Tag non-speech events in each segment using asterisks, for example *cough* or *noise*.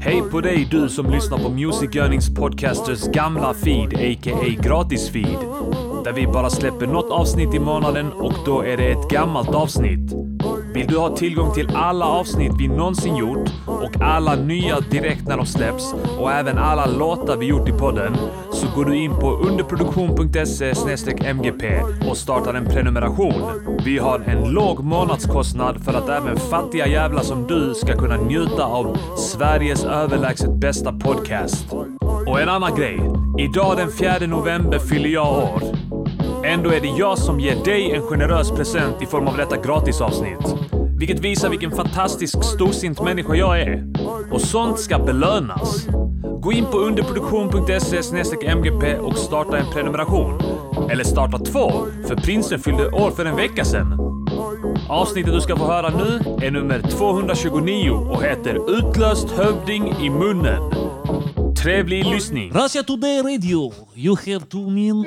Hej på dig du som lyssnar på Music Earnings Podcasters gamla feed, a.k.a. gratisfeed. Där vi bara släpper något avsnitt i månaden och då är det ett gammalt avsnitt. Vill du ha tillgång till alla avsnitt vi någonsin gjort och alla nya direkt när de släpps och även alla låtar vi gjort i podden så går du in på underproduktion.se mgp och startar en prenumeration. Vi har en låg månadskostnad för att även fattiga jävlar som du ska kunna njuta av Sveriges överlägset bästa podcast. Och en annan grej. Idag den 4 november fyller jag år. Ändå är det jag som ger dig en generös present i form av detta gratisavsnitt. Vilket visar vilken fantastisk storsint människa jag är. Och sånt ska belönas. Gå in på underproduktion.se mgp och starta en prenumeration. Eller starta två, för prinsen fyllde år för en vecka sedan. Avsnittet du ska få höra nu är nummer 229 och heter Utlöst hövding i munnen. Trevlig lyssning! Russia Today Radio, you have to mean...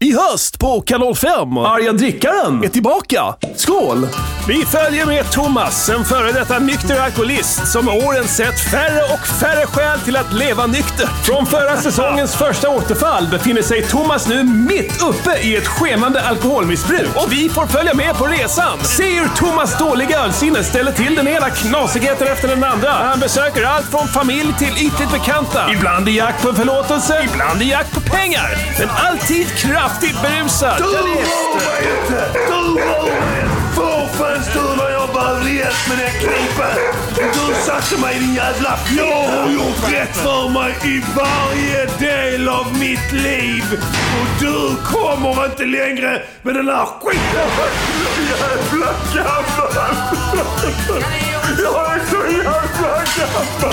I höst på Kanal 5. Arga drickaren är tillbaka. Skål! Vi följer med Thomas, en före detta nykter alkoholist som med åren sett färre och färre skäl till att leva nykter. Från förra säsongens första återfall befinner sig Thomas nu mitt uppe i ett skenande alkoholmissbruk. Och vi får följa med på resan. Se hur Thomas dåliga ölsinne ställer till den ena knasigheten efter den andra. Han besöker allt från familj till ytligt bekanta. Ibland i jakt på en förlåtelse, ibland i jakt på pengar. Men alltid kraftigt berusad. Oh, inte! Du var fåfängs du när jag behövde hjälp med den kniven. Du satte mig i din jävla... Jag har gjort rätt för mig i varje del av mitt liv. Och du kommer inte längre med den här skiten. Jävla gammal! Jag är så jävla gammal!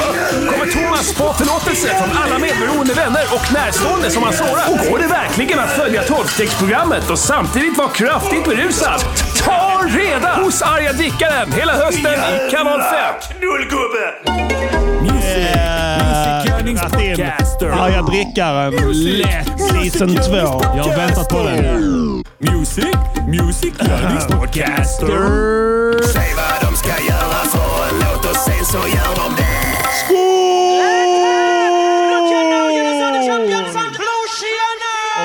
Kommer Thomas få förlåtelse från alla medberoende vänner och närstående som han sårat? Och går det verkligen att följa tolvstegsprogrammet och samtidigt vara kraftigt berusad? Ta reda hos Arga Dickaren hela hösten i Kanal 5! Knullgubbe! Ja, jag drickaren. Lätt season 2. Jag har väntat på den. Music, music, podcaster. Säg vad de ska göra för en låt och sen så gör de det.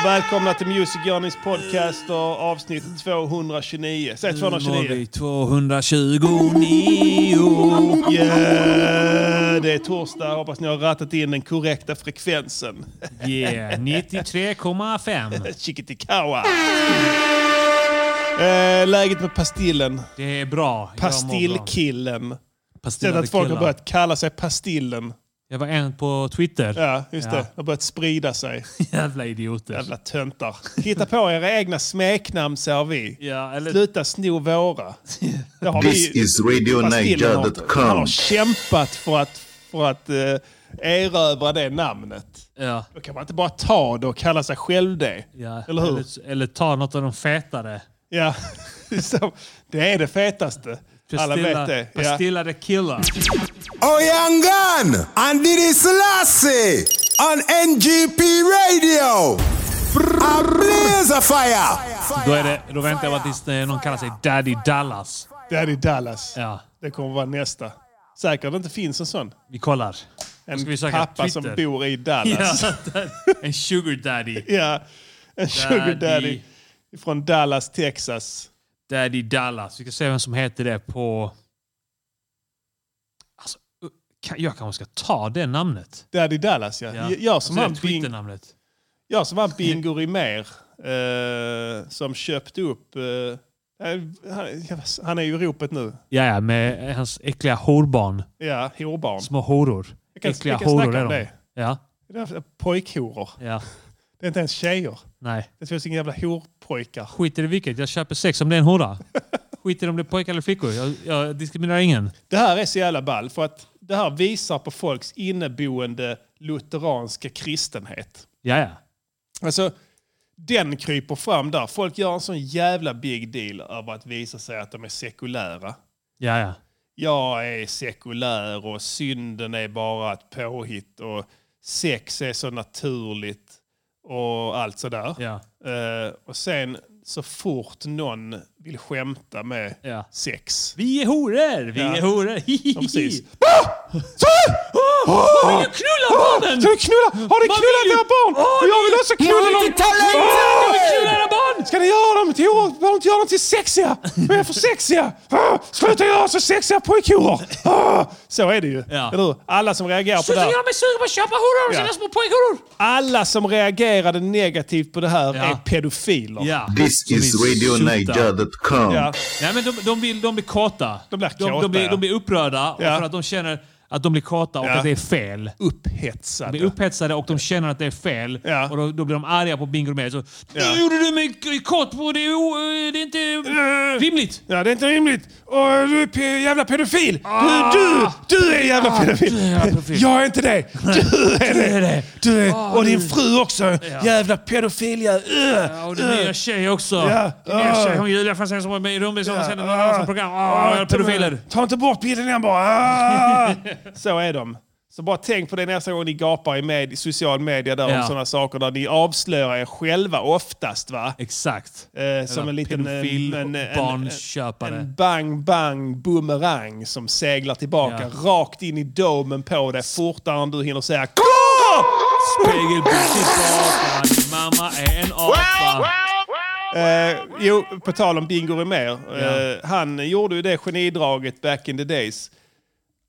Och välkomna till Music Journeys podcast och avsnitt 229. Säg Mm, 229. 229. Yeah, det är torsdag. Hoppas ni har rattat in den korrekta frekvensen. *laughs* Yeah, 93,5. Chiquitikawa. Eh, läget med Pastillen. Det är bra. Jag mår bra. Pastillkillen. Sett Pastillade att folk har killar. börjat kalla sig Pastillen. Jag var en på Twitter. Ja, just Ja. det. Har börjat sprida sig. *laughs* Jävla idioter. Jävla töntar. Hitta på era egna smeknamn, säger vi. Ja, eller... Sluta sno våra. Det har This vi- is radionaja.com. Han har kämpat för att, för att eh, erövra det namnet. Ja, Då kan man inte bara ta det och kalla sig själv det. ja. Eller hur? Eller, eller ta något av de fetare. Ja. *laughs* Så, det är det fetaste. Alla vet det. Ja. Pastillade killar. Oyangan and Didi Selassie on NGP Radio. A blaze of fire. Då, är det, då väntar jag bara tills eh, någon kallar sig Daddy Dallas. Daddy Dallas. Ja, Det kommer vara nästa. Säkert det inte finns en sån. vi kollar. ska vi En söka pappa Twitter? som bor i *laughs* Ja, Dallas. *laughs* Ja. en sugar daddy. En sugar daddy Daddy. från Dallas, Texas. Daddy Dallas. Vi ska se vem som heter det på... Alltså, uh, kan- jag kanske ska ta det namnet. Daddy Dallas, ja. Ja. ja. Jag som alltså, han det Bing- Twitternamnet. Jag som var Bingo Rimér eh, som köpte upp... Eh, han, han är ju i ropet nu. Ja, ja, med hans äckliga horbarn. Ja, horbarn. Små horor. Jag kan- äckliga jag kan snacka om är de. det. Ja, Det är Pojkhoror. ja. Det är inte ens tjejer. Nej. Det finns inga jävla horpojkar. Skiter i vilket. Jag köper sex om det är en *laughs* hora. Skiter i om det är pojkar eller flickor. Jag, jag diskriminerar ingen. Det här är så jävla ball för att det här visar på folks inneboende lutheranska kristenhet. Ja, ja. Alltså, den kryper fram där. Folk gör en sån jävla big deal över att visa sig att de är sekulära. Ja, ja. jag är sekulär och synden är bara ett påhitt och sex är så naturligt och allt sådär. Ja. Eh, och sen så fort någon vill skämta med Ja. sex. Vi är horor! Vi Ja. är horor! *laughs* Ah! Ja, precis. Ah! Jag vill knulla barnen! Ska du knulla? Har ni Man knullat vill ju- Ah, era barn? Och jag vill också knulla dem! Ah! Jag vill knulla era barn! Ska ni göra dem till or- Behöver inte göra dem till sexiga? De är för sexiga! Ah, Sluta göra så sexiga pojkhorer! Ah, Så är det ju. Ja. Eller hur? Alla som reagerar på det Sluta här. göra mig sugen på att köpa horor och Ja. sina små pojkhoror! Alla som reagerade negativt på det här Ja. är pedofiler. Ja. This Som is vill suta. RadioNiger.com. Ja. Nej, men de, de, vill, de blir kåta. De blir de, kåta, de, blir, ja. de blir upprörda Ja. för att de känner att de blir kåta och Ja. att det är fel. Upphetsade. De är upphetsade och de känner att det är fel. Ja. Och då, då blir de arga på Bingo mer. Så, Ja. Nu gjorde du mig k- kåt på! Det är, o, det är inte Eh! rimligt! Ja, det är inte rimligt. Och du är pe- jävla pedofil! Du, du, du är jävla pedofil! Ah. du är jävla pedofil. Jag är inte det! Du är är det! det. Du Ah, är, och din du- fru också! Jävla pedofil! Ja, Ja, och din nya tjej också. Ja. Din nya tjej, Ah. hon Julia Franzén som var med i rummet som sände någon ah. annan som program. Ah, pedofiler. Ta inte bort bilden igen bara! Ah. Så är de. Så bara tänk på det nästa gång ni gapar i, med, i social media där Ja. om sådana saker där ni avslöjar er själva oftast va? Exakt. Eh, som en liten... eh, pedofil en- en- barnköpare. En bang bang boomerang som seglar tillbaka Ja. rakt in i domen på dig fortare än du hinner säga "Kå!" Spegelbild i gatan. Mamma är en apa. Eh, jo, på tal om Bingo Rimér. Eh, Ja. han gjorde ju det genidraget back in the days.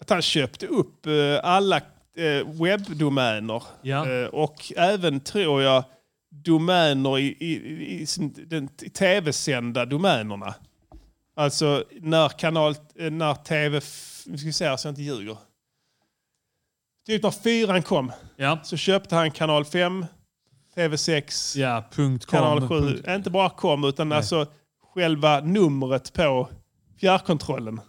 Att han köpte upp eh, alla eh, webbdomäner. Ja. Eh, och även, tror jag, domäner i, i, i, i sin- den t- tv-sända domänerna. Alltså när kanal, eh, när tv, f- vi ska säga så jag inte ljuger. Typ när fyran kom Ja. så köpte han kanal 5, tv6, Ja, punkt com. kanal 7. Punkt. Inte bara kom, utan alltså själva numret på fjärrkontrollen.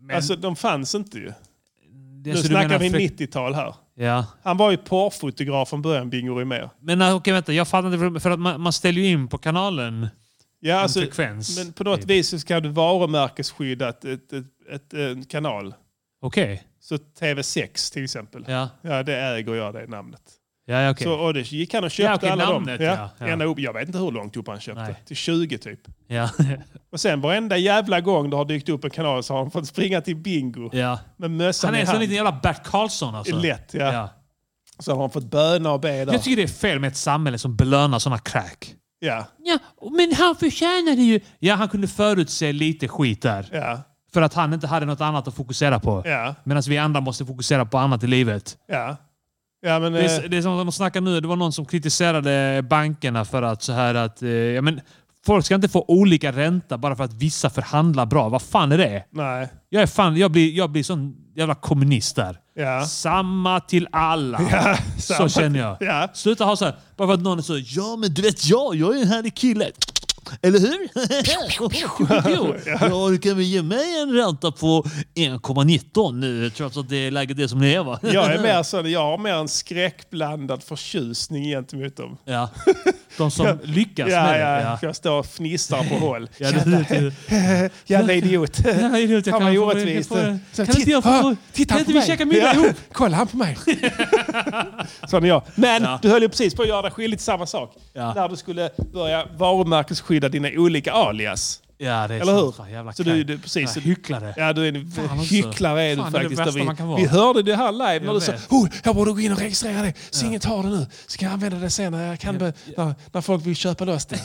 Men, Alltså de fanns inte ju. det, Nu så du snackar menar vi för- 90-tal här. Ja. Han var ju porrfotograf från början, Bingo Rimér. Men nej, okej, vänta. Jag fattar inte. för- För att man, man ställer ju in på kanalen. Ja, alltså, frekvens, men på något typ. vis så ska du varumärkesskydda ett, ett, ett, ett, en kanal. Okej. Så TV6 till exempel. Ja, Ja, det äger jag det namnet. ja, ja okej. Så, och det gick han och köpte Ja, okej, alla namnet, dem. ja, ja. Ända upp, jag vet inte hur långt upp han köpte. Nej. Till 20 typ. Ja. *laughs* Och sen varenda jävla gång det har dykt upp en kanal så har han fått springa till Bingo. ja. Med mössan Han är i en sån hand. liten jävla Bert Karlsson alltså. Lätt, ja. Ja. Så har han fått böna och be där. Jag tycker det är fel med ett samhälle som belönar såna crack. Ja, Ja, men han förtjänade ju... Ja, han kunde förutse lite skit där. ja, För att han inte hade något annat att fokusera på. ja, Medan vi andra måste fokusera på annat i livet. ja. Ja, men... Det eh, är, det är som de snackar nu. Det var någon som kritiserade bankerna för att så här att... Eh, ja, men folk ska inte få olika ränta bara för att vissa förhandlar bra. Vad fan är det? nej. Jag, är fan, jag, blir, jag blir sån jävla kommunist där. Ja. Samma till *laughs* alla. samma så känner jag. Ja. Sluta ha så här, bara för att någon är så ja men du vet jag, jag är en härlig kille. Eller hur? *laughs* Jo. ja, du kan väl ge mig en ränta på 1,19 nu trots att det är läget det som det är va? Jag är mer sån, jag har mer en skräckblandad förtjusning gentemot dem. *laughs* Ja. De som lyckas Ja, med det. ja, Ja. Jag står och fnissar på håll. Ja, det- det- det- Jävla idiot. det här är idiot, jag Han kan var ju få- orättvis. jag får- Så, kan inte jag få- ah, kan titta inte på vi mig. käka middag Ja, ihop? Kolla han *laughs* på mig. Sån är jag. Men Ja. du höll ju precis på att göra dig skyldig till samma sak. Ja. När du skulle börja varumärkesskydda dina olika alias. ja, det är Eller sant. hur? Fan, jävla Så du- crack. du- precis. Ja, hycklare. Ja, du är en Fan också. hycklare är du Fan, det är det faktiskt. värsta vi, man kan vara. vi hörde det här live när Jag du sa vet. oh, jag borde gå in och registrera det så ingen tar det nu. Så kan jag använda det sen när, jag kan be- när, när folk vill köpa *laughs* loss det.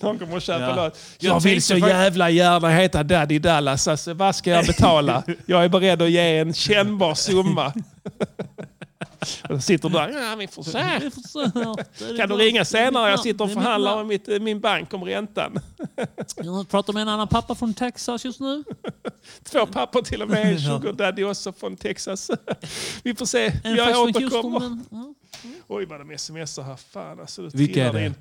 De kommer att köpa Ja. loss. Jag, Jag vill tänkte så fakt- jävla gärna heta Daddy Dallas. Alltså, vad ska jag betala? jag är beredd att ge en *laughs* kännbar summa. Och så sitter du där. Ja, vi får se. Äh. *laughs* Kan du ringa senare? Jag sitter och förhandlar med mitt, eh, min bank om räntan. Jag pratar med en annan pappa från Texas just nu. Två pappor till *laughs* och med. Sugar Daddy också från Texas. *laughs* Vi får se. En Jag fax från Houston. återkommer. men- ja. Oj vad de smsar här. Fan alltså. Det Vilka är trillar det?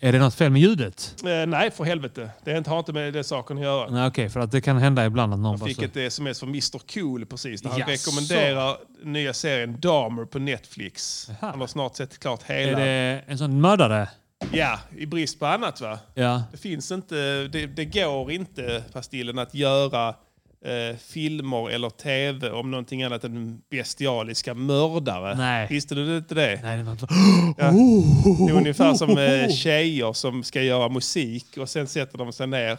Är det något fel med ljudet? in. Eh, nej, för helvete. Det är inte- har inte med det saken att göra. Nej, okej. för att det kan hända ibland att någon... Jag fick bara så- ett sms från Mr Cool precis. Där han Jaså. rekommenderar nya serien Dahmer på Netflix. Aha. Han har snart sett klart Är hela. det en sån mördare? Ja, i brist på annat va? Ja. Det finns inte, det, det går inte, Pastillen, att göra eh, filmer eller tv om någonting annat än bestialiska mördare. Nej. Visste du inte det? Nej, det var inte... Det är ungefär som eh, tjejer som ska göra musik och sen sätter de sig ner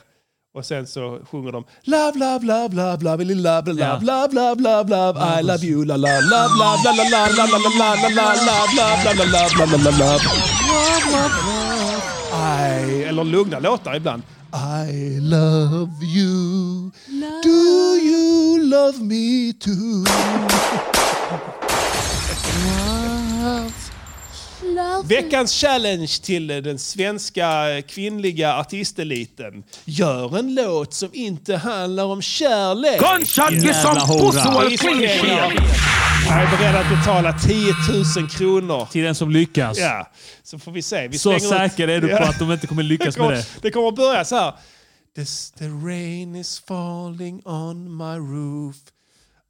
Och sen så sjunger de Love, love, love, love, love, love, love, Ja. love, love, love, love, love, I love you, la, la, love, love, la, la, la, la, la, la, la, la, la, love, love, la, la, love, la, la, la, love. Love, love, love. I, eller lugna låtar ibland. I love you. Do you love me too? Veckans challenge till den svenska kvinnliga artisteliten. Gör en låt som inte handlar om kärlek. Gunshots get some Jävla hora. pussy or clean Ispengar. shit. Jag är beredd att betala 10 000 kronor. Till den som lyckas. Ja, så får vi se. Vi Så slänger ut- säker är du på Ja. att de inte kommer lyckas med kommer, *laughs* det. det kommer att börja så här. This, the rain is falling on my roof.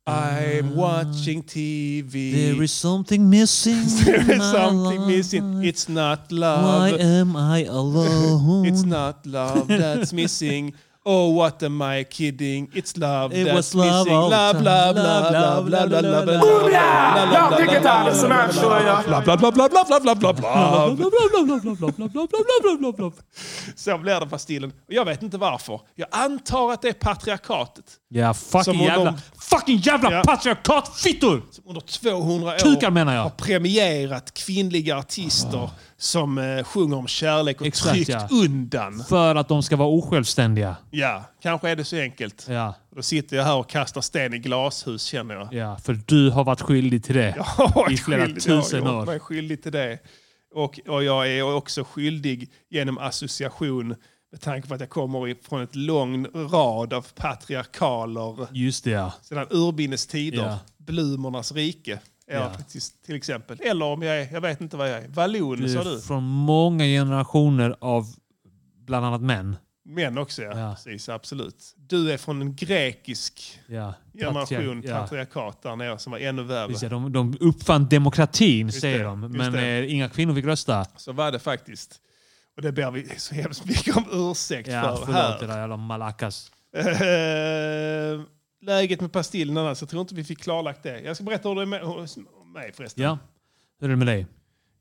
I'm watching TV. There is something missing in *laughs* There my is something life. missing. It's not love. Why am I alone? *laughs* It's not love that's missing. Oh, what am I kidding? It's love It that's was love missing. all the Love, time. love, love, Love, love, love, love, love, love, love, love, love, love, love, love, Jag tycker love, inte love, alls om love, människor. jag- bla, bla, bla, bla, bla, bla, bla, bla, bla. Så blir det på stilen. Och Jag vet inte varför. Jag antar att det är patriarkatet Ja, fucking Som om jävla, de- fucking jävla Ja. patriarkatfittor! som under 200 år Kukar menar jag. har premierat kvinnliga artister som eh, sjunger om kärlek och Ah. Exakt, tryckt ja. undan. För att de ska vara osjälvständiga. Ja, kanske är det så enkelt. Ja, Då sitter jag här och kastar sten i glashus känner jag. ja, för du har varit skyldig till det. Jag har varit *laughs* I flera skyldig, tusen jag har gjort år. mig skyldig till det. Och, och jag är också skyldig genom association med tanke på att jag kommer ifrån ett lång rad av patriarkaler Just det ja. sedan urminnes tider. Ja. Blumornas rike är jag Ja. precis, till exempel. Eller om jag är, jag vet inte vad jag är. Vallon Du sa är du. från många generationer av bland annat män. Män också ja. Ja. Precis, absolut. Du är från en grekisk Ja. generation, Ja. patriarkat där nere som var ännu värre. Precis, ja, De, de uppfann demokratin, säger det, de. just Men det. eh, inga kvinnor fick rösta. Så var det faktiskt. Och det ber vi så hemskt mycket om ursäkt Ja, för förlåt det här. där jävla malakas. Eh, läget med pastillen annars, jag tror inte vi fick klarlagt det. Jag ska berätta hur det är med hos om mig förresten. Ja. Hur är det med dig?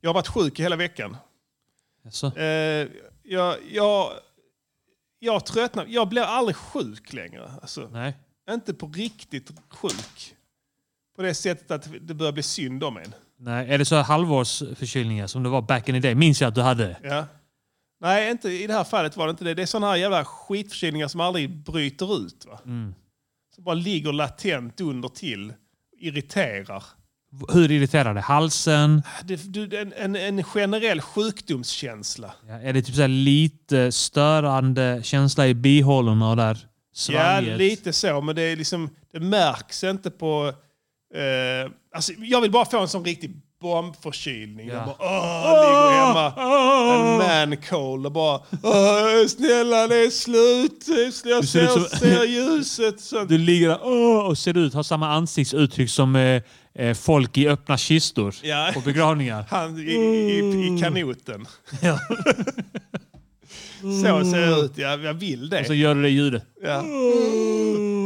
Jag har varit sjuk i hela veckan. Jaså? Eh, jag, jag, jag tröttnar, jag blir aldrig sjuk längre. Alltså, Nej. inte på riktigt sjuk. På det sättet att det börjar bli synd om en. Nej. Är det så här halvårsförkylningar som det var back in the day? Minns jag att du hade? Ja. Nej, inte, i det här fallet var det inte det. Det är sådana här jävla skitförkylningar som aldrig bryter ut. Va? Som bara ligger latent under till. Irriterar. Hur irriterade? Halsen? Det, du, en, en, en generell sjukdomskänsla. Ja, är det typ så här lite störande känsla i bihålorna och där? Ja, Svalget? lite så. Men det, är liksom, det märks inte på... Eh, alltså, jag vill bara få en sån riktig bombförkylning. Ja. Ah, Jag bara, åh, ligger hemma. En man cold och bara åh, snälla det är slut. Jag ser ut som- ser, ser ljuset. Sånt. Du ligger där "Åh", och ser ut, har samma ansiktsuttryck som eh, eh, folk i öppna kistor Ja. på begravningar. *laughs* Han i, i, Mm. i kanoten. *laughs* så ser jag ut. Jag, jag vill Mm. Och så det. gör du det ljudet. Ja.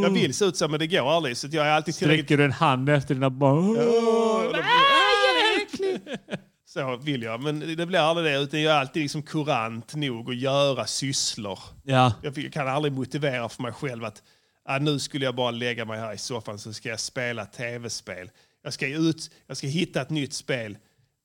Jag vill se ut så, men det går aldrig. Så att jag är alltid tillräckligt... Sträcker du en hand efter dina barn. *laughs* Så vill jag. Men det blir aldrig det. Utan jag är alltid liksom kurant nog att göra sysslor. Ja. Jag fick- jag kan aldrig motivera för mig själv att ah, nu skulle jag bara lägga mig här i soffan så ska jag spela tv-spel. Jag ska, ut, jag ska hitta ett nytt spel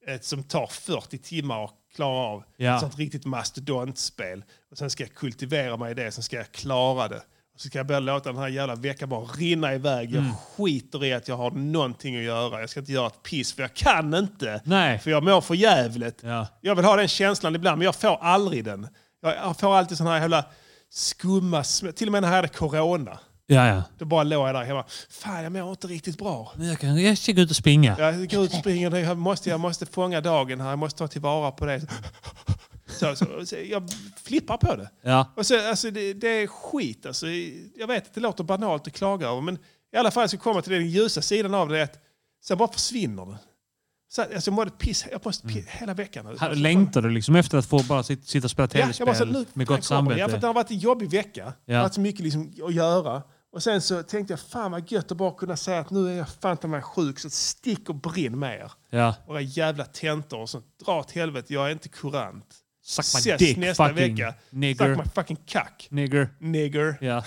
ett som tar 40 timmar att klara av. Ja. Ett sånt riktigt mastodontspel. Och sen ska jag kultivera mig i det, sen ska jag klara det. Och så ska jag börja låta den här jävla veckan bara rinna iväg. Jag Mm. skiter i att jag har någonting att göra. Jag ska inte göra ett piss, för jag kan inte. Nej. För jag mår för jävligt. Ja. Jag vill ha den känslan ibland, men jag får aldrig den. Jag- Jag får alltid sån här jävla skumma... sm- Till och med när jag hade corona. Ja, ja. Då bara låg jag där hemma. Fan, jag mår inte riktigt bra. Men jag kan jag ska gå ut och springa. Jag går ut och springer. Jag måste, jag måste fånga dagen här. Jag måste ta tillvara på det. Så, så, så, jag flippar på det. Ja. Och så, alltså, det, det är skit. Alltså, jag vet att det låter banalt att klaga över, men i alla fall jag ska komma till den ljusa sidan av det. Att, sen bara försvinner det. Så, att, alltså, jag mådde piss, jag måste Mm. piss hela veckan. nu. Här Längtar du liksom efter att få bara sit- sitta och spela Ja, jag bara så, tv-spel nu, med gott fan, kommer det. Ja, för att samvete? det har varit en jobbig vecka. Det Ja. har varit så mycket liksom att göra. Och sen så tänkte jag, fan vad gött att bara kunna säga att nu är jag fan ta mig sjuk, så stick och brinn med er. Ja. Våra jävla tentor och sånt. Dra åt helvete, jag är inte kurant. Suck my Ses dick nästa fucking vecka. nigger. Suck my fucking kack. Nigger. Nigger. Ja.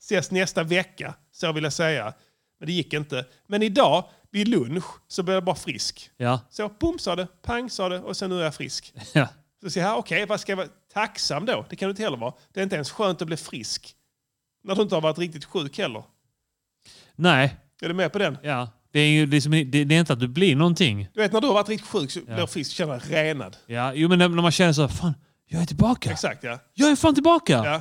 Ses nästa vecka. Så vill jag säga. Men det gick inte. Men idag vid lunch så blev jag bara frisk. Ja. Så pum sa det, pang sa det och sen nu är jag frisk. ja. Så säger jag, "Ah, okej, vad ska jag vara tacksam då? Det kan du inte heller vara. Det är inte ens skönt att bli frisk. När du inte har varit riktigt sjuk heller. Nej. Är du med på den? Ja. Det är ju liksom, det, det är inte att du blir någonting. Du vet när du har varit riktigt sjuk så blir du frisk och känner dig renad. Ja. Jo, men när, när man känner så här, fan, jag är tillbaka. Exakt ja. Jag är fan tillbaka. ja.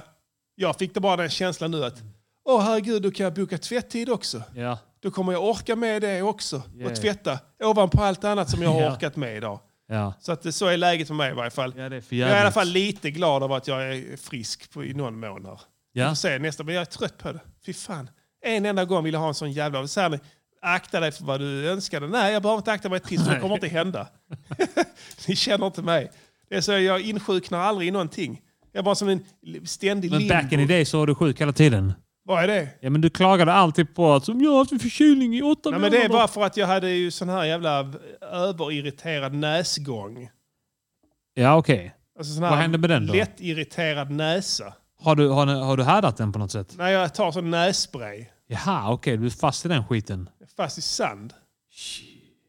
Jag fick det bara den känslan nu att, åh herregud, då kan jag boka tvättid också. Ja. Då kommer jag orka med det också. Yeah. Och tvätta ovanpå allt annat som jag *laughs* har Ja. orkat med idag. Ja. Så att det, så är läget för mig i varje fall. Ja, det är för jag är i alla jävligt. fall lite glad över att jag är frisk på, i någon mån här. Vi Ja. får se nästa, men jag är trött på det. Fy fan. En enda gång vill jag ha en sån jävla... Så här, ni, akta dig för vad du önskade. Nej, jag behöver inte akta mig ett piss, för det kommer inte hända. *laughs* Ni känner inte mig. Det är så jag insjuknar aldrig i någonting. Jag är bara som en ständig Men back in limbo. the day så var du sjuk hela tiden. Vad är det? Ja, men du klagade alltid på att som jag har haft en förkylning i åtta Nej, men det är bara för att jag hade ju sån här jävla överirriterad näsgång. Ja, okej. Alltså sån Vad hände med den då? Lättirriterad näsa. Har, du, har, har du härdat den på något sätt? När jag tar sån nässpray. Jaha, okej. Du är fast i den skiten. Fast i sand.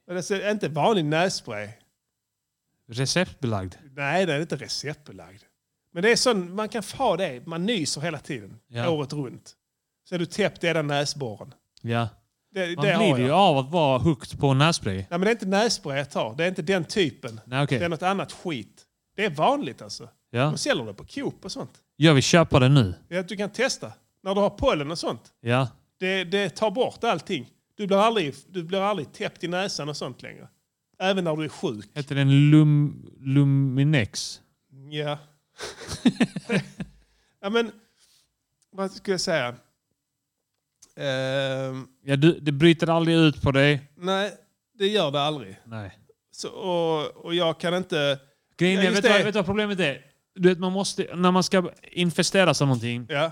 Men det är inte vanlig nässpray. Receptbelagd. Nej, den är inte receptbelagd. Men det är sån, man kan ha det. Man nyser hela tiden. Ja. Året runt. Så är du täppt i den näsborren. Ja. Det, Man det har blir ju jag. av att vara hooked på nässpray. Nej, men det är inte nässpray jag tar. Det är inte den typen. Nej, okej. Det är något annat skit. Det är vanligt alltså. Ja. De säljer det på Coop och sånt. Jag vill köpa den nu. Det är att du kan testa. När du har pollen och sånt. Ja. Det, det tar bort allting. Du blir, aldrig, du blir aldrig täppt i näsan och sånt längre. Även när du är sjuk. Heter den Lum, Luminex? *laughs* Ja. ja men, vad skulle jag säga? Ehm, Ja, du, det bryter aldrig ut på dig. nej, det gör det aldrig. Nej. Så, och, och jag kan inte... Grejen Ja, är, just vet du vad- det. vet du vad problemet är? Du vet, man måste, när man ska infestera sig av någonting Ja,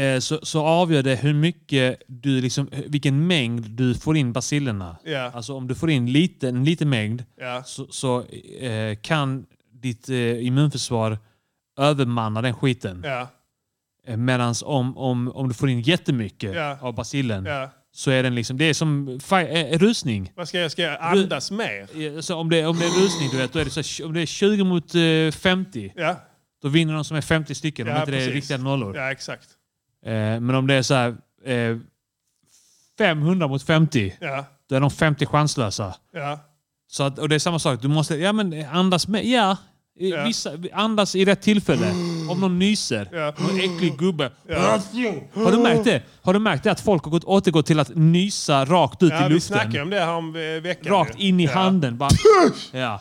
eh, så, så avgör det hur mycket du liksom, vilken mängd du får in bacillerna. Ja. Alltså om du får in lite, en liten mängd ja, så, så eh, kan ditt eh, immunförsvar övermanna den skiten. ja, Eh, Medan om, om, om du får in jättemycket Ja. av bacillen ja. så är den liksom, det är som fi- eh, rusning. Vad ska jag, ska jag andas mer? Eh, Så om, det, om det är rusning, du vet, då är det så här, om det är 20 mot eh, 50, Ja, då vinner de som är 50 stycken om Ja, inte det är precis. riktiga nollor. ja exakt. Eh, men om det är så här, eh, 500 mot 50, Ja, då är de 50 chanslösa. ja, Så att, och det är samma sak, du måste ja, men eh, andas med. Ja, I- Ja. Vissa, andas i rätt tillfälle. Om någon nyser, Ja. någon äcklig gubbe. ja. Har du märkt det? Har du märkt det att folk har gått, återgått till att nysa rakt ut ja i vi luften? snackade om det här om eh, veckan. Rakt ju. in i ja. handen. Bara, ja,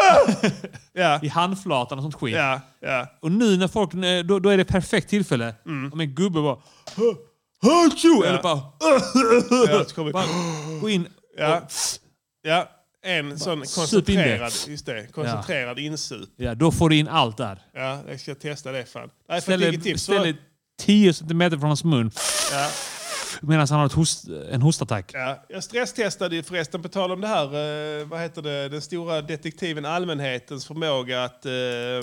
*laughs* Ja, I handflatan och sånt skit. ja, ja. Och nu när folk, då, då är det perfekt tillfälle. Mm. Om en gubbe bara... "Hö, hö, tjo", Eller bara... ja, så kommer vi- bara gå in. Ja. ja. En sån sup in det. koncentrerad, just det, koncentrerad insup. Ja, då får du in allt där. Ja, jag ska testa det fan. Nej, för vilket Ställer, tips. Så- ställer 10 centimeter från hans mun Ja, medan han har ett host, en hostattack. ja. Jag stresstestade ju förresten, på tal om det här, eh, vad heter det, den stora detektiven allmänhetens förmåga att eh,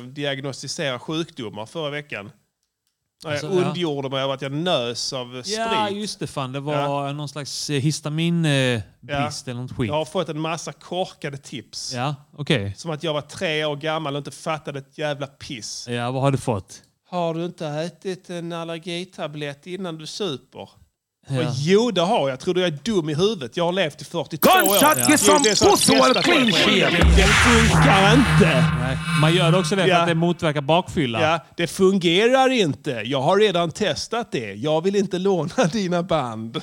diagnostisera sjukdomar förra veckan. När jag Alltså, ja. ondgjorde mig över att jag nös av eh, sprit. Ja, just det. Fan. Det var någon slags eh, histaminbrist Ja. eller något skit. Jag har fått en massa korkade tips. Ja, okej. Som att jag var tre år gammal och inte fattade ett jävla piss. Ja, vad har du fått? Har du inte ätit en allergitablett innan du super? Ja. Och jo, det har jag. Tror du jag är dum i huvudet? Jag har levt i 42 år. Gunshot is some Det är så att pussy or testa clean på det. shit. Det funkar inte! Nej. Man gör det också det för Ja. att det motverkar bakfylla. Ja, det fungerar inte. Jag har redan testat det. Jag vill inte låna *laughs* dina band.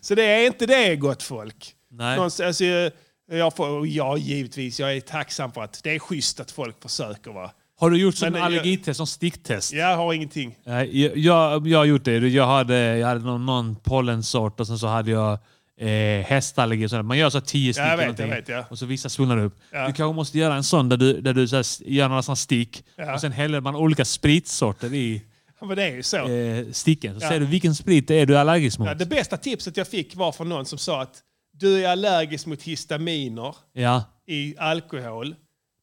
så det är inte det, gott folk. Nej. Någon, alltså, jag- jag får, och ja, givetvis. Jag är tacksam för att det är schysst att folk försöker. Va? Har du gjort sån Men, eh, allergitest, sån sticktest? Jag har ingenting. Nej, Jag, jag, jag har gjort det. Jag hade, jag hade någon, någon pollensort och sen så hade jag eh, hästallergi. och sådär. Man gör så här tio stycken jag vet, någonting, jag vet, ja. och så vissa svullnar upp. Ja. Du kanske måste göra en sån där du, där du så här, s- gör några såna stick Ja. och sen häller man olika spritsorter i Ja, Men det är ju så. eh, sticken. Så Ja. ser du vilken sprit det är du är allergisk mot. Ja, det bästa tipset jag fick var från någon som sa att du är allergisk mot histaminer Ja. i alkohol.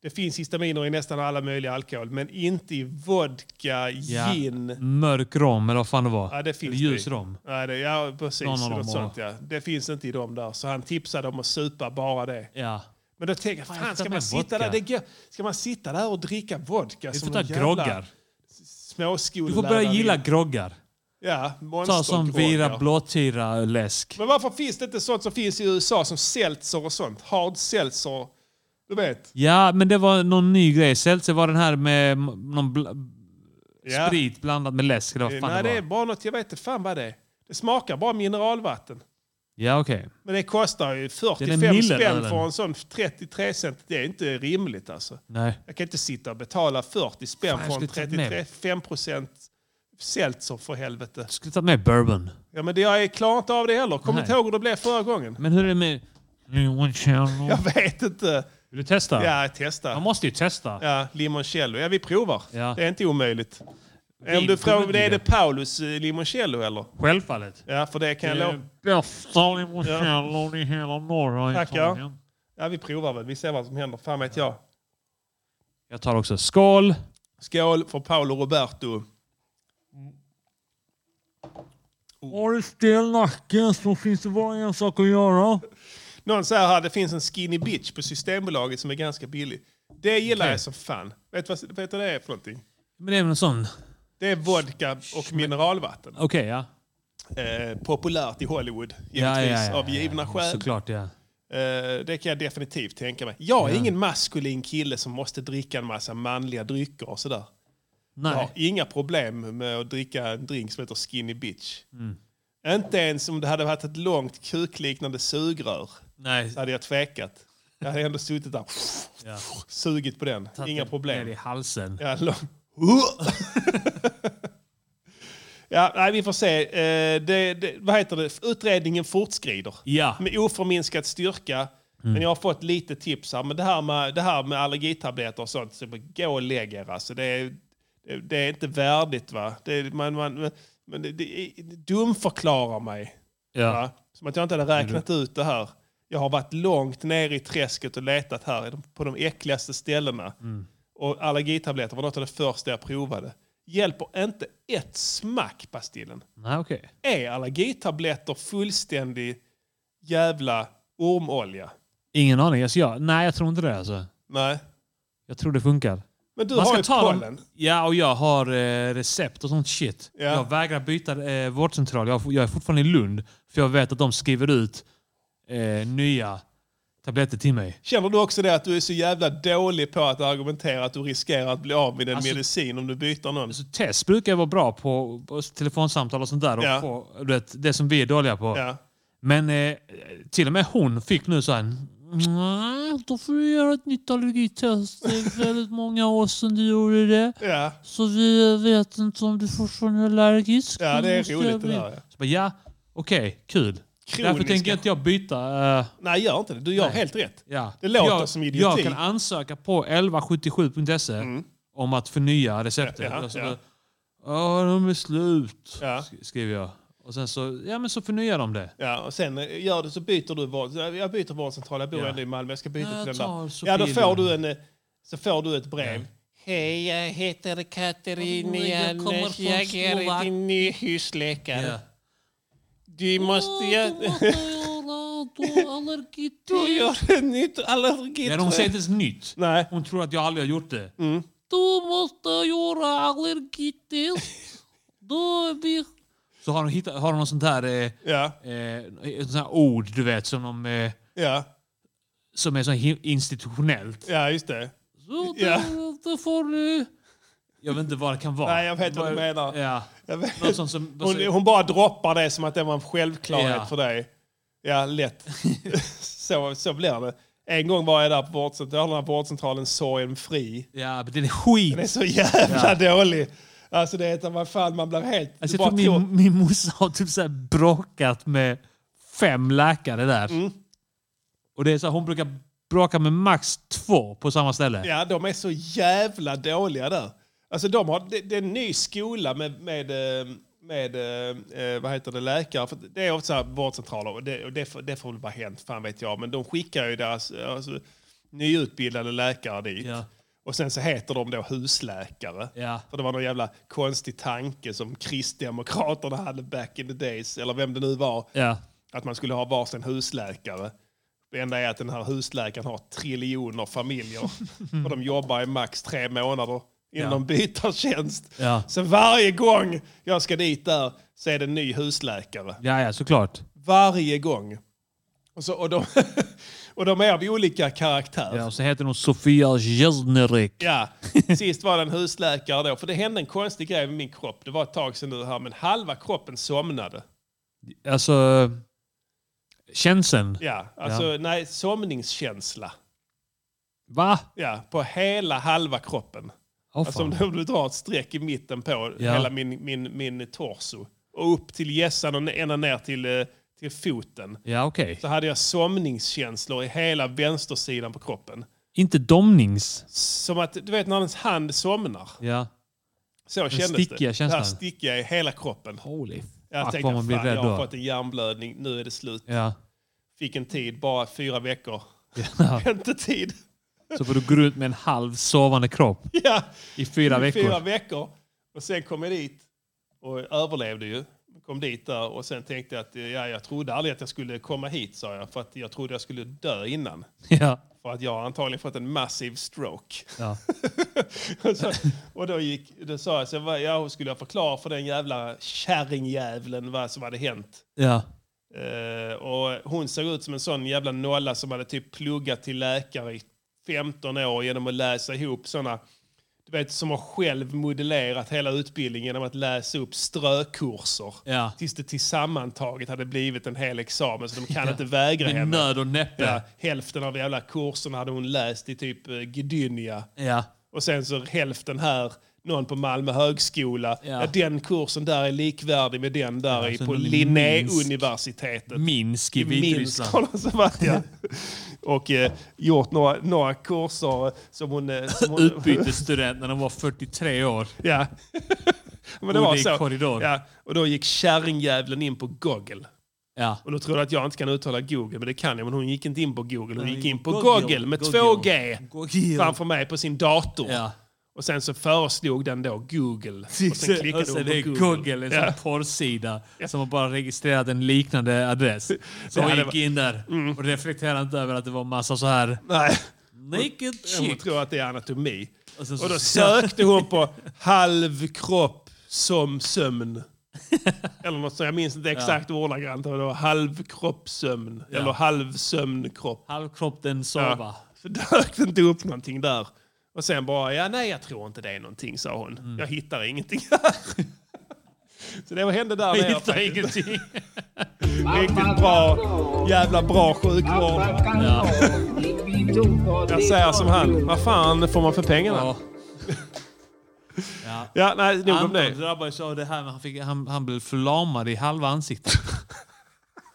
Det finns histaminer i nästan alla möjliga alkohol, men inte i vodka, Ja. gin. Mörk rom eller vad fan det var. Ja, det finns Eller ljus rom. Ja, det, ja precis. Någon av dem Något har- sånt, ja. Det finns inte i dem där. Så han tipsade om att supa bara det. Ja. Men då tänker jag, fan jag ska ska ta man, med sitta vodka. där, det går, ska man sitta där och dricka vodka Vi får som ta en jävla groggar. småskollärare? Du får börja gilla groggar. Ja, Ta som vira monstergroggar. blåtira läsk. Men varför finns det inte sånt som finns i USA som seltzer och sånt? Hard seltzer. Du vet? Ja, men det var någon ny grej. Seltzer var den här med m- någon bl- Ja. sprit blandat med läsk. Eller vad fan Nej, det det var. är bara något, jag vet inte fan vad det är. Det smakar bara mineralvatten. Ja, okej. Men det kostar ju Den 45 är millen, spänn eller? för en sån 33 cent. Det är inte rimligt alltså. Nej. Jag kan inte sitta och betala 40 spänn Fan, för jag en skulle tagit med 33, 5 procent seltzer för helvete. Du skulle ta med bourbon. Ja, men det, jag är- klarar inte av det heller. Kommer Nej. inte ihåg hur det blev förra gången. Men hur är det med... Mm, Limoncello? Jag vet inte. Vill du testa? Ja, Man jag testar. måste ju testa. Ja, limoncello. Ja, vi provar. Ja. Det är inte omöjligt. Om du Vin kommer frågar, bli är det. det Paulus eh, limoncello eller? Självfallet. Ja, för det kan jag Det lova. är bästa limousinelon i hela norra Tackar. Italien. Ja, vi provar väl. Vi ser vad som händer. Fan vet jag. Jag tar också skål. Oh. Skål för Paolo Roberto. Har du stel nacke så finns det bara en sak att göra. Någon säger här, det finns en skinny bitch på Systembolaget som är ganska billig. Det gillar Okej. jag som fan. Vet du vad, vet du vad det är för någonting? Men det är väl en sån... Det är vodka och mineralvatten. Okej, ja. Eh, populärt i Hollywood, givetvis, Ja, ja, ja, ja, av givna ja, skäl. Såklart, ja. Eh, det kan jag definitivt tänka mig. Jag är ingen maskulin kille som måste dricka en massa manliga drycker och sådär. Nej. Jag har inga problem med att dricka en drink som heter Skinny Bitch. Mm. Inte ens om det hade varit ett långt kukliknande sugrör Nej. så hade jag tvekat. Jag hade ändå suttit där, Ja. sugit på den. Inga Ner i problem. halsen. Ja, lång- *laughs* ja, nej, vi får se. Eh, det, det, vad heter det? Utredningen fortskrider. Ja. Med oförminskad styrka. Men jag har fått lite tips här. Men det här med, det här med allergitabletter och sånt, så bara gå och lägg er. Alltså, det, är, det, det är inte värdigt. va? Det, är- man, man, men det, det, det dumförklarar mig. Ja. Va? Som att jag inte hade räknat ut det här. Jag har varit långt ner i träsket och letat här i de- på de äckligaste ställena. Mm. Och allergitabletter var något av det första jag provade. Hjälper inte ett smack pastillen. Nej, okej. Är allergitabletter fullständig jävla ormolja? Ingen aning. Alltså, jag, nej, jag tror inte det alltså. Nej. Jag tror det funkar. Men du Man har ska ju ta pollen. dem. Ja, och jag har eh, recept och sånt shit. Ja. Jag vägrar byta eh, vårdcentral. Jag, jag är fortfarande i Lund. För jag vet att de skriver ut eh, nya tabletter till mig. Känner du också det att du är så jävla dålig på att argumentera att du riskerar att bli av med din Alltså- medicin om du byter någon? Så test brukar jag vara bra på, på telefonsamtal och sånt där. Och Ja. få, du vet, det som vi är dåliga på. Ja. Men eh, till och med hon fick nu så här... "Nej, Då får du göra ett nytt allergitest. *laughs* Det är väldigt många år sedan du gjorde det. Ja. Så vi vet inte om du fortfarande är allergisk. ja, det är Måste jag roligt det bli- där. Ja. Så bara, ja, okej, kul. Därför Kroniska. tänker inte jag byta. eh, Nej, gör inte det. Du gör Nej. helt rätt. ja. Det låter jag, som idioti. Mm. Jag kan ansöka på 1177.se om att förnya receptet. Ja, Och så ja. bara, Ja, de är slut, Ja. sk- skriver jag. Och sen så, ja men så förnyar de det. Ja, och sen eh, gör du så byter du vård. Jag byter vårdcentral, jag bor Ja. ändå i Malmö, jag ska byta Jag till den tar där. Sofia Ja, då får Lund. du, en, eh, så får du ett brev. Hej, jag heter Oj, Katarina jag kommer Anders. från Jag är Slovakien. din ny husläkare. Ja. Du måste... Jag, *laughs* du Allergitest. gör ett nytt allergitest. Ja, de säger inte ens nytt. Nej. Hon tror att jag aldrig har gjort det. Mm. Du måste göra allergitest. Då blir... Så har de, hittat, har de någon sånt här, eh, Ja, eh, sånt här ord, du vet, som, de, eh, ja, som är så hi- institutionellt. ja, just det. Så det, Ja. det får du... Jag vet inte vad det kan vara. Nej, jag vet vad du Bara- menar. Ja. Jag vet. Någon sån som... Hon, hon bara droppar det som att det var en självklarhet Alltså- Ja. för dig. *laughs* Ja, lätt. så, så blir det. En gång var jag där på vårdcentralen, den här vårdcentralen Sorgen Fri. Ja, men den är skit. Den är så jävla dålig. Alltså det är vad fan man blir helt... Alltså, du jag tror bara tror- min, min morsa har typ så här bråkat med fem läkare där. Mm. Och det är så här, Hon brukar bråka med max två på samma ställe. Ja, de är så jävla dåliga där. Alltså de har, det, det är en ny skola med, med, eh, med eh, eh, vad heter det, läkare. För det är ofta så här vårdcentraler och det, och det, får, det får väl vara hänt, fan vet jag. Men de skickar ju deras... Alltså, nyutbildade läkare dit. Ja. Och sen så heter de då husläkare. Ja. För det var någon jävla konstig tanke som kristdemokraterna hade back in the days, eller vem det nu var. Ja. Att man skulle ha varsin husläkare. Det enda är att den här husläkaren har triljoner familjer. och de jobbar i max tre månader innan Ja. de byter tjänst. Ja. Så varje gång jag ska dit där så är det en ny husläkare. Ja, ja, såklart. Varje gång. Och, så, och, de, *laughs* och de är av olika karaktär. Ja, och så heter hon Sofia Jesnerek. Ja, sist var det en husläkare då. För det hände en konstig grej med min kropp. Det var ett tag sedan nu här, men halva kroppen somnade. Alltså... Känslan. Ja, alltså nej, somningskänsla. Va? Ja, på hela halva kroppen. Åh, Alltså om fan. du- om du drar ett streck i mitten på Ja. hela min, min, min torso. Och upp till hjässan och ända ner till, eh, till foten. Ja, okej. Så hade jag somningskänslor i hela vänstersidan på kroppen. Inte domnings. Som att, du vet när ens hand somnar. Ja. Så kändes stickiga det. känslan. Det här stickiga i hela kroppen. Holy Jag fuck tänkte, vad man blir fan, rädd jag har då. fått en hjärnblödning, nu är det slut. Ja. *laughs* Fick en tid, bara fyra veckor. Ja. *laughs* Väntetid. Så får du gå runt med en halv sovande kropp Ja, i fyra i veckor. fyra veckor. Och sen kom jag dit och överlevde ju. Kom dit där och sen tänkte jag att eh, ja, jag trodde aldrig att jag skulle komma hit, sa jag. För att jag trodde jag skulle dö innan. Ja. För att jag har antagligen fått en massiv stroke. *laughs* Ja. och, så, och då, gick, då sa jag, så vad- ja, skulle jag förklara för den jävla kärringjävlen vad som hade hänt? Ja. Eh, och hon såg ut som en sån jävla nolla som hade typ pluggat till läkare i 15 år genom att läsa ihop såna, du vet, som har själv modellerat hela utbildningen genom att läsa upp strökurser. Ja. Tills det tillsammantaget hade blivit en hel examen så de kan inte vägra Med henne. nöd och näppe. Ja, Ja. hälften av jävla kurserna hade hon läst i typ eh, Gdynia. Ja. Och sen så hälften här, någon på Malmö högskola. Ja. Ja. den kursen där är likvärdig med den där i, sen på Minsk. Linnéuniversitetet. Minsk i Minsk *laughs* Vitryssland. har de så varit, ja. Och eh, gjort några, några kurser som hon... eh, Som hon Utbytesstudent när de var 43 år. *laughs* ja. Men det Bodde var i så. korridor. Ja. Och då gick kärringjävlen in på Google. Ja. Och då tror jag att jag inte kan uttala Google, men det kan jag. Men hon gick inte in på Google, hon gick in på Google. Google, med Google. 2G Google. framför mig på sin dator. Ja. Och sen så föreslog den då *laughs* Google. Och sen klickade och sen Alltså, det är hon på Google, en sån Ja. porrsida som har bara registrerat en liknande adress. Så Det hon Mm. hade gick in där och reflekterade inte över att det var massa så här Nej, naked hon chick. tror att det är anatomi. Och, sen så- Och då sökte hon på halv kropp *laughs* som sömn. Eller något så, jag minns inte exakt ordagrant. men Det var halv kroppssömn. Eller halv sömnkropp. Halvkropp den Ja. sova. Så dök det inte upp någonting där. Och sen bara, ja nej jag tror inte det är någonting, sa hon. Mm. Jag hittar ingenting här. *laughs* Så det hände där Jag nere hittar faktiskt. ingenting. *laughs* Riktigt bra, jävla bra sjukvård. Jag säger som han, vad fan får man för pengarna? Ja. Ja, nej, nog om Anton det. drabbades av det här med han, fick, han, han blev förlamad i halva ansiktet.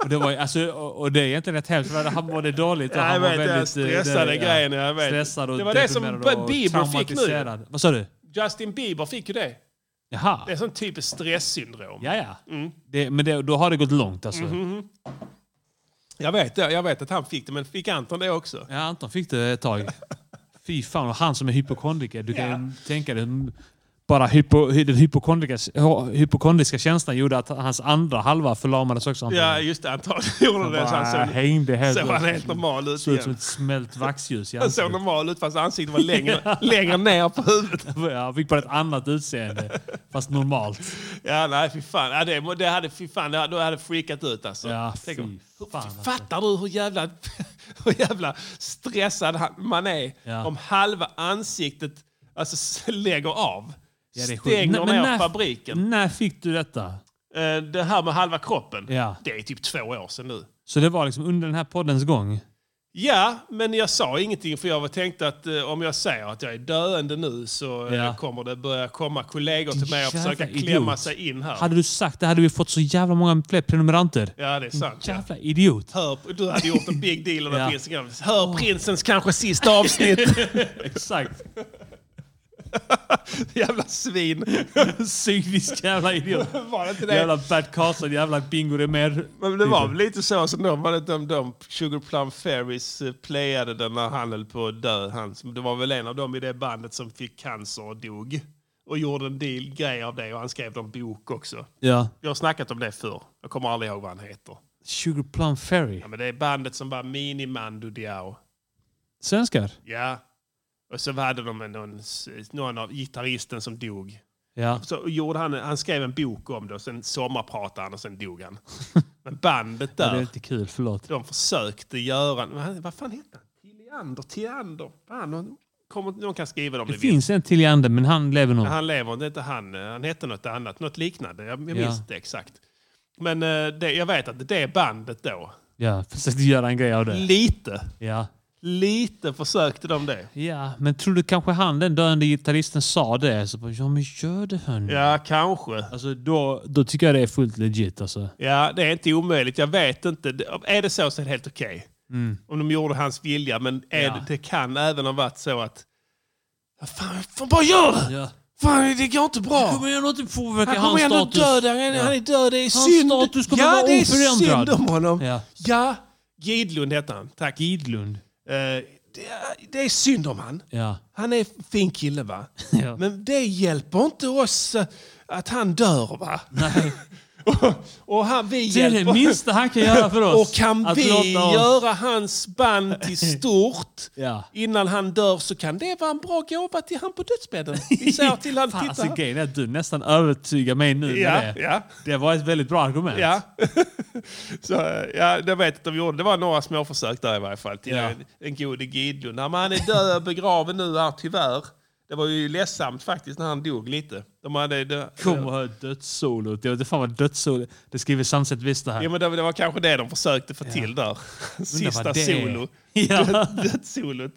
och, det var, ju- alltså, och, och det är egentligen rätt hemskt. för Han mådde dåligt. Och Ja, jag han var vet, jag väldigt, eh, stressade det- grejen, jag vet. Stressad och Det var det som deprimerad och Bieber fick nu. traumatiserad. Vad sa du? Justin Bieber fick ju det. Jaha. Det Mm. är sån typiskt stresssyndrom. Ja, ja. Det, men det, då har det gått långt alltså. Mm-hmm. Jag vet det, jag vet att han fick det, men fick Anton det också? Ja, Anton fick det ett *laughs* tag. Fy fan, och han som är hypokondriker. Du kan ju tänka dig. mm, Bara hypo, hy- den hypokondriska, hypokondriska känslan gjorde att hans andra halva förlamades också. Anton. Ja, just det. Antagligen gjorde det. Så bara han såg, hängde helt såg han upp. helt normal ut Såg ut som igen. ett smält vaxljus i Han såg *laughs* ansiktet. normal ut fast ansiktet var *laughs* längre, längre ner på huvudet. Ja, Han fick bara ett annat utseende, fast normalt. Ja, nej fy fan. Ja, det, det hade, fy fan, det hade, det hade freakat ut alltså. Ja, Tänk fy om- fan. alltså. Fattar du hur jävla, *laughs* hur jävla stressad han- man är Ja. om halva ansiktet alltså, s- lägger av? Ja, det är sjukt. Stänger Men ner när- fabriken. När fick du detta? Eh, Det här med halva kroppen, Ja. det är typ två år sedan nu. Så det var liksom under den här poddens gång? Ja, men jag sa ingenting för jag var tänkt att eh, om jag säger att jag är döende nu så eh, Ja. kommer det börja komma kollegor till mig och Jävla försöka idiot. klämma sig in här. Hade du sagt det hade vi fått så jävla många fler prenumeranter. Ja, det är sant. Ja. Jävla idiot. Hör, du hade gjort en big deal av Ja. *laughs* ja. Hör prinsens kanske sista avsnitt. Exakt. *laughs* Jävla *laughs* svin. Cynisk jävla idiot. *laughs* Var det inte det? Jävla Bert Karlsson, jävla Bingo Rimér. Men det var väl lite så som de var det de, de Sugar Plum Fairies eh, playade den när han höll på att dö. Han, som- det var väl en av dem i det bandet som fick cancer och dog. Och gjorde en deal, grej av det och han skrev en bok också. Ja. Vi har snackat om det förr. Jag kommer aldrig ihåg vad han heter. Sugar Plum Fairy. Ja, men det är bandet som var Mini-Mando Diao. Svenskar? Ja. Och så hade de en- någon, någon av gitarristen som dog. Ja. Så gjorde han, han skrev en bok om det och sen sommarpratade han och sen *laughs* dog han. Men bandet Det är där, lite kul, förlåt. de försökte göra... men han- Vad fan hette han? Tilliander, Tilliander. Fan, någon, kommer, någon kan skriva det om Det ni vill. finns en till i anden, men han lever nog. Han lever det är inte han. eh, Han hette något annat, något liknande. Jag, jag minns Ja. inte exakt. Men eh, det, jag vet att det bandet då, Ja, försökte göra en grej av det. lite, Ja. lite försökte de det. Ja, men tror du kanske han, den döende gitarristen, sa det? Så bara, ja men gör det här nu. Ja, kanske. Alltså då, då tycker jag det är fullt legit alltså. Ja, det är inte omöjligt. Jag vet inte. Det- Är det så så är det helt okej. Om de gjorde hans vilja. Men är Ja. det, det kan även ha varit så att... "Ja, Fan, fan bara gör det! Ja. Fan, det går inte bra. Kommer jag inte påverka Han hans kommer ändå status? döda. Han, Ja. han är död. Det är Hans synd. status kommer ja, vara det är oförändrad. synd om honom. Ja. Ja, Gidlund hette han. Tack. Gidlund. Eh, det, är- det är synd om han. Ja. Han är en fin kille va? *laughs* Ja. Men det hjälper inte oss eh, att han dör va? Nej. och, och han, vi *laughs* Det är hjälper... det minsta han kan göra för oss. Och kan Att vi låta oss- göra hans band till *laughs* stort Ja. innan han dör så kan det vara en bra gåva till han på dödsbädden. *laughs* *laughs* Vi säger till han, Fan, alltså, titta. grejen är att du nästan övertygar mig nu Ja, med det. ja, Det var ett väldigt bra argument. ja. *laughs* så, eh, ja, jag vet att de gjorde. Det var några små försök där i varje fall. Till Ja. en, en gode Gidlund. Ja, men han är död och begraven nu här, tyvärr. Det var ju ledsamt faktiskt när han dog lite. De hade, det, Kom och hör dödssolot. Jag vet inte fan vad dödssolo... Det skriver Sunset Vista här. Ja, men det, det var kanske det de försökte få till där. Sista vad det är. solo. *laughs* Ja. Dödssolot.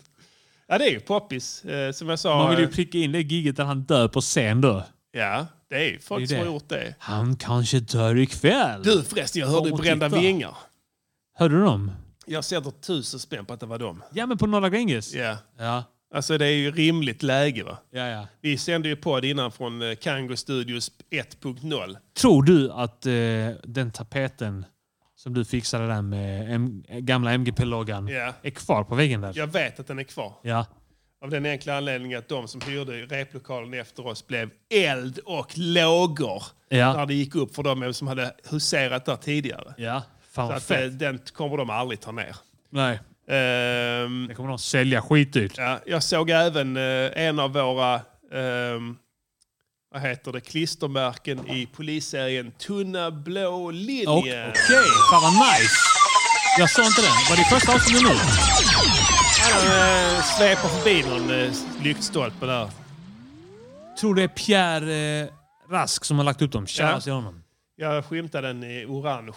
Ja, det är ju poppis. Eh, som jag sa. Man vill ju eh, pricka in det giget där han dör på scen då. Ja, det är ju folk Det är som det. har gjort det. Han kanske dör ikväll. Du förresten, jag hörde Kom och Brända titta. Vingar. Hörde du dem? Jag sätter tusen spänn på att det var dem. Ja, men på Norra Gränges. Ja. Ja, Alltså det är ju rimligt läge va. ja, ja. Vi sände ju podd innan från eh, Kango Studios 1.0. Tror du att eh, den tapeten som du fixade där med M- gamla MGP-loggan Ja. är kvar på väggen där? Jag vet att den är kvar. Ja. Av den enkla anledningen att de som hyrde replokalen efter oss blev eld och lågor. Ja. När det gick upp för de som hade huserat där tidigare. Ja. Fan vad Så att, eh, fett. den kommer de aldrig ta ner. Nej. Ehm, Det kommer de sälja skitdyrt. Ja, jag såg även eh, en av våra ehm, vad heter det, klistermärken i polisserien Tunna blå Och- linjen. Okej, fan vad nice. Jag sa inte det. Var det första avsnittet nu? Han eh, sveper förbi någon eh, lyktstolpe där. Tror det är Pierre eh, Rask som har lagt upp dem. Shoutout Ja. till honom. Jag skymtade den i orange,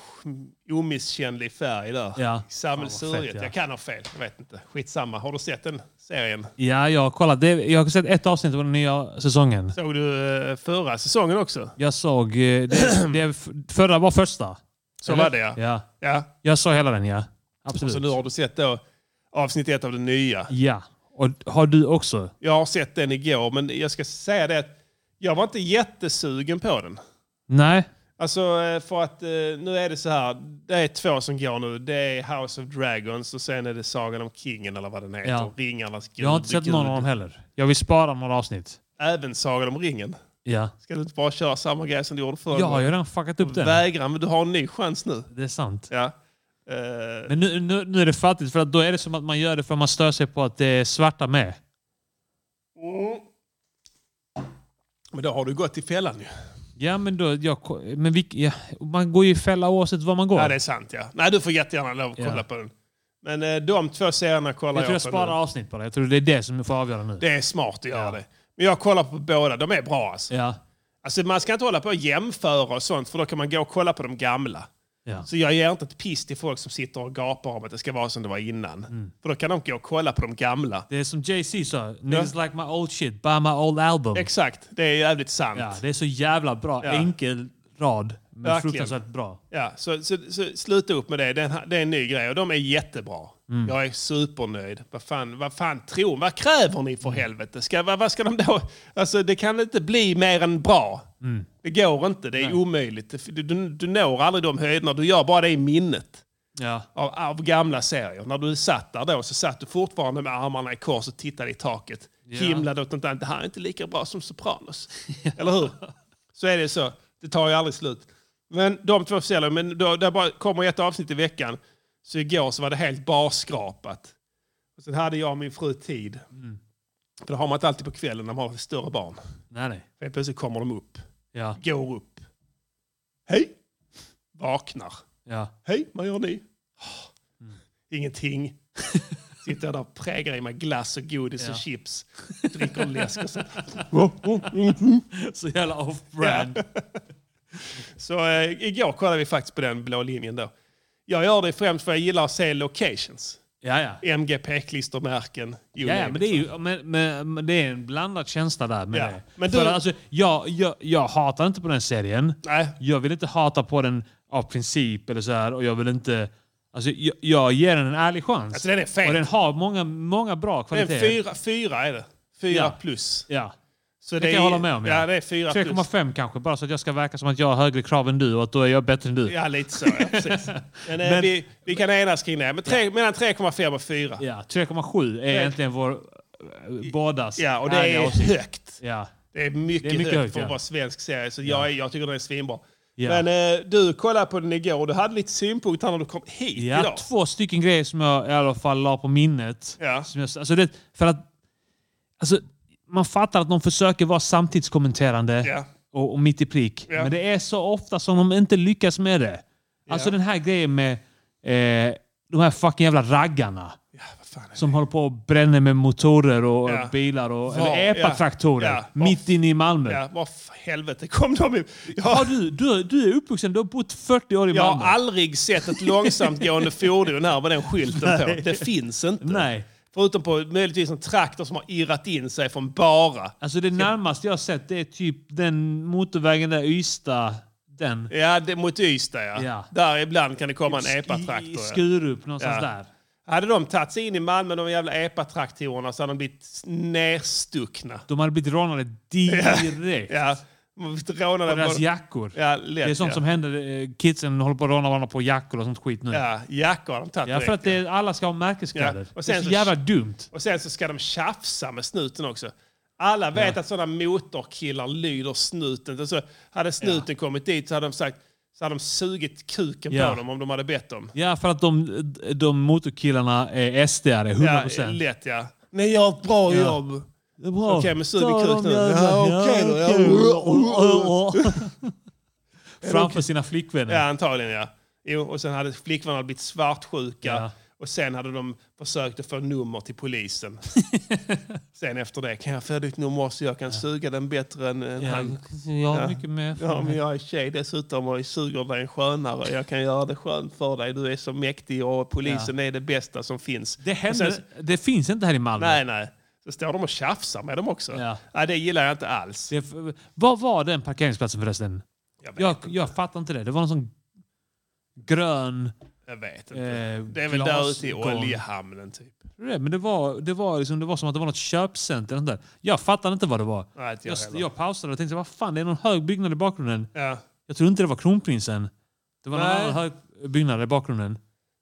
omisskännlig färg där. Ja. Fan, vad Sammelsuriet. fett, ja. Jag kan ha fel, jag vet inte. Skitsamma. Har du sett den serien? Ja, jag har kollat. Det, jag har sett ett avsnitt av den nya säsongen. Såg du eh, förra säsongen också? Jag såg... eh, Det, det, förra var första. Så Eller? var det ja. Ja. ja. Jag såg hela den, ja. Absolut. Så nu har du sett då avsnitt ett av den nya. Ja. Och har du också? Jag har sett den igår, men jag ska säga det att jag var inte jättesugen på den. Nej. Alltså eh, för att eh, nu är det så här, det är två som går nu. Det är House of Dragons och sen är det Sagan om Kingen eller vad den heter. Ja. Ringarnas gud. Jag har inte sett gud. någon av dem heller. Jag vill spara några avsnitt. Även Sagan om Ringen. Ja. Ska du inte bara köra samma grej som du gjorde förr? Jag har ju redan fuckat upp den. Vägran, men du har en ny chans nu. Det är sant. Ja. Eh, Men nu, nu, nu är det fattigt, för att då är det som att man gör det för att man stör sig på att det är svarta med. men då har du gått i fällan ju. Ja, men då... Jag, men vi, ja, man går ju i fälla oavsett var man går. Ja, det är sant ja. Nej, du får jättegärna lov att Ja. kolla på den. Men eh, de två serierna kollar jag jag, tror jag på nu. sparar avsnitt bara. Jag tror det är det som får avgöra nu. Det är smart att göra Ja. det. Men jag kollar på båda. De är bra alltså. Ja. alltså. Man ska inte hålla på och jämföra och sånt, för då kan man gå och kolla på de gamla. Ja. Så jag ger inte ett piss till folk som sitter och gapar om att det ska vara som det var innan. Mm. För då kan de gå och kolla på de gamla. Det är som Jay-Z sa. Niggas like my old shit, buy my old album. Exakt, det är jävligt sant. Ja, det är så jävla bra. Ja. Enkel rad. Men Verkligen. fruktansvärt bra. Ja, så, så, så sluta upp med det. Det är, en, det är en ny grej och de är jättebra. Jag är supernöjd. Vad fan, vad fan tror Vad kräver ni för helvete? Ska, vad, vad ska de då? Alltså, det kan inte bli mer än bra. Det går inte. Det är omöjligt. Det- Du, du, du når aldrig de höjderna. Du gör bara det i minnet Ja. av, av gamla serier. När du satt där då så satt du fortfarande med armarna i kors och tittade i taket. Himlade åt något annat. Det här är inte lika bra som Sopranos. Eller hur? Så är det så. Det tar ju aldrig slut. Men de två säljer, men då, där bara kommer ett avsnitt i veckan. Så igår så var det helt barskrapat. Och sen hade jag och min fru tid. För det har man inte alltid på kvällen när man har större barn. Nej, nej. Helt plötsligt kommer de upp. Ja. Går upp. Hej! Vaknar. Ja. Hej, vad gör ni? Ah, Mm. Ingenting. *laughs* Sitter jag där och prägar i mig glass och godis *laughs* och chips. Dricker läsk och så. Så jävla off-brand. Så eh, igår kollade vi faktiskt på den blå linjen då. Jag gör det främst för jag gillar att se locations. Ja, ja. MG, klistermärken you Ja, ja name men it. det är ju men, men, men det är en blandad känsla där med Liksom. Ja, det. men För du- alltså, jag, jag, jag hatar inte på den serien. Nej. Jag vill inte hata på den av princip eller så här. Och jag vill inte... Alltså, jag, jag ger den en ärlig chans. Alltså, den är fet. Och den har många, många bra Det är kvaliteter. fyra, fyra är det. Fyra Ja. plus. Ja. Så Det kan jag hålla med om, Ja, ja. det är fyra plus. 3,5 kanske, bara så att jag ska verka som att jag har högre krav än du och att då är jag bättre än du. Ja, lite så. Ja, *laughs* precis. Men, eh, Men- vi, vi kan enas kring det. Men tre, Mellan 3,5 och 4. Ja, 3,7 är egentligen vår eh, bådas Ja, och det ärliga är åsikt. högt. Ja. Det är mycket, Det är mycket högt högt, för att ja. vara svensk serie, så jag, är- jag tycker den är svinbra. Ja. Men eh, du kollade på den igår och du hade lite synpunkter här när du kom hit Ja, idag. två stycken grejer som jag i alla fall la på minnet. Ja. Som jag, alltså det, för att, alltså, man fattar att de försöker vara samtidskommenterande Ja. och, och mitt i prick. Ja. Men det är så ofta som de inte lyckas med det. Alltså den här grejen med eh, de här fucking jävla raggarna. Vad fan är det? Som håller på och bränner med motorer och Ja. bilar och Var- eller epatraktorer ja. Ja. mitt inne i Malmö. Ja, vad för helvete kom de i? Jag, Ja, du, du, du är uppvuxen, du har bott 40 år i jag Malmö. har aldrig sett *laughs* ett långsamtgående fordon här med den skylten på. Det finns inte. Nej. Förutom på möjligtvis en traktor som har irrat in sig från bara. Alltså det närmaste jag har sett det är typ den motorvägen där Ystad, den. Ja, det, mot Ystad ja. Ja. Där ibland kan det komma en I, i epatraktor. ja. Skurup någonstans Ja. där. Hade de tagit sig in i Malmö, de jävla epatraktorerna, så hade de blivit nerstuckna. De hade blivit rånade direkt. Ja, man blir rånad På av deras både- jackor. Ja, lätt, det är sånt ja. som händer. eh, Kidsen håller på att råna varandra på jackor och sånt skit nu. Ja, jackor har de tagit Ja, för direkt. att det, är- alla ska ha märkeskläder. Ja, och Det sen är så så- jävla dumt. Och sen så ska de tjafsa med snuten också. Alla vet att sådana motorkillar lyder snuten. Så hade snuten kommit dit så hade de sagt så hade de sugit kuken Ja. på dem om de hade bett dem. Ja, för att de, de motorkillarna är SD-are, 100%. Ja, lätt ja. Nej, jag har ett bra Ja. jobb. Det är bra. Okej, men sug i Ta kuk de nu. jävla- Ja, okej då. Ja. Ja, okej. *laughs* *laughs* Framför sina flickvänner. Ja, antagligen ja. Jo, och sen hade flickvännen blivit svartsjuka. Ja. Och sen hade de försökt att få nummer *laughs* till polisen. sen efter det, kan jag få ditt nummer så jag kan suga den bättre än än han? jag har mycket mer Ja, men jag är tjej dessutom och jag suger dig skönare. Jag kan göra det skönt för dig. Du är så mäktig och polisen är det bästa som finns. Det, Och händer, sen så- det finns inte här i Malmö. nej, nej. Så står de och tjafsar med dem också. Ja. Nej, det gillar jag inte alls. Det, är f- vad var den parkeringsplatsen förresten? Jag vet, Jag, jag fattar inte det. Det var någon sån grön... jag vet inte. Eh, det är väl där ute i glasgolv. oljehamnen typ. Det, men det var, det, var liksom, det var som att det var något köpcenter. eller något Där. Jag fattade inte vad det var. Nej, inte jag jag, heller. jag pausade och tänkte vad fan, det är någon hög byggnad i bakgrunden. Ja. Jag tror inte det var kronprinsen. Det var någon Nej. annan hög byggnad i bakgrunden.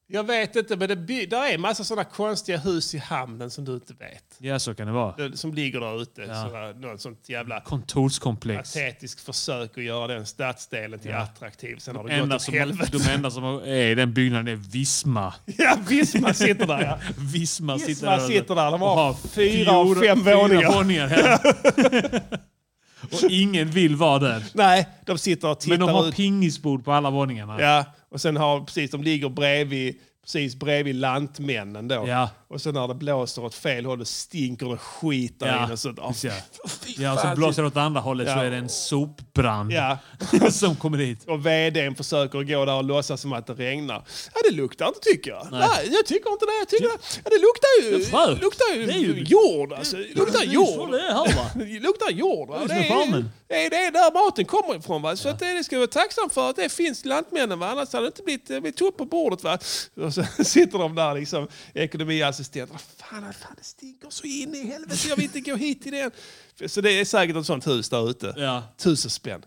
Jag vet inte, men det by- där är massa sådana konstiga hus i hamnen som du inte vet. Ja, så kan det vara. Det- Som ligger där ute. Ja. Ja. Något sånt jävla Kontorskomplex. patetiskt försök att göra den stadsdelen till attraktiv. Sen har det gått Enda åt som, helvete. de enda som är i den byggnaden är Visma. *laughs* Ja, Visma sitter där. Ja. Visma, *laughs* sitter, Visma där, sitter där. De och har fyra av fjor- fem fyra våningar. ja. och ingen vill vara där. *laughs* Nej, de sitter och tittar Men de har ut. pingisbord på alla våningarna. Ja, och sen har precis, de ligger bredvid precis bredvid Lantmännen då. Ja. Och sen när det blåser åt fel håll, då stinker det skit där Ja, inne. Så, oh, precis, Ja, och så blåser det åt andra hållet så Ja. är det en sopbrand Ja. *laughs* som kommer dit. Och vdn försöker gå där och låtsas som att det regnar. Ja, det luktar inte tycker jag. Nej, jag tycker inte det. Jag tycker det. Ja, det luktar ju, frö. luktar ju, Det är ju- jord. Alltså. Det luktar Så jord. det är här va? Det luktar jord. va? Det Det är som är, farmen. det är, det är där maten kommer ifrån. Va? Så att det, det ska vi vara tacksam för att det finns Lantmännen. Va? Annars hade det inte blivit, eh, blivit upp på bordet. Va? Och så *laughs* sitter de där, liksom, ekonomiassistent. Vad fan, vad fan, det stinker så in i helvete. Jag vill inte gå hit i den. Så det är säkert ett sånt hus där ute. Ja. Tusen spänn.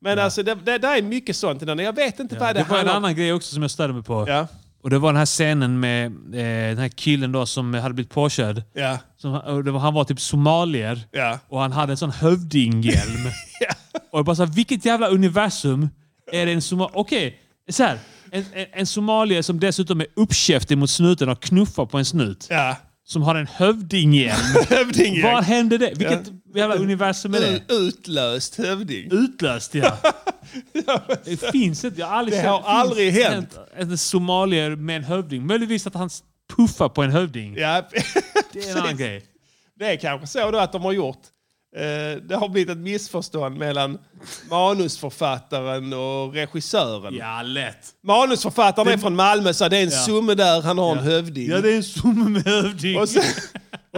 Men alltså, det, det, där är mycket sånt. innan. Jag vet inte vad det, Det var en handlar om. annan grej också som jag störde mig på. Ja, Och det var den här scenen med eh, den här killen då som hade blivit påkörd. ja, Som, och det var, han var typ somalier. ja. Och han hade en sån *laughs* hövdinghjälm. Och jag bara såhär, vilket jävla universum är det en somalier... Okej, så här. En, en, en somalier som dessutom är uppkäftig mot snuten och knuffar på en snut. ja. Som har en hövdinghjälm. Hövding. Var hände det? Vilket jävla universum är det? U- Utlöst hövding. Utlöst *laughs* ja. Det finns inte. Jag har aldrig Det sett- har finns aldrig inte hänt. En, en somalier med en hövding. Möjligtvis att han puffar på en hövding. Ja. *laughs* Det är en annan grej. Det är kanske så då att de har gjort. Eh, det har blivit ett missförstånd mellan manusförfattaren och regissören. Ja, lätt. Manusförfattaren är från Malmö, så det är en summe där, han har en hövding. Ja, det är en somme med hövding. *laughs* Och sen,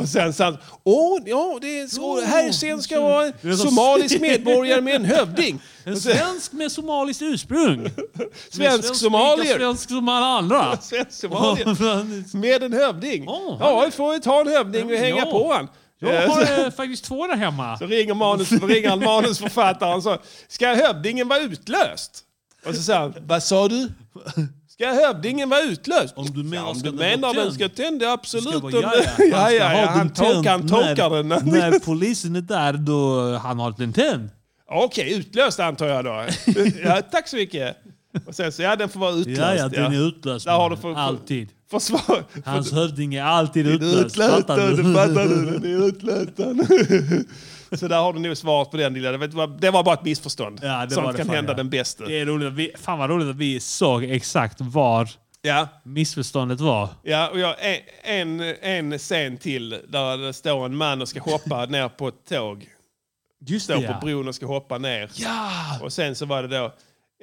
och sen sa han, åh, ja, det är så, här sen ska jag vara Det är en så- somalisk medborgare med *laughs* en hövding. En Och sen, svensk med somaliskt *laughs* ursprung. svensk Lika somalier. svensk som alla *laughs* andra. Svensk *laughs* somalier. Med en hövding. Åh, ja, vi får ju ta en hövding och hänga Ja. på han. Jag Eh, så- har eh, faktiskt två där hemma. Så ringer, manus, ringer han manusförfattaren och sa Ska hövdingen vara utlöst? Och så säger han, vad sa du? Ska hövdingen vara utlöst? Om du menar ja, om ska du den menar vara den ska tänd." tända, vara absolut. Om- *laughs* ja, ja, ja, han tolkar han tolkar den. när, när polisen är där då han har den tänd. *laughs* Okej, utlöst antar jag då. Ja, tack så mycket. Och sen så, ja den får vara utlöst. Ja, ja, den är utlöst. Där har du man. för- för- alltid. Försvar. Hans hövding är alltid utlöst. Utlöst, Fattar du? fattar du? Den är utlöst. *laughs* Så där har du nog svaret på den lilla. Det var- Det var bara ett missförstånd. *laughs* Ja, det Sånt var det kan fan, hända ja. den bästa. Det är roligt. att Vi, fan vad roligt att vi såg exakt var Ja. missförståndet var. Ja, och jag, en- en, en scen till där det står en man och ska *laughs* hoppa ner på ett tåg. Just Står ja. på bron och ska hoppa ner. Och sen så var det då...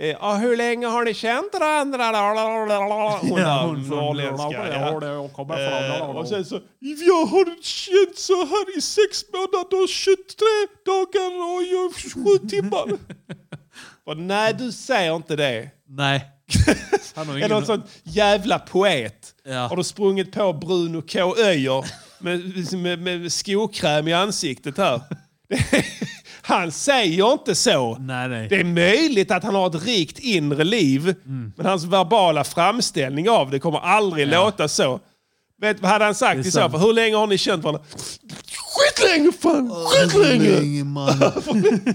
eh, Ja, hur länge har ni känt *laughs* varandra? Hon Ja, där, hon från- norrländska. Ja. Jag kommer från- Eh, Och sen så... Jag har känt så här i sex månader, 23 dagar och jag sju timmar. *laughs* och, nej, du säger inte det. Nej. *laughs* Han har Eller någon sån jävla poet. Ja. Har du sprungit på Bruno K. Öijer med, med, med skokräm i ansiktet *laughs* här? Det- Han säger inte så. Nej, nej. Det är möjligt att han har ett rikt inre liv, men hans verbala framställning av det kommer aldrig låta så. Vet du vad hade han sagt i så sant. fall? Hur länge har ni känt varandra? Skitlänge fan! Skitlänge! *laughs*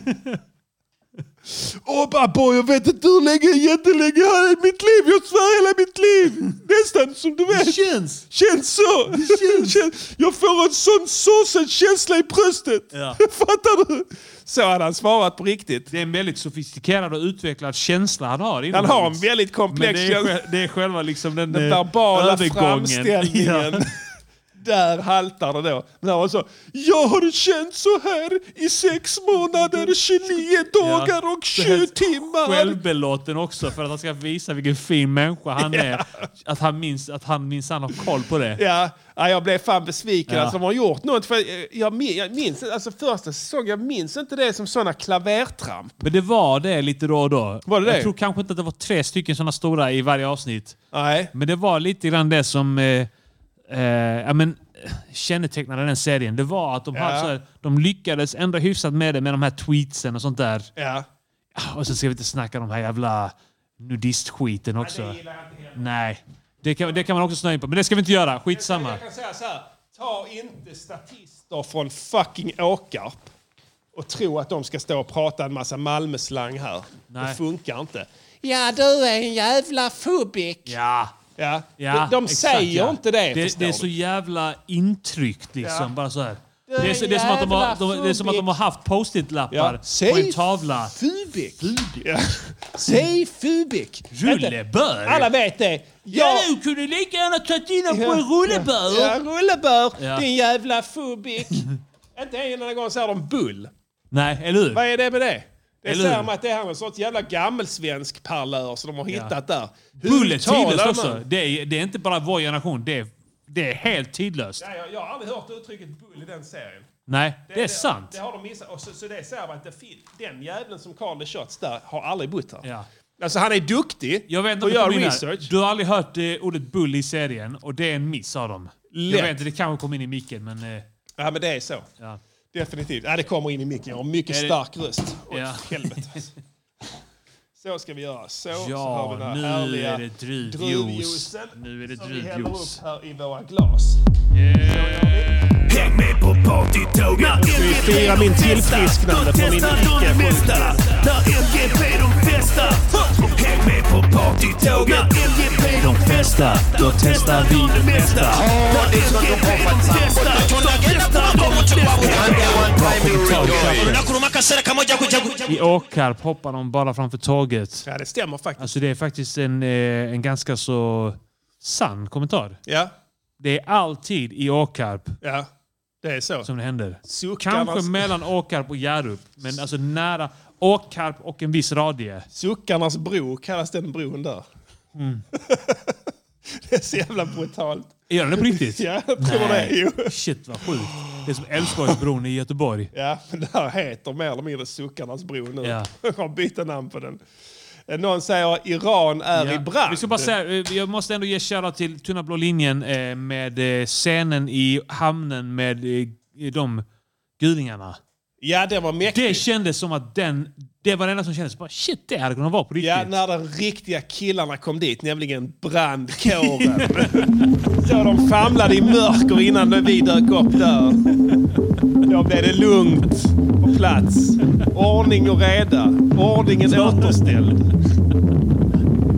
Åh Babbo, jag vet inte hur länge, jättelänge här i mitt liv. Jag svär hela mitt *laughs* liv. Nästan som du vet. Känns! Känns så! *laughs* Känns. Jag får en sån såsen-känsla i bröstet. Ja. *laughs* Fattar du? Så hade han svarat på riktigt. Det är en väldigt sofistikerad och utvecklad känsla han har. Han inomhus. har en väldigt Men komplex det är, känsla. själ- det är själva liksom den, Den eh, verbala övergången. framställningen. *laughs* *laughs* Där haltar det då. Men han var så, jag har känt så här i sex månader, 29 dagar och Det här 20 timmar. Självbelåten också för att han ska visa vilken fin människa han är. Att han minns att han minsann har koll på det. Ja, ja, jag blev fan besviken. Ja. Alltså, de har gjort något. För eh, jag, min- jag minns alltså, första säsongen, jag minns inte det som sådana klavertramp. Men det var det lite då och då. Var det jag det? tror kanske inte att det var tre stycken sådana stora i varje avsnitt. Nej. Men det var lite grann det som eh, eh, ja, men, eh, kännetecknade den serien. Det var att de, hade Ja. så här, de lyckades ändå hyfsat med det med de här tweetsen och sånt där. Ja. Och så ska vi inte snacka om den här jävla nudistskiten också. Nej, det kan, det kan man också snöa in på. Men det ska vi inte göra. Skitsamma. Jag kan säga så här, ta inte statister från fucking Åkarp och tro att de ska stå och prata en massa Malmöslang här. Nej. Det funkar inte. Ja, du är en jävla fubik. Ja. Ja. Ja, de de exakt, säger ja. inte det, Det, förstår det är du. så jävla intryckt liksom. Ja. Bara så här. Du Det är, det, är som att de har, de, det är som att de har haft post-it-lappar Ja. Säg på en tavla. Fubik! Ja. Säg Fubik! Rullebör! Alla vet det. Ja, Ja, du kunde lika gärna tagit in dem på en rullebör! ja rullebör! Ja. Din jävla Fubik! *laughs* Inte en enda gång säger de bull. Nej, eller hur? Vad är det med det? Det Eller säger hur? man att det här är en sorts jävla gammelsvensk parlör som de har hittat där. Hur Bull är tidlöst uttalar också. man? Det är, det är inte bara vår generation. Det är, det är helt tidlöst. Nej, jag, jag har aldrig hört uttrycket bull i den serien. Nej, det är sant. Det har de missat. Och så, så det säger man att det fin- den jäveln som Carl the Shots där har aldrig bott här. Ja. Alltså han är duktig Jag vet inte och om det gör kom in research. här. Du har aldrig hört eh, ordet bull i serien och det är en miss av dem. Jag Lätt. vet inte, det kanske kom in i micken men... Eh, Ja men det är så. ja. Definitivt. Ja, det kommer in i micken. Jag har mycket Är det- stark röst. Oj, Ja. *laughs* helvete. alltså. Så ska vi göra. Så, så har vi ja, den här nu härliga är det druvjuice. druvjuicen Nu är det som vi häller druvjuice. upp här i våra glas. Häng med på partytåget! vi fira min tillfrisknande Då från min testar de det mesta! När MGP de festar! Häng med på partytåget! När MGP de festar, då testar vi det mesta! När MGP de festar, då testar de det I Åkarp hoppar de bara framför tåget. Ja, det stämmer faktiskt. Alltså det är faktiskt en, eh, en ganska så sann kommentar. Ja, Det är alltid i Åkarp ja. Det är så. som det händer. Suckarna- Kanske mellan Åkarp och Hjärup, men alltså nära Åkarp och en viss radie. Suckarnas bro kallas den bron där. Mm. *laughs* det är så jävla brutalt. Är det på riktigt? Ja, jag tror det. Jo. Shit vad sjukt. Det är som Älvsborgsbron i Göteborg. Ja, men det här heter mer eller mindre Suckarnas bro nu. Ja. *laughs* Jag har bytt namn på den. Eh, Någon säger Iran är i brand. Vi ska bara säga, eh, jag måste ändå ge shoutout till Tunna blå linjen eh, med eh, scenen i hamnen med eh, de gudingarna. Ja, det var mäktigt. Det kändes som att den, det var det enda som kändes. Bara, shit, det hade kunnat vara på riktigt. Ja, när de riktiga killarna kom dit, nämligen *laughs* brandkåren. Så de famlade i mörker innan vi dök upp där. Då blev det lugnt på plats. Ordning och reda. Ordningen återställd.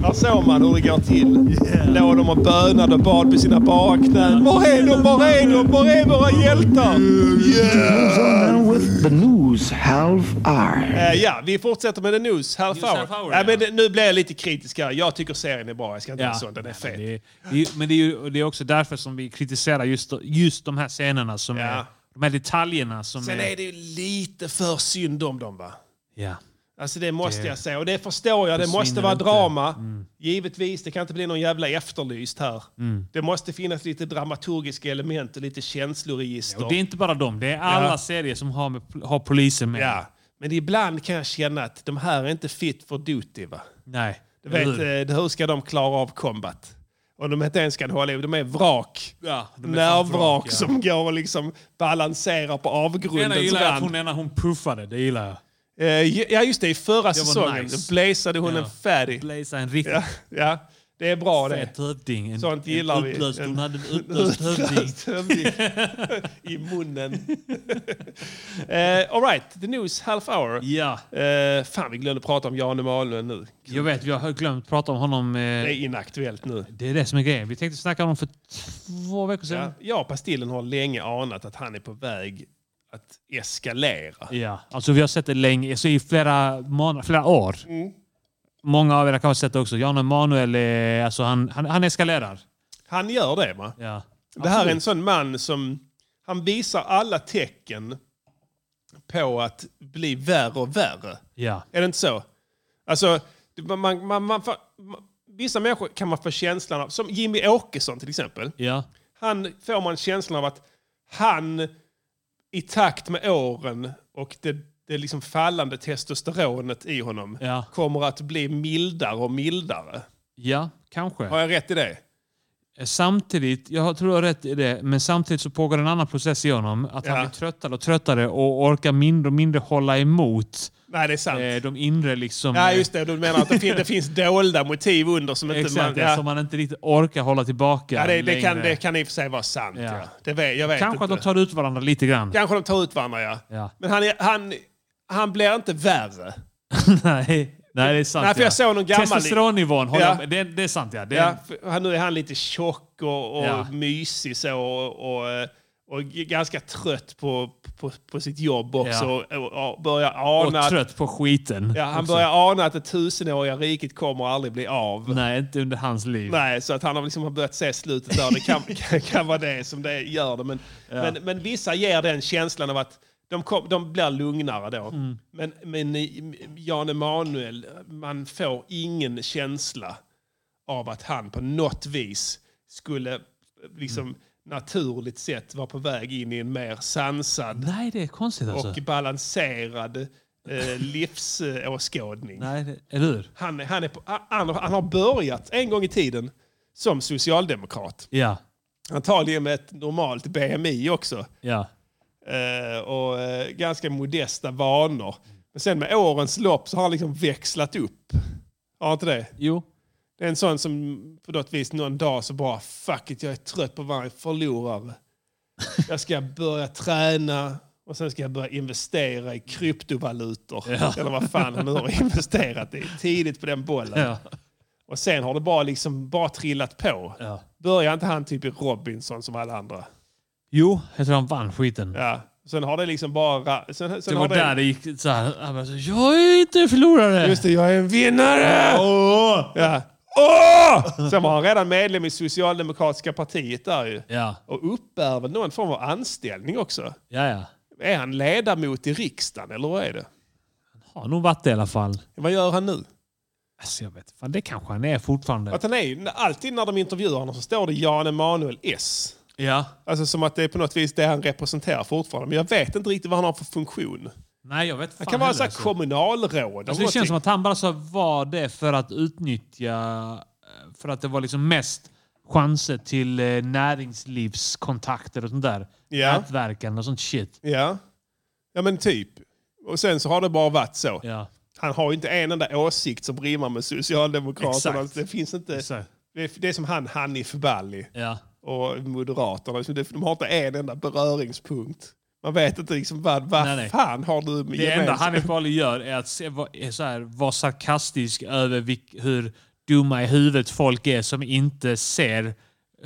Här såg man hur det går till. Låg de och bönade och bad på sina bara knän. Var är de? Var är de? Var är våra hjältar? with the news half hour. Eh, ja, vi fortsätter med The News Half News Hour. Half Hour, ja, ja. men det- nu blir jag lite kritisk här. Jag tycker serien är bra. Jag ska inte Ja. vara sån. Den är fet. Men, det är, det är, men det, är ju, och det är också därför som vi kritiserar just, just de här scenerna, som Ja. är, de här detaljerna. Som Sen är det ju lite för synd om dem va? Ja. Alltså det måste Det- jag säga. Och det förstår jag. Det Försvinner måste vara inte. Mm. drama. Givetvis, det kan inte bli någon jävla efterlyst här. Det måste finnas lite dramaturgiska element och lite känsloregister. Och det är inte bara dem, det är alla Ja. serier som har, med, har polisen med. ja. Men ibland kan jag känna att de här är inte fit for duty va? Nej. Du vet, Eller hur? eh, hur ska de klara av combat? Om de inte ens kan hålla ihop. De är vrak. Ja, de är fan Nervvrak vrak, ja. som går och liksom balanserar på Det enda jag avgrundens gillar är att rand. hon, ena, hon puffade, det gillar jag. Eh, ja, just det. I förra säsongen nice. blazade hon Ja. en fatty. Blaza en riktigt Ja, ja, det är bra det. fet hövding. En, Sånt gillar en vi. utlöst, En- Hon hade en *laughs* utlöst hövding. Tömning I *laughs* munnen. uh, all right, the news half hour. Ja, Eh, fan, vi glömde prata om Jan Emanuel nu. jag vet. Vi har glömt prata om honom. eh, Det är inaktuellt nu. Det är det som är grejen. Vi tänkte snacka om honom för två veckor Ja, sedan. jag och Pastillen har länge anat att han är på väg att eskalera. Ja. Alltså vi har sett det länge, alltså, i flera, månader, flera år. Mm. Många av er kanske har sett det också. Jan Emanuel, eh, alltså, han, han, han eskalerar. Han gör det, va? Ja. Det här är en sån man som han visar alla tecken på att bli värre och värre. Ja. Är det inte så? Alltså, det- man, man, man, man, fa- man, vissa människor kan man få känslan av, som Jimmy Åkesson till exempel. Ja. Han får man känslan av att han i takt med åren och det, det liksom fallande testosteronet i honom Ja. kommer att bli mildare och mildare. Ja, kanske. Har jag rätt i det? Eh, Samtidigt, jag tror jag har rätt i det, men samtidigt så pågår en annan process i honom. Att Ja. han blir tröttare och tröttare och orkar mindre och mindre hålla emot Nej, det är sant. eh, de inre liksom... Ja, eh, just det. Du menar att det, fin det finns dolda motiv under som inte Exakt, man... ja. Ja, som man inte riktigt orkar hålla tillbaka ja, det, det, kan, längre. det kan i och för sig vara sant. Ja. Ja. Det vet, jag vet Kanske att inte. de tar ut varandra lite grann. Kanske de tar ut varandra, ja. Ja. Men han, är- han, han blir inte värre. *laughs* Nej, nej, det är sant. Nej, för jag ja. såg någon gammal- Testosteronnivån, håller Ja. jag med. det, det är sant ja. Det är, Ja, för han, nu är han lite tjock och, och Ja. mysig så, och, och, Och g- ganska trött på, på, på sitt jobb också. Ja. Och, och, och börjar ana Och att, trött på skiten. ja, han också. börjar ana att det tusenåriga riket kommer aldrig bli av. Nej, inte under hans liv. Nej, så att han har liksom har börjat se slutet där. Det kan, *laughs* kan, kan vara det som det gör det. Men, men, men vissa ger den känslan av att de, kom, de blir lugnare då. Men, men i- Jan Emanuel, man får ingen känsla av att han på något vis skulle liksom naturligt sett vara på väg in i en mer sansad Nej, det är konstigt alltså. och balanserad eh, *laughs* livsåskådning. Nej, det- eller hur? Han, han, är på, han, han har börjat en gång i tiden som socialdemokrat. Ja, Antagligen med ett normalt BMI också. ja. Eh, och eh, ganska modesta vanor. Men sen med årens lopp så har han liksom växlat upp. Har han inte det? Jo. Det är en sån som på något vis någon dag så bara fuck it, jag är trött på varje förlorare. Jag ska börja träna och sen ska jag börja investera i kryptovalutor. Eller vad fan han nu har investerat i. Tidigt på den bollen. Ja. Och sen har det bara liksom bara trillat på. Ja. Börjar inte han typ i Robinson som alla andra? Jo, jag tror han vann skiten. Ja. Sen har det liksom bara... ra- Sen, sen Det har var där det gick så här. Han bara så, jag är inte förlorare. Just det, jag är en vinnare! Ja. Åh! Sen var han redan medlem i Socialdemokratiska partiet där ju. Ja, Och uppbär väl någon form av anställning också. ja, ja. Är han ledamot i riksdagen eller vad är det? Har nog varit det i alla fall. Vad gör han nu? Alltså jag vet fan, det kanske han är fortfarande. Att han är, ju- alltid när de intervjuar honom så står det Jan Emanuel S. Ja. Alltså som att det är på något vis det han representerar fortfarande. Men jag vet inte riktigt vad han har för funktion. Nej, jag vet fan Han kan vara heller, så här alltså. kommunalråd. eller Alltså, det någonting. känns som att han bara så var det för att utnyttja... eh, För att det var liksom mest chanser till eh, näringslivskontakter och sånt där. Ja. Nätverkan och sånt shit. Ja. ja, men typ. Och sen så har det bara varit så. Ja. Han har ju inte en enda åsikt som rimmar med Socialdemokraterna. Exakt. Det finns inte... Exakt. Det är, det är som han Hanif Bali Ja. och Moderaterna. Liksom, det- De har inte en enda beröringspunkt. Man vet inte liksom vad, vad Nej, nej. fan har du med Det enda gemensamt? Hanif Bali gör är att se, va- är så här, vara sarkastisk över vilk, hur dumma i huvudet folk är som inte ser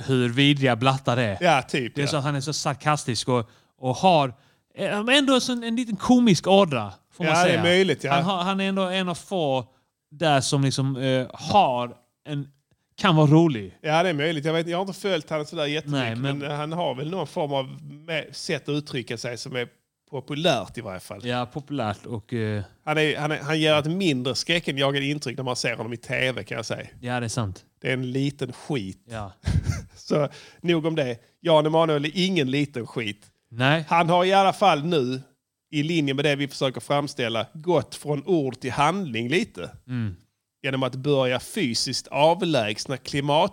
hur vidriga blattar är. Ja, typ. Det är ja. så att han är så sarkastisk och, och har eh, men ändå en, sån- en liten komisk ådra. Får man Ja, det säga. är möjligt, ja. han, har, han är ändå en av få där som liksom eh, har en... Kan vara rolig. ja, det är möjligt. Jag, vet, jag har inte följt honom sådär jättemycket. Nej, men... eh, men- han har väl någon form av me- sätt att uttrycka sig som är populärt i varje fall. Ja, populärt och... Eh, Han, är, han, är, han gör ett mindre skräckenjagande intryck när man ser honom i tv kan jag säga. ja, det är sant. Det är en liten skit. Ja. Så nog om det. Jan Emanuel är ingen liten skit. Nej. Han har i alla fall nu, i linje med det vi försöker framställa, gått från ord till handling lite. Mm. Genom att börja fysiskt avlägsna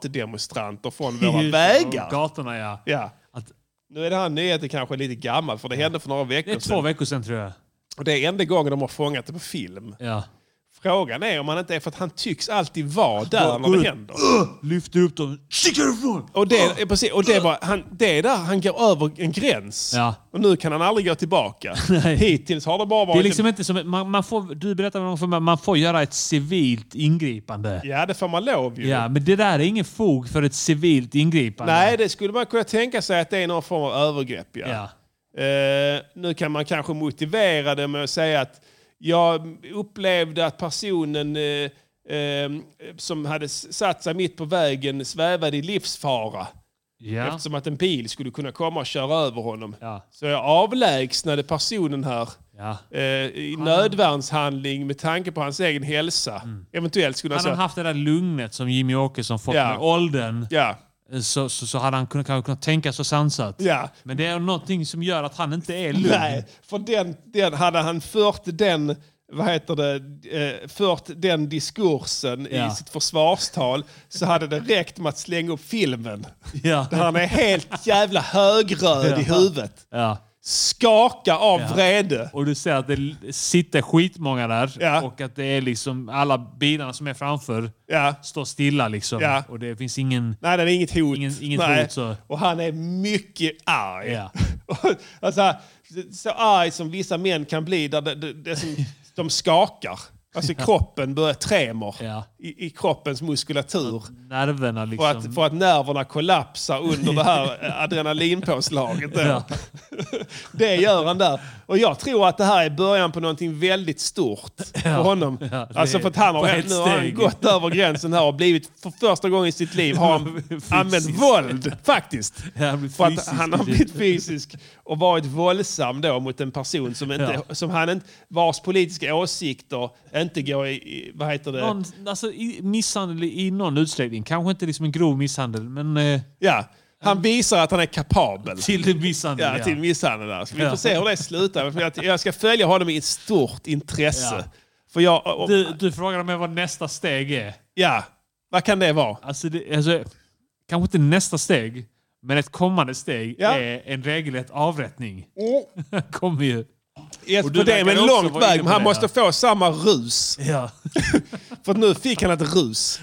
klimatdemonstranter från våra vägar. Gatorna, ja. Ja. Att- Nu är den här nyheten kanske lite gammal, för det hände för några Det är veckor två sedan. veckor sedan tror jag. Och det är enda gången de har fångat det på film. Ja. Frågan är om han inte är för att han tycks alltid vara går där när ut. det händer. Lyfter upp dem. Stick härifrån! Och det, eh, precis, och det, var, han, det är där han går över en gräns. Ja. Och nu kan han aldrig *laughs* gå tillbaka. Hittills har det bara varit... Det är liksom inte som... ett- Man, man får, du berättade någon gång för mig, man får göra ett civilt ingripande. Ja, det får man lov ju. Ja, men det där är ingen fog för ett civilt ingripande. Nej, det skulle man kunna tänka sig att det är någon form av övergrepp. Ja. Ja. Eh, nu kan man kanske motivera det med att säga att jag upplevde att personen eh, eh, som hade s- satt sig mitt på vägen svävade i livsfara. Ja. Eftersom att en bil skulle kunna komma och köra över honom. Ja. Så jag avlägsnade personen här. ja. eh, i Ah. nödvärnshandling med tanke på hans egen hälsa. Eventuellt skulle han Mm. Hade säga... han haft det där lugnet som Jimmy Åkesson fått Ja. med åldern eh, Ja, så, så, så hade han kunnat, kanske kunnat tänka så sansat. ja. Men det är någonting som gör att han inte är lugn. Nej, för den, den, hade han fört den, vad heter det, eh, fört den diskursen Ja. i sitt försvarstal så hade det räckt med att slänga upp filmen. Där Ja. han är helt jävla högröd i Ja. huvudet. ja. Skaka av vrede. Och du ser att det sitter skitmånga där Ja. och att det är liksom alla bilarna som är framför Ja. står stilla liksom. Ja. Och det finns ingen... Nej, det är inget hot. Ingen- inget Nej. hot, så. Och han är mycket arg. Ja. *laughs* Och- alltså, så arg som vissa män kan bli, där det, det, det som, de skakar. *laughs* Alltså kroppen börjar tremor Ja. i, i kroppens muskulatur. Nerverna För liksom. att, för att nerverna kollapsar under *laughs* det här adrenalinpåslaget. där. Ja. *laughs* Det gör han där. Och jag tror att det här är början på någonting väldigt stort för honom. Ja, det alltså är- för att han har, på helt- ett nu har han steg. gått över gränsen här och blivit, för första gången i sitt liv, har han *laughs* Fysiskt. använt våld faktiskt. Ja, han blir För att fysisk. han har blivit fysisk och varit våldsam då mot en person som, inte, som han inte, vars politiska åsikter inte går i, i vad heter det? någon, alltså, i, misshandel i någon utsträckning. Kanske inte liksom en grov misshandel, men eh, Ja, han visar att han är kapabel. till misshandel. Ja, till misshandel där. Så vi Ja. får se hur det slutar. För jag- Jag ska följa honom i ett stort intresse. Ja. För jag... och- Du, du frågade mig vad nästa steg är. Ja, vad kan det vara? Alltså, det, alltså, kanske inte nästa steg, men ett kommande steg Ja. är en regelrätt avrättning. Kommer ju. Yes, Mm. Och och du det är verkar en också lång vara inne väg, på men han det, måste ja. få samma rus. Ja. För att nu fick han ett rus.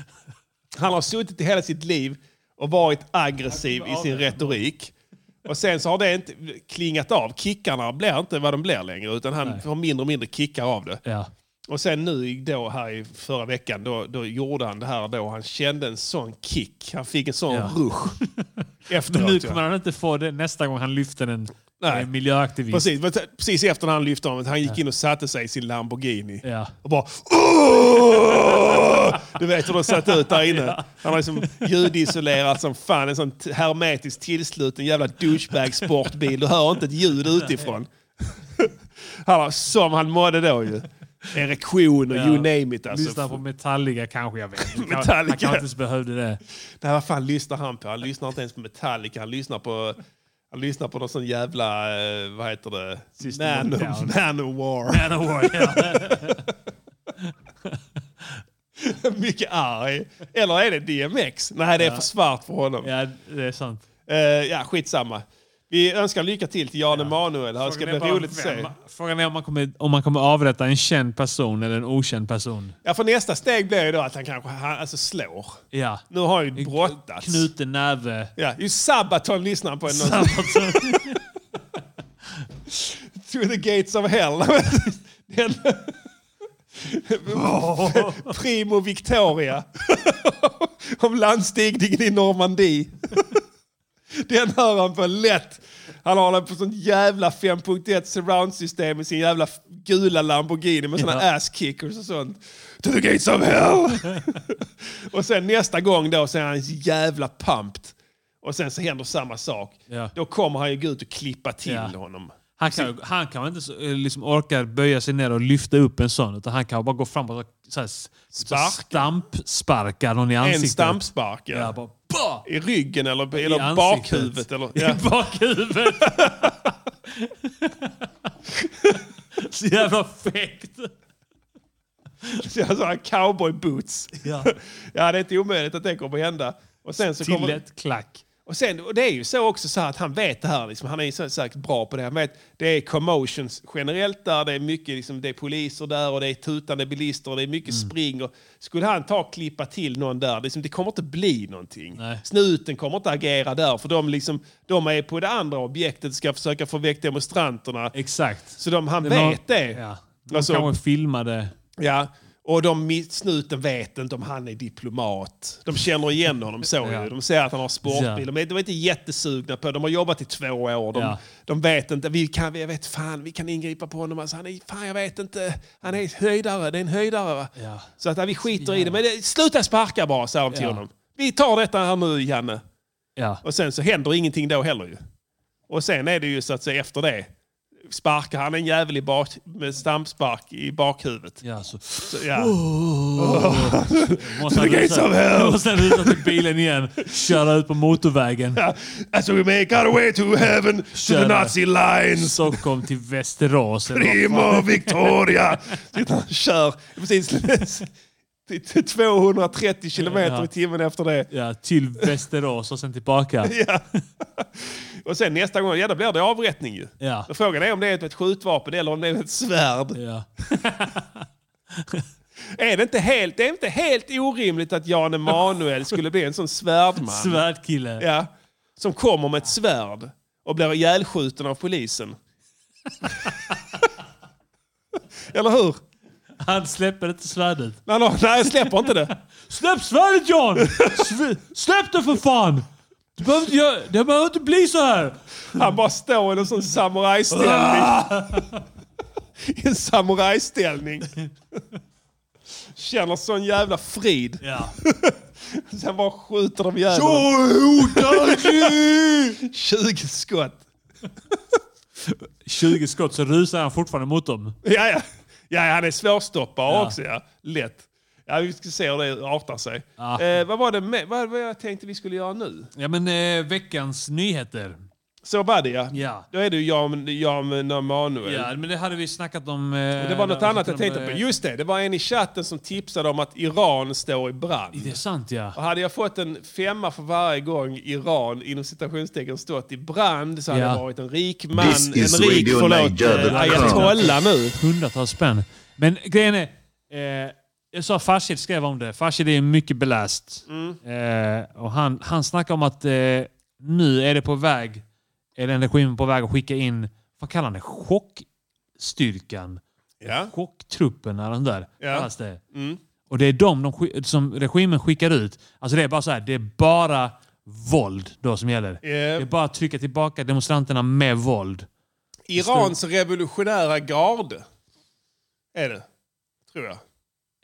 Han har suttit i hela sitt liv och varit aggressiv i sin retorik. Och sen så har det inte klingat av. Kickarna blir inte vad de blir längre, utan han får mindre och mindre kickar av det. ja. Och sen nu i- då här i förra veckan, då, då gjorde han det här då. Han kände en sån kick. Han fick en sån Ja. rush *laughs* efteråt. Nu ja. kommer han inte få det nästa gång han lyfter en, Nej. en miljöaktivist. Precis, men t- precis efter när han lyfte honom, han gick in och satte sig i sin Lamborghini. Ja. Och bara... "Åh!" Du vet hur de satt ut där inne. Han har liksom ljudisolerat som fan. En sån t- hermetiskt tillsluten jävla douchebag-sportbil. Du hör inte ett ljud utifrån. *laughs* Han har, som han mådde då ju. Erektioner, you name it. Alltså. Lyssna på Metallica kanske, jag *laughs* vet Han kan- Metallica. Han kanske inte ens behövde det. Nej, vad fan lyssnar han på? Han lyssnar inte ens på Metallica. Han lyssnar på, han lyssnar på någon sån jävla, eh, vad heter det? Man, of Down. man of War. *laughs* Manowar, ja. Mycket arg. Eller är det DMX? Nej, det är för svart för *laughs* honom. ja, det är sant. Eh, ja, skitsamma. Vi önskar lycka till till Jan Emanuel. Det här ska bli Frågan är bara roligt att se. vem- Frågan är om man, kommer, om man kommer avrätta en känd person eller en okänd person. Ja, för nästa steg blir ju då att han kanske han, alltså slår. Ja. Nu har han ju brottats. Knuten näve. Ja, ju Sabaton lyssnar han på. Någon, *laughs* Through the gates of hell. *laughs* Den, Primo Victoria. *laughs* Om landstigningen i Normandie. *laughs* Den hör han på lätt. Han har den på sånt jävla 5.1 surround-system i sin jävla gula Lamborghini med såna Ja. ass-kickers och sånt. To the gates of hell! *laughs* och sen nästa gång då så är han jävla pumped. Och sen så händer samma sak. Ja. Då kommer han ju gå ut och klippa till Ja. honom. Han kan, han kan inte så, eh, liksom orka böja sig ner och lyfta upp en sån. Utan han kan bara gå fram och så här, s- så här Sparka. stampsparka någon i En ansiktet. stampspark, ja. Ja, bara, bah! I ryggen eller, I eller ansiktet. bakhuvudet. Eller, *laughs* ja. I bakhuvudet. så jävla fräckt. Sådana Alltså, cowboy boots. Ja. *laughs* Ja, det är inte omöjligt att det kommer att hända. Och sen så Till kommer, ett klack. och sen, och det är ju så också så här att han vet det här. Liksom, han är ju så sagt bra på det. Han vet, det är commotions generellt där. Det är mycket liksom, det är poliser där och det är tutande bilister och det är mycket Mm. spring. Och skulle han ta och klippa till någon där, det, är liksom, det kommer inte bli någonting. Nej. Snuten kommer inte agera där för de, liksom, de är på det andra objektet ska försöka få väck demonstranterna. Exakt. Så de, han Det var- vet det. Ja. De Alltså- kanske filmade. Ja, och de mi- snuten vet inte om han är diplomat. De känner igen honom så Ja. ju. De ser att han har Ja. sportbil. De är, de är inte jättesugna på det. De har jobbat i två år. De, Ja. de vet inte. Vi kan, vi vet fan, vi kan ingripa på honom. Alltså, han är, fan, jag vet inte. Han är höjdare. Det är en höjdare. Va? Ja. Så att, ja, vi skiter i det. Men det, sluta sparka bara, säger de till Ja. honom. Vi tar detta här nu, Janne. Ja. Och sen så händer ingenting då heller ju. Och sen är det ju så att säga efter det. Sparkar han en jävel i bak, med stampspark i bakhuvudet. Ja, så. Så, ja. Oh. Måste han the gates rusa- *laughs* of hell. Måste han rusa till bilen igen. Köra ut på motorvägen. As we make our way to heaven, to Kör the där. Nazi lines, Stockholm till Västerås. eller vad Primo Victoria. Sitter han och kör precis till- till 230 kilometer i timmen efter det. Ja, till Västerås och sen tillbaka. Ja. Och sen nästa gång, ja då blir det avrättning ju. Ja. Men Frågan är om det är ett skjutvapen eller om det är ett svärd. Ja. Är det inte helt, det är inte helt orimligt att Jan Emanuel skulle bli en sån svärdman? Svärdkille. Ja. Som kommer med ett svärd och blir ihjälskjuten av polisen. *laughs* Eller hur? Han släpper inte svärdet. Nej, nej, nej, jag släpper inte det. Släpp svärdet John! Sve- Släpp det för fan! Du behöver inte, göra- det behöver inte bli så här. Han bara står i en sån samurajställning. I en samurajställning. Känner sån jävla frid. Ja. *laughs* Sen bara skjuter de ihjäl honom. Jag hotar dig! *laughs* 20 skott. 20 skott så rusar han fortfarande mot dem. Ja, ja. ja, ja, han är svårstoppare Ja. också. Ja. Lätt. Ja, vi ska se hur det artar sig. Ja. Eh, vad var det med, vad, vad jag tänkte vi skulle göra nu? Ja men eh, veckans nyheter. Så var det ja. Ja. Då är det ju Jan, Jan Emanuel. Ja men det hade vi snackat om. Eh, Det var något där, annat jag om, tänkte på. eh, Just det, det var en i chatten som tipsade om att Iran står i brand. Det är sant ja. Och hade jag fått en femma för varje gång Iran inom citationstecken stått i brand så hade Ja. det varit en rik man, This en is rik, Radio förlåt, Niger, eh, the ayatolla nu. hundratals spänn. Men grejen är, eh, jag sa Farshid skrev om det. Farshid är mycket beläst. Mm. Eh, och han, han snackar om att eh, nu är det på väg, är den regimen på väg att skicka in, vad kallar han det, chockstyrkan? Ja. Chocktruppen eller sånt där. Ja. Mm. kallas Det. Och det är de, de sk- som regimen skickar ut. Alltså det är bara så här, det är bara våld då som Eh. gäller. Det är bara att trycka tillbaka demonstranterna med våld. Irans revolutionära garde. Är det, tror jag.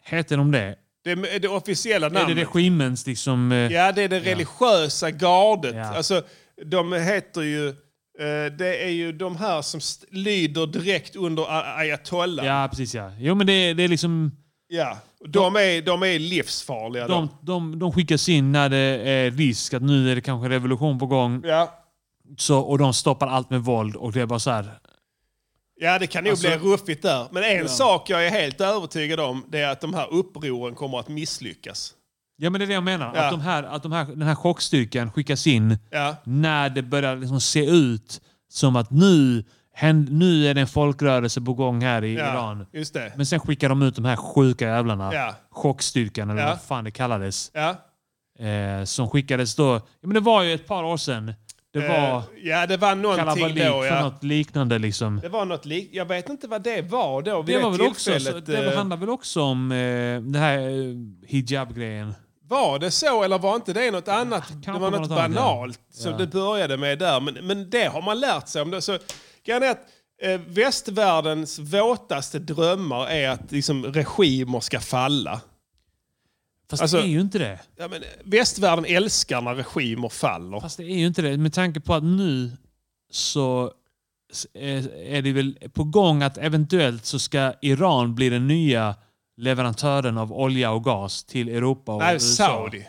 Heter de det? Det är det officiella Är det namnet. regimens liksom... eh, Ja, det är det religiösa gardet. Ja. Alltså, de heter ju... eh, Det är ju de här som st- lyder direkt under a- ayatollah. Ja, precis ja. Jo, men det, det är liksom... Ja. De, är, de är livsfarliga. De, de, de skickas in när det är risk att nu är det kanske revolution på gång. Ja. Så, och de stoppar allt med våld och det är bara så här. ja, det kan nog Alltså- bli ruffigt där. Men en sak jag är helt övertygad om det är att de här upproren kommer att misslyckas. Ja, men det är det jag menar. Ja. Att, de här, att de här, den här chockstyrkan skickas in Ja. när det börjar liksom se ut som att nu, hän- nu är det en folkrörelse på gång här i ja. Iran. Just det. Men sen skickar de ut de här sjuka jävlarna. Ja. Chockstyrkan eller Ja. vad fan det kallades. Ja. Eh, som skickades då. Ja, men det var ju ett par år sedan. Det var... Eh, ja, det var någonting kalabalik då. för Ja. något liknande. Liksom. Det var något lik... Jag vet inte vad det var då. Vid Det, det, var väl också, så, tillfället, eh, det handlar väl också om eh, det här eh, hijab-grejen. Var det så eller var inte det något annat? Det var Ah, var något något annat, ja. banalt som Ja. det började med där. Men, men det har man lärt sig om. Det. Så, grejen är att eh, västvärldens våtaste drömmar är att liksom, regimer ska falla. Fast Alltså- det är ju inte det. Ja, men, eh, västvärlden älskar när regimer faller. Fast det är ju inte det. Med tanke på att nu så s- är- är det väl på gång att eventuellt så ska Iran bli den nya leverantören av olja och gas till Europa och Nej, USA. Saudi.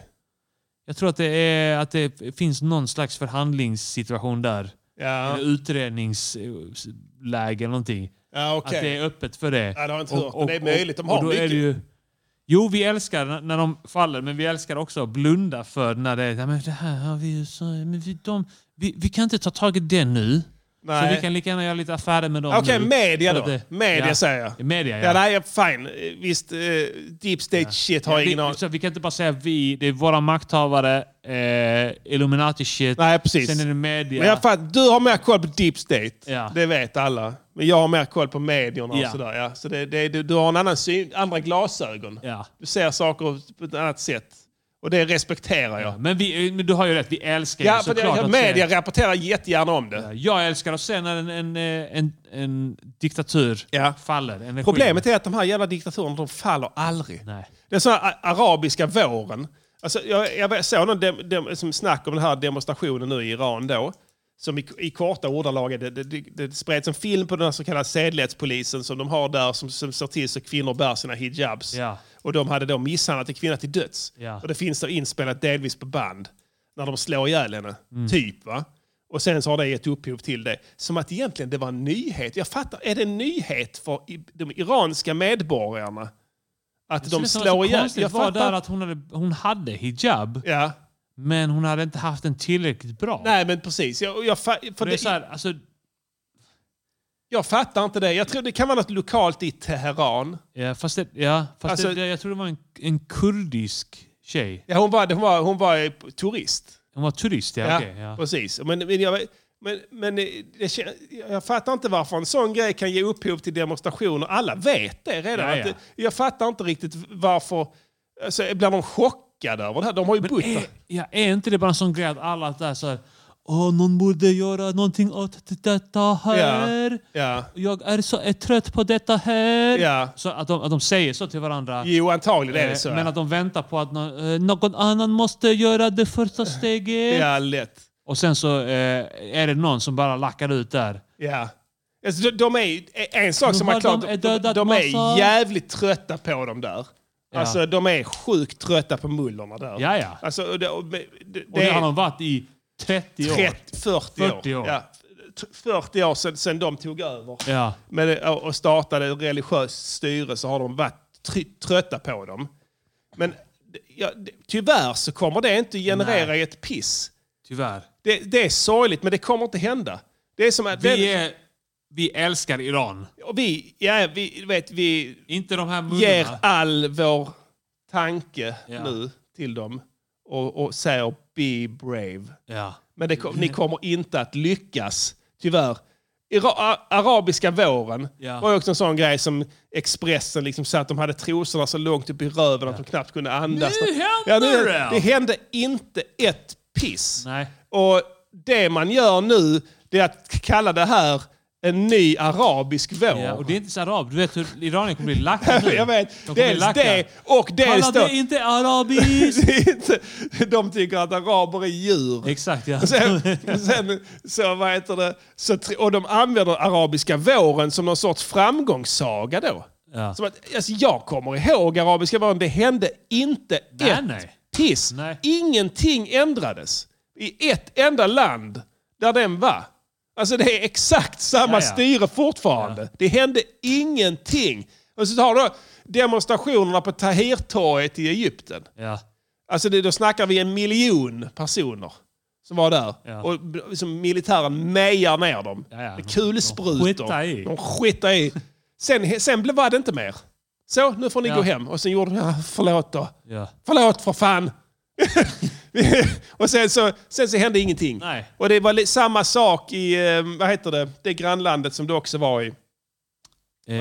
Jag tror att det, är, att det finns någon slags förhandlingssituation där. Ja, Eller utredningsläge eller någonting. ja okej. Att det är öppet för det. Ja, det har jag inte hört, men det är möjligt. De har och då mycket. Är det ju, jo, vi älskar n- när de faller, men vi älskar också att blunda för när det är... "Ja, Men det här har vi ju... Så, men vi, de, vi, vi kan inte ta tag i det nu. Nej. Så vi kan lika gärna göra lite affärer med dem Okej, nu. media För då. att det- Media ja. säger jag. Media, ja. Ja, nej, fine. Eh, Visst, eh, deep state shit har jag ingen vi, aning så vi kan inte bara säga vi, det är våra makthavare, eh, Illuminati-shit, Nej, precis. sen är det media. Men jag fattar, du har mer koll på deep state. Ja. Det vet alla. Men jag har mer koll på medierna och Ja. sådär. Ja. Så det, det, du, du har en annan syn, andra glasögon. ja. Du ser saker på ett annat sätt. Och det respekterar jag. Men, vi, eh, men du har ju rätt, vi älskar Ja, ju för det, såklart att se- media rapporterar jättegärna om det. Jag älskar att se när en, en, eh, en, en diktatur Ja. faller. En regim. Problemet är att de här jävla diktatorerna, de faller aldrig. Nej. Det är sån här a- arabiska våren. Alltså, jag, jag såg någon dem, dem, som snack om den här demonstrationen nu i Iran då. Som i, i korta ordalag, är det, det, det, det spreds en film på den här så kallade sedlighetspolisen som de har där som, som ser till så kvinnor bär sina hijabs. Ja. Och de hade då misshandlat en kvinna till döds. Ja. Och det finns då inspelat delvis på band. När de slår ihjäl henne. Mm. Typ va. Och sen så har det gett upphov till det. Som att egentligen det var en nyhet. Jag fattar, är det en nyhet för i, de iranska medborgarna? Att de slår ihjäl... Jag Jag var där fattar. att hon hade, hon hade hijab, Ja. men hon hade inte haft den tillräckligt bra. Nej men precis. Jag, jag, fa- för Och det är det, så här, alltså, jag fattar inte det. Jag tror det kan vara något lokalt i Teheran. ja, fast det, ja, fast Alltså- det, det, jag tror det var en, en kurdisk tjej. Ja, hon, var, hon, var, hon var eh, turist. Hon var turist, ja. okej, ja. precis. Men, men jag, vet- Men, men det, det, kän- jag fattar inte varför en sån grej kan ge upphov till demonstrationer. Alla vet det redan. Ja, ja. Att det, jag fattar inte riktigt varför. Alltså, blir de chockade över det här? De har ju bott Är, där. ja, är inte det bara en sån grej att alla där så här, Åh, någon borde göra någonting åt det- detta här. Ja. Jag är så är trött på detta här. Ja. Så att de, att de säger så till varandra. Jo, antagligen är det Eh, så. Men att de väntar på att nå- eh, någon annan måste göra det första steget. Ja, lätt. Och sen så eh, är det någon som bara lackar ut där. Ja. Alltså, de, de är, en sak Nu som är har klart, de de, de, dödat de är massa- jävligt trötta på dem där. Ja. Alltså de är sjukt trötta på mullorna där. Ja, ja. Alltså, och det, och det, det Och det har är de varit i 30 år. 30, 40 år. 40 år. Ja, t- 40 år sedan, sedan de tog över Ja. men, eh, och startade religiöst styre så har de varit tr- trötta på dem. Men d- ja, d- tyvärr så kommer det inte generera ett piss. Tyvärr. Det, det är sorgligt men det kommer inte hända. Det är som att... Vi, är, vi älskar Iran. Och vi, ja, vi, du vet, vi Inte de här ger mullorna. all vår tanke Ja. nu till dem och, och säger be brave. Ja. Men det, kom- ni Mm. kommer inte att lyckas, tyvärr. Ira- a- arabiska våren Ja. var ju också en sån grej som Expressen liksom sa att de hade trosorna så långt upp i röven att de knappt kunde andas. Nu händer det! Det hände inte ett piss. Nej. Och det man gör nu det är att kalla det här en ny arabisk vår. Ja, och det är inte så arab. Du vet hur iranier kommer bli lacka nu. *laughs* Jag vet. De kommer bli Dels lacka. det och dels Kallar då... det inte *laughs* arabiskt! Det är inte- *laughs* De tycker att araber är djur. Exakt ja. Sen, sen så, vad heter det? Så, tri- och de använder arabiska våren som någon sorts framgångssaga då. Ja. Som att, alltså, jag kommer ihåg arabiska våren, det hände inte Nej, ett nej. piss. Nej. Ingenting ändrades i ett enda land där den var. Alltså det är exakt samma Ja, ja. styre fortfarande. Det hände ingenting. Och så har du då demonstrationerna på Tahrirtorget i Egypten. ja. Alltså det, då snackar vi en miljon personer som var där. Ja. Och b- liksom militären mejar ner dem. Ja, ja. Med kulsprutor. De skitar i. De skitar i. Sen, sen blev- var det inte mer. Så, nu får ni Ja. gå hem. Och sen gjorde de, ja, förlåt då. ja. Förlåt för fan! *laughs* och sen så, sen så hände ingenting. Nej. Och det var li- samma sak i, eh, vad heter det, det grannlandet som du också var i. Eh,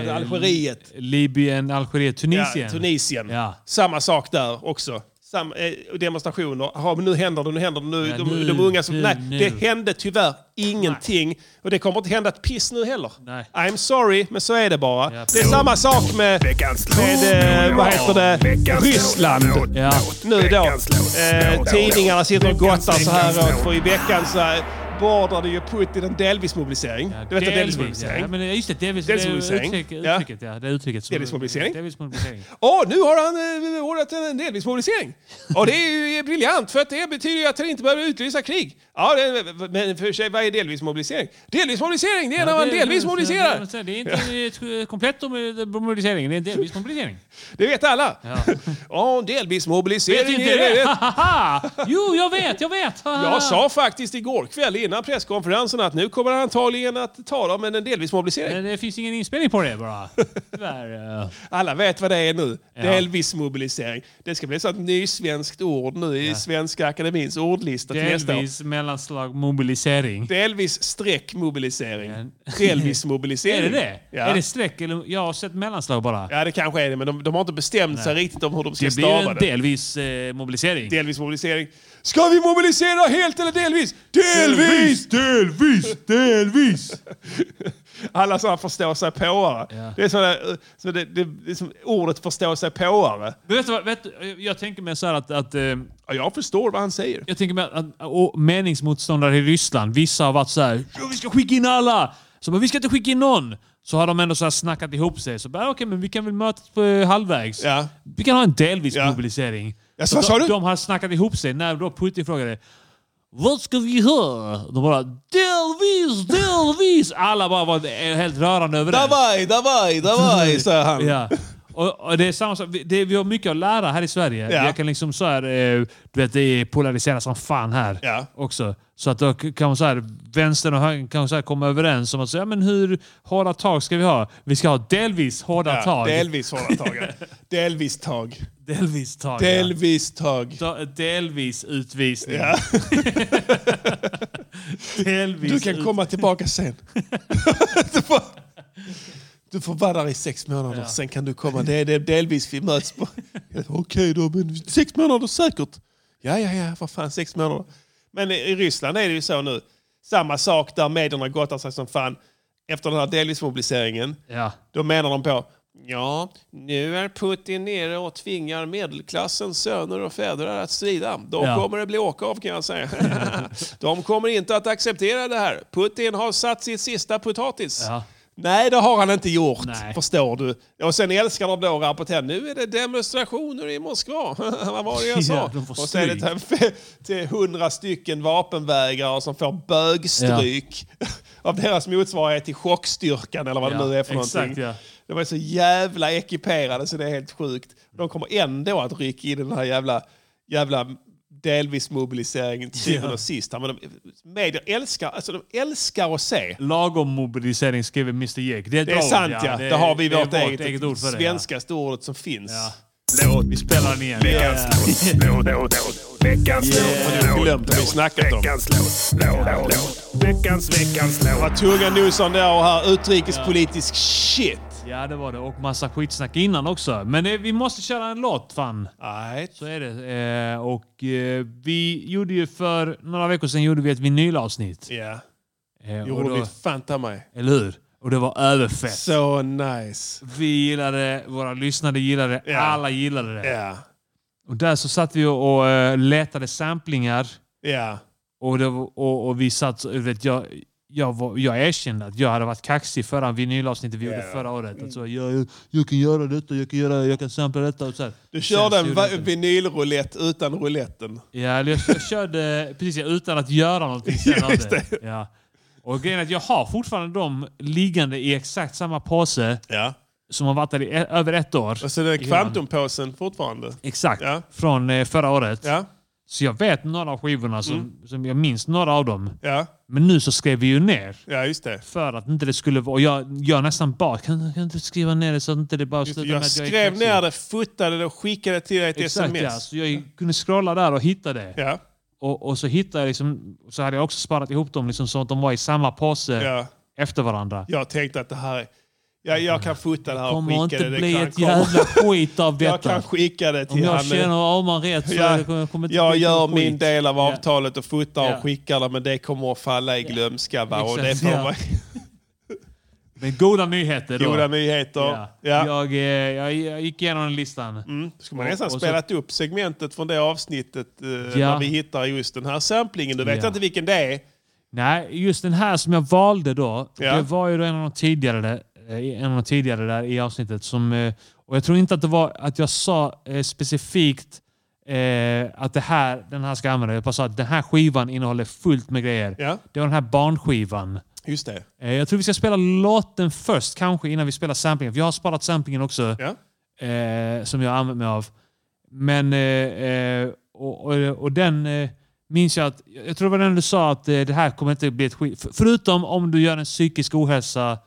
det Algeriet? Libyen, Algeriet, Tunisien. Ja, Tunisien. Ja. Samma sak där också. Sam, eh, demonstrationer. Aha, men nu händer det, nu händer det. Nu, Ja, de, nu, de unga som... nu, nej, nu. det hände tyvärr ingenting. Och det kommer inte hända ett piss nu heller. Nej. I'm sorry, men så är det bara. Ja. Det är samma sak med, med eh, vad heter det, Ryssland. Ja. nu då. Eh, tidningarna sitter och gottar så här åt, för i veckan så här beordrade ju Putin en delvis-mobilisering. du vet en delvis-mobilisering? Ja, men just det. Delvis, Delvis-mobilisering. Det är uttryck, Ja. uttrycket, ja. Det är uttrycket. som- Delvis-mobilisering. Delvis-mobilisering. Åh, nu har han eh, ordnat en delvis-mobilisering. Och det är ju briljant, för att det betyder ju att han inte behöver utlysa krig. Ja, det, men för sig, vad är delvis-mobilisering? Delvis-mobilisering, det är när man det- delvis det- mobiliserar. Det det är inte ett komplett om- eh, mobilisering. Det är en delvis mobilisering. Det vet alla. Ja. *laughs* Ja, Vet du delvis-mobilisering. inte är det? rätt. *laughs* jo, jag vet, jag vet! Jag sa faktiskt igår kväll innan presskonferensen att nu kommer han antagligen att tala om en delvis-mobilisering. Men det finns ingen inspelning på det *laughs* bara. Tyvärr. eh. Alla vet vad det är nu. Ja. Delvis mobilisering. Det ska bli ett sånt nysvenskt ord nu i Svenska Akademins ordlista till nästa år. Delvis mellanslag mobilisering. Delvis streck mobilisering. Ja. Delvis mobilisering. *laughs* Är det det? Ja. Är det streck eller... Jag har sett mellanslag bara. ja, det kanske är det, men de, de har inte bestämt sig riktigt om hur de ska Det blir stava en det. delvis eh, mobilisering. Delvis mobilisering. Ska vi mobilisera helt eller delvis? Delvis! delvis, delvis! *laughs* Alla sådana förstår sig påare. Ja. Det är sådana, så det, det, det är som ordet förstår sig påare. Men vet du vad, vet, du, jag tänker mig så här att, att eh, Ja, jag förstår vad han säger. Jag tänker mig att, att och meningsmotståndare i Ryssland, vissa har varit så här "Ja, vi ska skicka in alla! Så bara, vi ska inte skicka in någon! Så har de ändå så här snackat ihop sig. Så bara, okej, men vi kan väl mötas på eh, halvvägs. Ja. Vi kan ha en delvis Ja. mobilisering. Ja, Så vad sa de, du? de har snackat ihop sig när då Putin frågade Vad ska vi ha? De bara delvis, delvis! Alla bara var eh, helt rörande över det. Davaj, davaj, davaj, sa *laughs* han. Ja. Och, och det är samma sak. Vi- Det, vi har mycket att lära här i Sverige. Ja. Jag kan liksom så här, eh, du vet, det är polariserat som fan här Ja. också. Så att då kan man så här, vänstern och högern kan så här komma överens om att säga, men hur hårda tag ska vi ha? Vi ska ha delvis hårda Ja, tag. Delvis hålla *laughs* tagen. delvis tag. delvis tag. Delvis tag. Ja. Da- Delvis utvisning. Ja. *laughs* Delvis. Du kan komma tillbaka sen. du, får, du får vara där i sex månader, sen kan du komma. Det är det är delvis vi möts på. *laughs* Okej då, men sex månader säkert. Ja, ja, ja, vad fan, sex månader. Men i- i Ryssland är det ju så nu. Samma sak där medierna gottar sig som fan. Efter den här delvis-mobiliseringen, Ja. då menar de på Ja, nu är Putin nere och tvingar medelklassens söner och fäder att strida. Då Ja. kommer det bli åka av kan jag säga. *laughs* De kommer inte att acceptera det här. Putin har satt sitt sista potatis. Ja. Nej, det har han inte gjort, Nej. förstår du. Och sen älskar de då att rapportera, nu är det demonstrationer i Moskva. *laughs* Vad var det jag sa? *laughs* Ja, de får och så är det *laughs* stryk. till- till hundra stycken vapenvägrare som får bögstryk *laughs* av deras motsvarighet till chockstyrkan eller vad Ja, det nu är för exakt, någonting. ja. De är så jävla ekiperade så det är helt sjukt. De kommer ändå att rycka in i den här jävla, jävla delvis mobiliseringen till syvende och sist. Men de, medier älskar, alltså de älskar att se. Lagom mobilisering skriver Mr Jek. Det är, Det är sant ja, det, har vi det är vårt eget, ord för det. ja. svenskaste ordet som finns. Ja. Vi spelar den igen. Veckans låt, låt, låt, låt. Veckans låt, Jag har låt, glömt vad vi låt. snackat om. Veckans låt, låt, låt, låt. Veckans, veckans låt. Tunga nosan där och här, utrikespolitisk shit. Ja, det var det. Och massa skitsnack innan också. Men eh, vi måste köra en låt, fan. Nej. Så är det. Eh, och eh, vi gjorde ju för några veckor sedan gjorde vi ett vinylavsnitt. Ja, Eh, och gjorde då- vi fan ta mig. Eller hur? Och det var överfett. Så nice. Vi gillade det, våra lyssnare gillade det, Ja. alla gillade det. Ja, Och där så satt vi och, och eh, letade samplingar. ja, Och, det, var- och, och vi satt... så- Vet, jag, jag, var, jag erkände att jag hade varit kaxig förra vinylavsnittet vi gjorde förra året. Alltså, Mm. jag, jag, jag kan göra detta, jag kan, göra, jag kan sampla detta och så här. Du Sen körde så en gjorde va- jag inte det. vinylroulette utan rouletten. Ja, eller jag, jag körde precis ja, utan att göra någonting *laughs* sen av det. Ja. Och grejen är att jag har fortfarande dem liggande i exakt samma påse Ja. som har varit där i e- över ett år. Och så den I hyllan. Alltså, kvantumpåsen fortfarande. Exakt. Ja. Från eh, förra året. Ja, Mm. Så jag vet några av skivorna, som, som jag minns några av dem. ja, Men nu så skrev vi ju ner. ja just det. För att inte det skulle vara... Och jag, jag nästan bad, kan, kan du skriva ner det så att inte det bara Just det. slutar Jag är skrev kaxig?" ner det, fotade det och skickade till dig ett Exakt, ja. sms. Så jag kunde scrolla där och hitta det. Ja, Och, och så hittade jag liksom, så hade jag också sparat ihop dem liksom, så att de var i samma påse ja. efter varandra. Jag tänkte att det här... Ja, jag kan fota det här och kommer skicka det. inte det. bli kan ett komma. jävla skit av *laughs* Jag kan detta. skicka det Om till jag han. känner Arman rätt så Ja, det kommer- kommer inte jag bli gör något min skit. del av Ja. avtalet och fotar Ja. och skickar det, men det kommer att falla i glömska. Va? Och det Exakt, får ja. vara Men goda nyheter då. goda nyheter. Ja. Ja. Jag, eh, jag, jag gick igenom listan. Mm. Ska man nästan Och- och så- spelat upp segmentet från det avsnittet eh, när vi hittar just den här samplingen. Du vet Ja. inte vilken det är. Nej, just den här som jag valde då. Ja. Det var ju då en av de tidigare, där- eh, en av de tidigare där i avsnittet. Som, eh, och jag tror inte att det var att jag sa eh, specifikt eh, att det här, den här ska jag använda. Jag bara sa att den här skivan innehåller fullt med grejer. Ja, Det var den här barnskivan. just det. Eh, jag tror vi ska spela låten först kanske innan vi spelar samplingen. För jag har sparat samplingen också. Ja. Eh, som jag har använt mig av. Men, eh, eh, och, och, och den eh, minns jag att, jag tror det var den du sa att eh, det här kommer inte bli ett skit. För, förutom om du gör en psykisk ohälsa,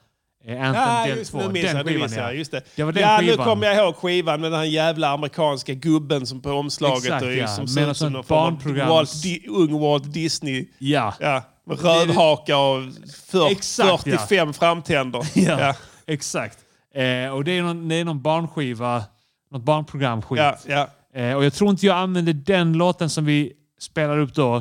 eh, Anthem Ja, del just, 2. nu minns jag, Den nu skivan minns ja. jag. Just det. Det var den ja, skivan. nu kommer jag ihåg skivan med den här jävla amerikanska gubben som på omslaget Exakt, och ja. som Med ser något ut som sånt någon form av barnprograms- Walt, Di- ung Walt Disney. Ja. Ja, med rödhaka och för, Exakt, 45 framtänder. *laughs* Ja, ja, exakt. Eh, och det är, någon, det är någon barnskiva, något barnprogramskit. ja, ja. Eh, och jag tror inte jag använde den låten som vi spelar upp då.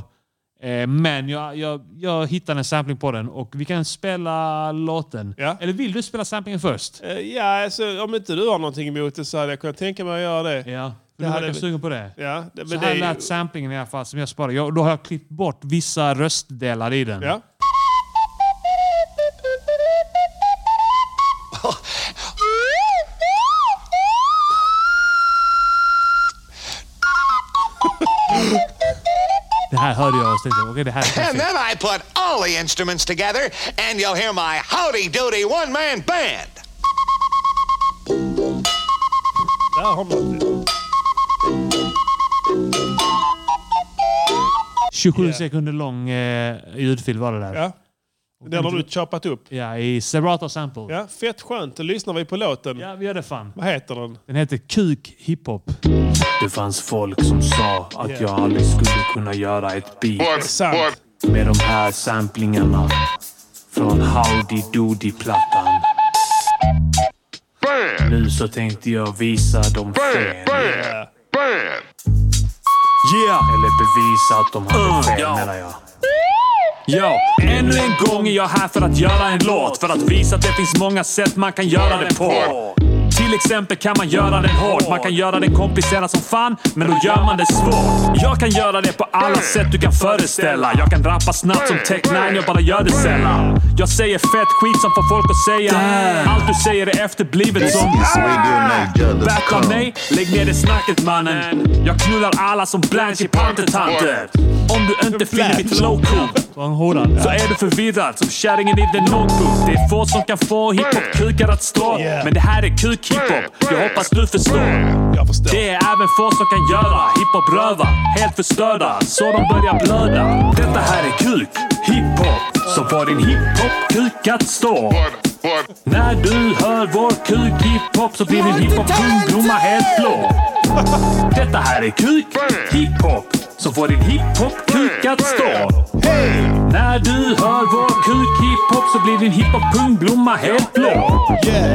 Eh, men jag, jag, jag hittade en sampling på den och vi kan spela låten. Ja. Eller vill du spela samplingen först? Eh, ja alltså, om inte du har någonting emot det så hade jag kunnat tänka mig att göra det. Ja. Du Det hade verkar vi- sugen på det. Ja, det, men Så det är här ju- lät samplingen i alla fall som jag sparade. Jag, då har jag klippt bort vissa röstdelar i den. Ja. Det här hörde jag och tänkte okej det här är perfekt. And then I put all the instruments together, and you'll hear my howdy doody one man band. Där har man det. 27 sekunder lång eh, ljudfil var det där. Ja. Den har du choppat upp. Ja, i Serato Sample. Ja, fett skönt. Då lyssnar vi på låten. ja, vi gör det fan. Vad heter den? Den heter Kuk Hiphop. Det fanns folk som sa att jag aldrig skulle kunna göra ett beat. Sant. med de här samplingarna från Howdy Doody-plattan. Nu så tänkte jag visa dem fel. Yeah! Eller bevisa att de hade fel menar jag. Ja, ännu en gång är jag här för att göra en låt. För att visa att det finns många sätt man kan göra det på. Till exempel kan man göra den hård. Man kan göra den komplicerad som fan, men då gör man det svårt. Jag kan göra det på alla sätt du kan föreställa. Jag kan rappa snabbt som Tech-9, jag bara gör det sällan. Jag säger fett skit som får folk att säga. Allt du säger är efterblivet This is som... Backa RadioNiger.com. mig, lägg ner det snacket mannen. Jag knullar alla som Blanche i Pantertanter. Om du inte finner mitt flow cool, Han horan. så är du förvirrad som kärringen i The Notebook. Det är få som kan få hiphop-kukar att stå. Men det här är kuk-hiphop. Jag hoppas du förstår. Jag förstår. Det är även få som kan göra hiphop-röva helt förstörda så de börjar blöda. Detta här är kuk, hiphop, så får din hiphop-kuk att stå. När du hör vår kuk hiphop så blir din hiphop-kung blomma helt blå. Detta här är kuk, hiphop, så får din hiphop-kuk att stå. När du hör vår kuk hiphop så blir din hiphop-pung blomma helt blå.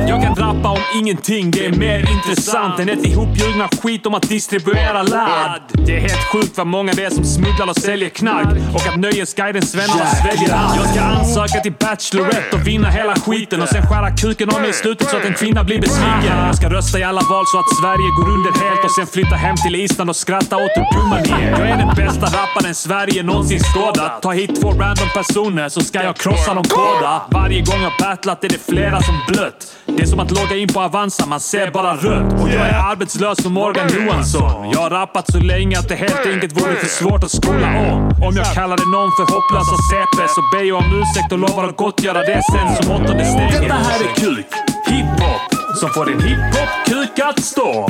Jag kan rappa om ingenting, det är mer intressant än ett ihopljugna skit om att distribuera ladd. Det är helt sjukt vad många det är som smugglar och säljer knark och att Nöjesguidens svennar sväljer allt. Jag ska ansöka till Bachelorette och vinna hela skiten och sen skära kuken av mig i slutet så att en kvinna blir besviken. Jag ska rösta i alla val så att Sverige går under helt och sen flytta hem till Island och skratta åt hur dumma ni är. Jag är den bästa rapparen Sverige någonsin skådat. Ta hit två random personer så ska jag krossa dem båda. Varje gång jag battlat är det flera som blött. Det är som att logga in på Avanza, man ser bara rött. Och jag är arbetslös som Morgan Johansson. Jag har rappat så länge att det helt enkelt vore för svårt att skola om. Om jag kallade någon för hopplösa CP så ber jag om ursäkt och lovar att gottgöra det sen som åttonde steget. Detta här är kuk, hiphop, som får din hiphop-kuk att stå.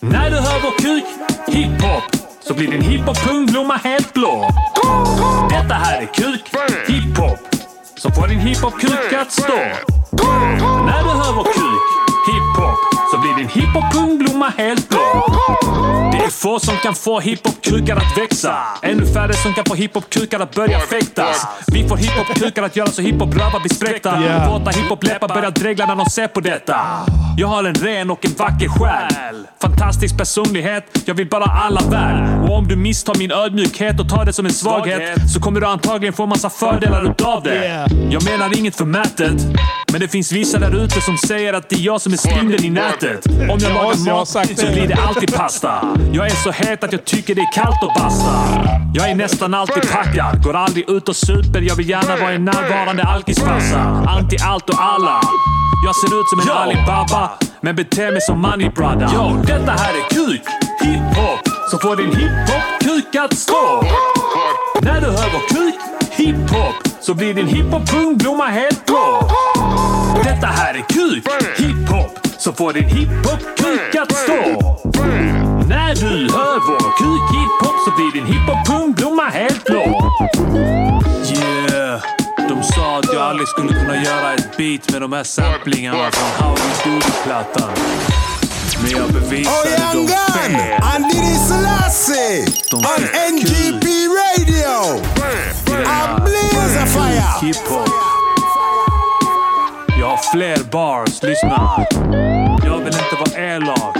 När du hör vår kuk, hiphop, så blir din hiphop-pung blomma helt blå. Detta här är kuk, hiphop, som får din hiphop-kuk att stå. När du hör vår kuk, hiphop, så blir din hiphop-pung blomma helt blå. Det är få som kan få hiphop-kukar att växa. Ännu färre som kan få hiphop-kukar att börja fäktas. Vi får hiphop-kukar att göra så hiphop-rövar blir spräckta. Yeah. Våta hiphop-läppar börjar dregla när de ser på detta. Jag har en ren och en vacker själ. Fantastisk personlighet, jag vill bara alla väl. Och om du misstar min ödmjukhet och tar det som en svaghet så kommer du antagligen få massa fördelar utav det. Yeah. Jag menar inget förmätet. Men det finns vissa där ute som säger att det är jag som är spindeln i nätet. Om jag Ja, lagar så jag har mat sagt så det. blir det alltid pasta. Jag är så het att jag tycker det är kallt och basta. Jag är nästan alltid packad. Går aldrig ut och super. Jag vill gärna vara en närvarande alkisfarsa. Anti allt och alla. Jag ser ut som en Alibaba, men beter mig som Money Brother. Yo, detta här är kuk, hiphop, som får din hiphop-kuk att stå. När du hör vår kuk, hiphop, så blir din hiphop-pung blomma helt blå. Detta här är kuk, hiphop, så får din hiphop-kuk att stå. När du hör vår kuk, hiphop, så blir din hiphop-pung blomma helt blå. Yeah. De sa att jag aldrig skulle kunna göra ett beat med de här samplingarna från Howlin' Doody-plattan. Men jag Oh, bevisade young dem gun. fel. And Diddy Selassie. On NGP Radio. I blaze a fire. Hiphop. Jag har fler bars, lyssna. Jag vill inte vara elak.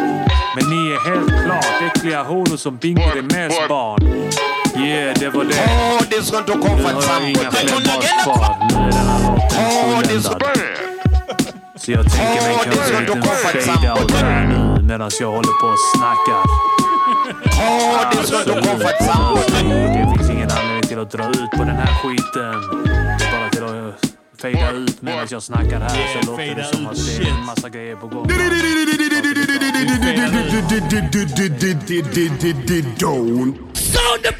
Men ni är helt klart äckliga horor som Bingo Rimérs barn. Yeah, det var det. Oh, this is going to come Jag for har some. inga fler bars kvar. Nu är den här Oh, låten this fulländad. Så jag tänker mig Åh, det kanske är en så liten komfortsamt. fade-out här nu medan jag håller på och snackar. Oh, this is going to come for some. Det finns ingen anledning till att dra ut på den här skiten. Det är bara till att fejda ut medan jag snackar här så låter det fejda som ut, att det är en massa grejer på gång. Don't. Oh, this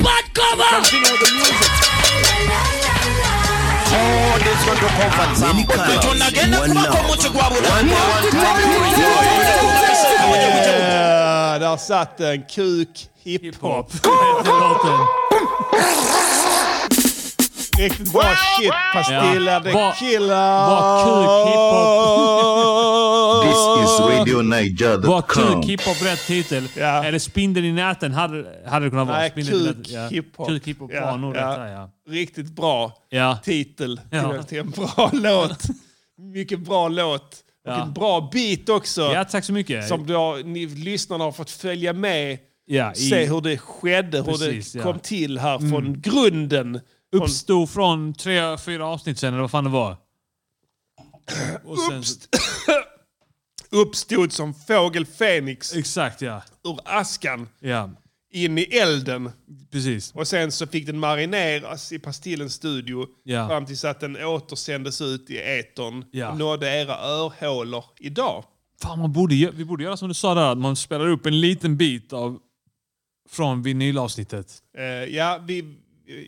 is going to come for some. Yeah, där satt den. Kuk hiphop. Låten. Riktigt bra shit. Pastiller, Ja. det Vad- killar. vad kuk hiphop. This is Vad RadioNaja.com. kuk hiphop rätt titel? Eller Spindeln i näten hade, hade det kunnat vara. Nej, Spindeln i kuk näten, ja. hiphop. Kuk hiphop Ja, var nog ja. rätt där ja. *laughs* Riktigt bra Ja. titel till- Ja. till en bra låt. Mycket bra låt. Och Ja. en bra beat också. Ja, tack så mycket. Som du har, ni lyssnarna har fått följa med. Ja, i- se hur det skedde, Precis, hur ja. det kom till här Mm. från grunden. Från- Uppstod från tre, fyra avsnitt sen eller vad fan det var. Och sen, Uppstod som fågel Fenix. Exakt ja. Ur askan. ja. in i elden. Precis. Och sen så fick den marineras i Pastillens studio Ja. fram tills att den återsändes ut i etern Ja. och nådde era örhålor idag. Fan, man borde, gö- vi borde göra som du sa där, att man spelar upp en liten bit av, från vinylavsnittet. Eh, ja, vi,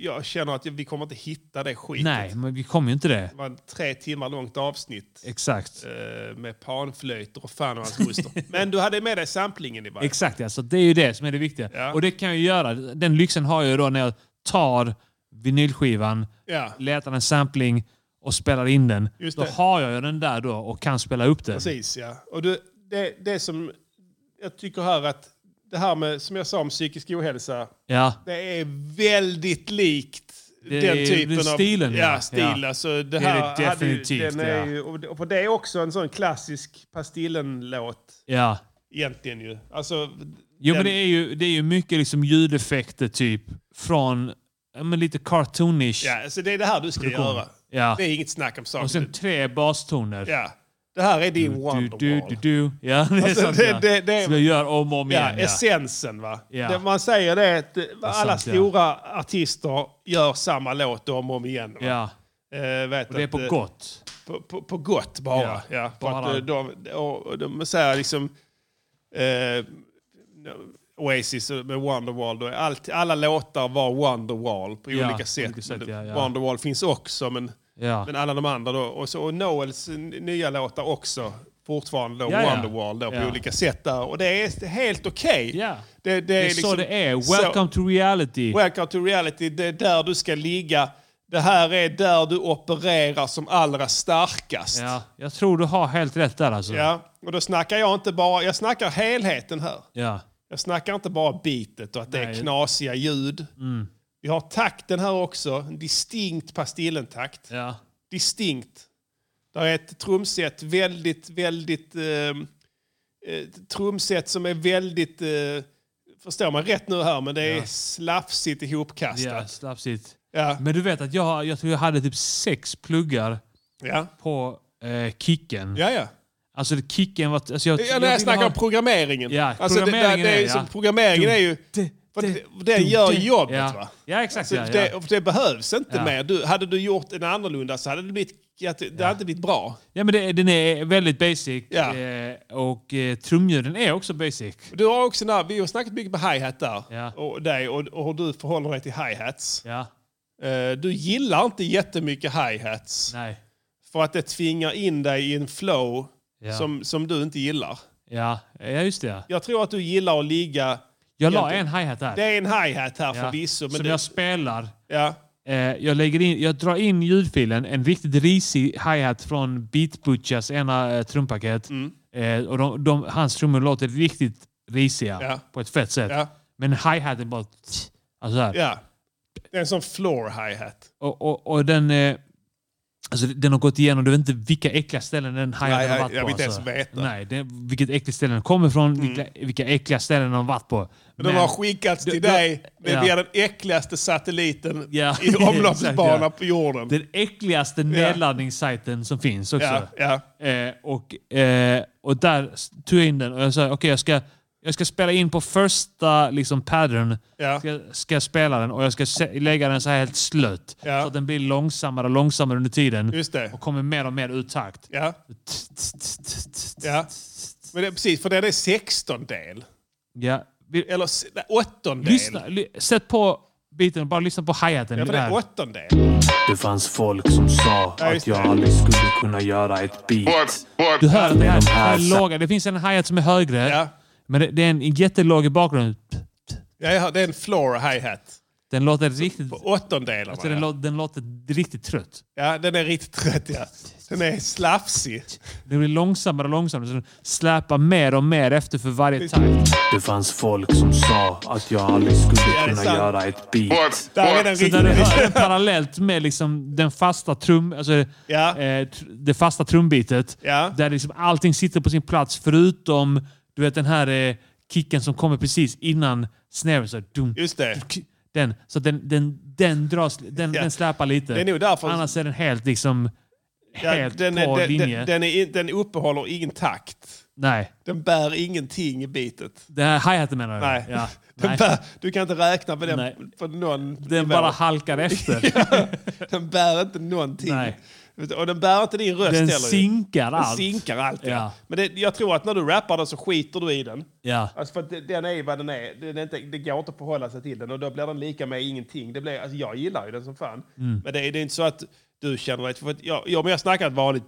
jag känner att vi kommer inte hitta det skitet. Nej, men vi kommer ju inte det. Det var ett tre timmar långt avsnitt Exakt. eh, med panflöjter och fan och hans moster. *laughs* Men du hade med dig samplingen i varje Exakt ja, så det är ju det som är det viktiga. Ja. Och det kan jag ju göra. Den lyxen har jag ju då när jag tar vinylskivan, Ja. letar en sampling och spelar in den. Just Då det. har jag ju den där då och kan spela upp den. Precis, ja. Och du, det, det som jag tycker här att det här med, som jag sa om psykisk ohälsa, Ja. det är väldigt likt Det den är typen den av... stilen, ja. ja. stil. Ja. Alltså, Det det, är här det hade ju- definitivt, Den är ja. ju, och det- och för det är också en sån klassisk Pastillen-låt Ja. egentligen ju. Alltså, Jo, men den- det är ju, det är ju mycket liksom ljudeffekter typ från ja, men lite cartoonish. Ja, så det är det här du ska Produktion. göra. Ja. Det är inget snack om saken. Och sen tre bastoner. ja. Det här är din Du, Wonderwall. du, du, du. Ja, det är Alltså, sant. det- ja. det- det- Som jag gör om och om Ja, igen. Ja. essensen va. Ja. Det, man säger det att eh, alla sant, ja. stora artister gör samma låt om och om igen. Va? Ja. Eh, vet Och det är att, på eh, gott. På, på, på gott bara. Ja, Ja, för bara. Att, eh, de, och, och de säger liksom... Eh, Oasis och- med Wonderwall. Då, är allt, alla låtar var Wonderwall på Ja, olika sätt. på olika sätt, Men ja, ja. Wonderwall finns också, men, Ja. men eh, alla de andra då. Och, så, och Noels n- nya låtar också. Fortfarande då, Ja, ja. Wonderwall då, på Ja. olika sätt där. Och det är helt okej. Ja. Det, liksom det, Det är så det är. Welcome to reality. Welcome to reality, det är där du ska ligga. Det här är där du opererar som allra starkast. Ja, jag tror du har helt rätt där alltså. Ja, och då snackar jag inte bara, jag snackar helheten här. Ja. Jag snackar inte bara bitet och att det Nej. Mm. är knasiga ljud. Vi har takten här också, en distinkt pastillentakt. Ja. Distinkt. Där är ett trumset väldigt, väldigt... ehm, Eh, trumset som är väldigt... Eh, förstår man rätt nu här, men det är Ja. slafsigt ihopkastat. Ja, slafsigt. Ja. Men du vet att jag, jag tror jag hade typ sex pluggar Ja. på eh, kicken. Ja, ja. Alltså det- kicken var... Alltså jag, ja när jag ville snackar ha- om programmeringen. Ja, alltså, programmeringen det, det, det är, är- ju som, ja. programmeringen är ju... Du- För du- det- den du- gör du- jobbet ja. va? Ja, exakt. Så ja, det, ja. och det behövs inte Ja. mer. Du, hade du gjort en annorlunda så hade det, blivit, att det det hade inte blivit bra. ja, men det, den är väldigt basic. Ja. Eh, och eh, trumljuden är också basic. Du har också, när, vi har snackat mycket med hi-hat där. Ja. Och, dig, och, och hur du förhåller dig till hi-hats. Ja. Eh, du gillar inte jättemycket hi-hats. Nej. För att det tvingar in dig i en flow Ja. som, som du inte gillar. Ja, ja just det. ja. Jag tror att du gillar att ligga... Jag la Egentligen- en hi-hat där. Det är en hi-hat här ja, förvisso. Men som det, jag spelar. ja. Eh, jag, lägger in, jag drar in ljudfilen, en riktigt risig hi-hat från Beat Butchers ena eh, trumpaket. Mm. Eh, och de, de, hans trummor låter riktigt risiga Ja. på ett fett sätt. Ja. Men hi-haten bara... Alltså här. Ja. Det är en sån floor hi-hat. Och, och, och den... Eh, alltså den har gått igenom, du vet inte vilka äckliga ställen den hi-haten Nej, har jag- varit jag på. alltså. vill inte ens veta. Mm. Nej, det, vilket äckligt ställe den kommer ifrån, vilka, vilka äckliga ställen den har varit på. De har skickats till då- dig med ja. via den äckligaste satelliten Ja, *laughs* *laughs* i omloppsbana exakt, ja. på jorden. Den äckligaste nedladdningssajten som finns också. ja, ja. Eh, och, eh, och där tog jag in den och jag sa okej jag, ska, jag ska spela in på första liksom, pattern. Ja. Ska, ska jag spela den och jag ska se- lägga den så här helt slött. Ja. Så att den blir långsammare och långsammare under tiden. Just det. Och kommer mer och mer ur takt. Ja, ja. Men det, är precis, för den är 16-del. Ja. Vi, Eller s- nej, åttondel. lyssna, ly, sätt på biten och bara lyssna på hi-haten. Ja, men det där. är åttondel. Det fanns folk som sa Ja, att just jag det. aldrig skulle kunna göra ett beat. du hör att det här, de det här här sa- är låga. Det finns en hi-hat som är högre. Ja. Men det, det är en jättelåg i bakgrunden. Ja, jag hör- det är en floor hi-hat. Den låter riktigt... På åttondelarna, Alltså, den, ja. lå- den låter riktigt trött. Ja, den är riktigt trött ja. Den är slafsig. Den blir långsammare och långsammare. Så den släpar mer och mer efter för varje takt. Det fanns folk som sa att jag aldrig skulle är kunna sant. göra ett beat. så där du hör den parallellt med liksom den fasta trum, alltså, eh, tr- det fasta trumbitet. Där liksom allting sitter på sin plats förutom du vet, den här eh, kicken som kommer precis innan snäven. Så, här, dum, Just det. Den, så den, den, den, dras, den, den släpar lite. Det är nog därför- Annars är den helt liksom... Ja, Helt den, på är, den, linje. den, den, är, in- den uppehåller ingen takt. nej. Den bär ingenting i bitet. Det här hi-haten menar du? Nej. Ja. *laughs* Den Nej. Bär, du kan inte räkna med den Nej. på någon Den nivå. bara *laughs* halkar efter. ja, den bär inte någonting. Nej. Och den bär inte din röst Den heller. ju. sinkar den allt. sinkar allt. Ja. Ja. Men det, jag tror att när du rappar den så skiter du i den. Ja. Alltså för att det- den är vad den är. Det, det, är inte, det går inte att förhålla sig till den och då blir den lika med ingenting. Det blir, alltså jag gillar ju den som fan. Mm. Men det, är- det är inte så att du känner dig... För att jag, jag, men jag snackar ett vanligt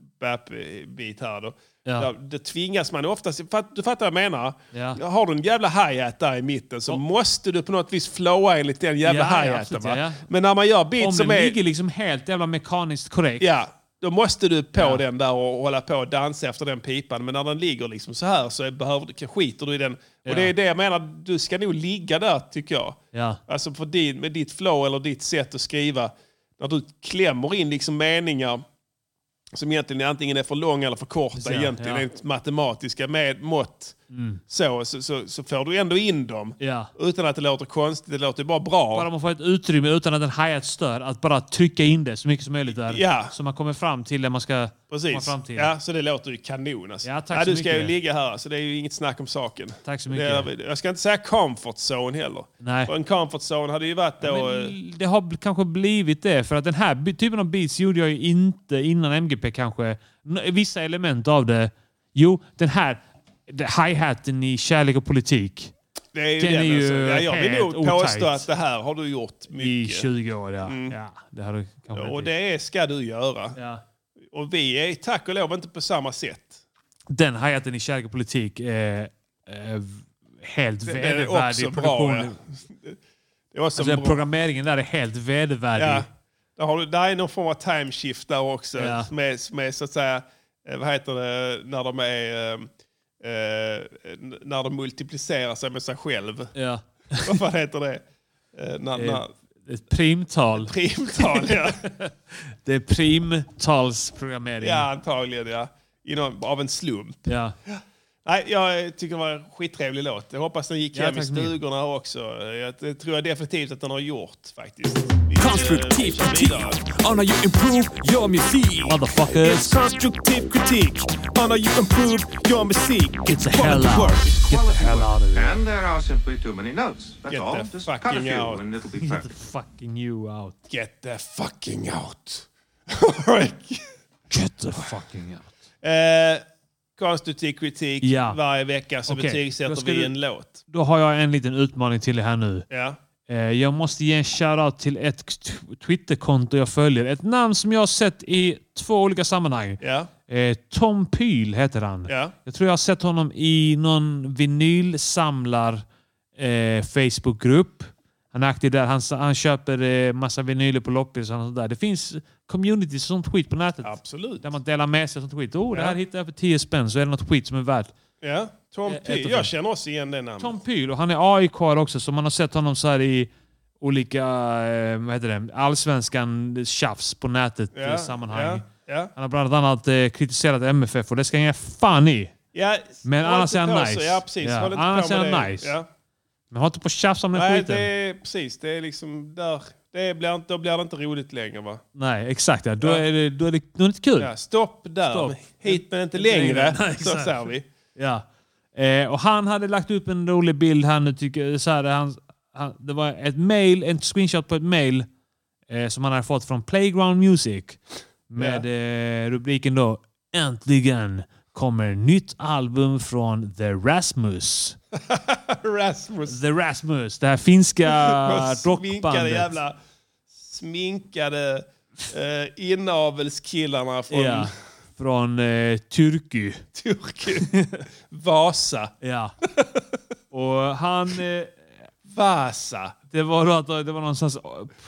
bop-bap-beat eh, här då. Ja. Där, det tvingas man oftast... Fatt, du fattar vad jag menar? Ja. Har du en jävla hi-hat där i mitten så måste du på något vis flowa enligt den jävla Ja, ja, hi-haten. absolut, va? ja, ja. Men när man gör Om beats som den är... ligger liksom helt jävla mekaniskt korrekt. Ja, då måste du på den där och hålla på och dansa efter den pipan. Men när den ligger liksom så här så är- behöver, du- skiter du i den. Ja. Och det är det jag menar, du ska nog ligga där tycker jag. Ja. Alltså för din, med ditt flow eller ditt sätt att skriva. När du klämmer in liksom meningar som egentligen antingen är för långa eller för korta Ja, egentligen ja. enligt matematiska med, mått. Mm. Så, så, så, så får du ändå in dem. Ja. Utan att det låter konstigt, det låter bara bra. Bara man får ett utrymme utan att en hi-hat stör. Att bara trycka in det så mycket som möjligt där. Ja. Så man kommer fram till det man ska komma Precis. fram till. Ja, så det låter ju kanon. Alltså. tack ja, så du ska mycket. ju ligga här, så det är ju inget snack om saken. Tack så Det är- jag ska inte säga comfort zone heller. Nej. Och en comfort zone hade ju varit då... eh, Men det har bl- kanske blivit det. För att den här by- typen av beats gjorde jag ju inte innan MGP kanske. N- Vissa element av det. Jo, den här det- hi-haten i Kärlek och politik. det är ju den är alltså. ju ja, jag vill nog helt påstå otajt. att det här har du gjort mycket. I 20 år, ja. Mm. ja det hade kanske Och inte- det är, ska du göra. Och vi är tack och lov inte på samma sätt. Den hi-haten i Kärlek och politik är, är helt Den- den är också vedervärdig bra, produktion. ja. Det är också Alltså, den bra. programmeringen där är helt vedervärdig. Ja. Där, har du, där är någon form av timeshift där också. Ja. Som, är, som är så att säga, eh, vad heter det, när de är... eh, eh, n- när de multiplicerar sig med *laughs* sig själv. Ja. Vad fan heter det? Eh, när, när, Ett, ett primtal. primtal, *laughs* ja. det är primtalsprogrammering. ja, antagligen ja. Inom, av en slump. Ja. Nej, jag tycker det var en skittrevlig låt. Jag hoppas den gick Ja, hem i tack så mycket. stugorna också. Jag, det tror jag definitivt att den har gjort faktiskt. Eh, Konstruktiv typ. kritik on how you improve your music. Motherfuckers. It's constructive critique on how you improve your music. It's a hell out. Get the hell out of And there are simply too many notes. That's all. Just cut a few and it'll be Get the perfect. fucking you out. Get the fucking out. *laughs* Get the fucking out. Eh, konstruktiv kritik Ja. varje vecka så Okej, då betygsätter ska vi du- en låt. Då har jag en liten utmaning till er här nu. Ja. Eh, Jag måste ge en shoutout till ett t- Twitterkonto jag följer. Ett namn som jag har sett i två olika sammanhang. Ja. Eh, Tom Pyl heter han. Ja. Jag tror jag har sett honom i någon vinylsamlar eh, Facebookgrupp. Han är aktiv där. Han, s- han köper eh, massa vinyler på loppis och sånt där. Det finns community sånt skit på nätet. Absolut. Där man delar med sig av sånt skit. Oh, det Ja. här hittade jag för 10 spänn så är det något skit som är värt. Ja, Tom Eh, ett P. och Jag fem. känner också igen det namnet. Tom Pyl och han är AIK också så man har sett honom så här i olika eh, vad heter det, allsvenskan tjafs på nätet Ja, i sammanhang. ja, ja. Han har bland annat eh, kritiserat MFF och det ska han ge fan i. Ja, Men håll annars inte är han på så. nice. Ja, precis. Ja, Håll inte annars på med är han det. nice. Ja. Men har inte på tjafs om den Nej, det skiten. är precis. Det är liksom där. Det blir, inte- då blir det inte roligt längre va? Nej, exakt. Ja. Då, Ja. Är det, då, är det, då är det inte kul. Ja, stopp där. Stopp. Hit men inte Inte längre. längre. *laughs* Nej, så exakt. säger vi. *laughs* Ja. Eh, och han hade lagt upp en rolig bild här nu. Tycker, så här, han, han, det var ett mail, en screenshot på ett mail eh, som han hade fått från Playground Music. Med eh, rubriken då Äntligen kommer nytt album från The Rasmus. Rasmus. The Rasmus, det här *laughs* finska Och Sminkade rockbandet. jävla sminkade eh, inavelskillarna från *laughs* Ja, från eh, Turku. Turku. Vasa. *laughs* Ja. Och han... Eh, Vasa. Det var, då att det var någon slags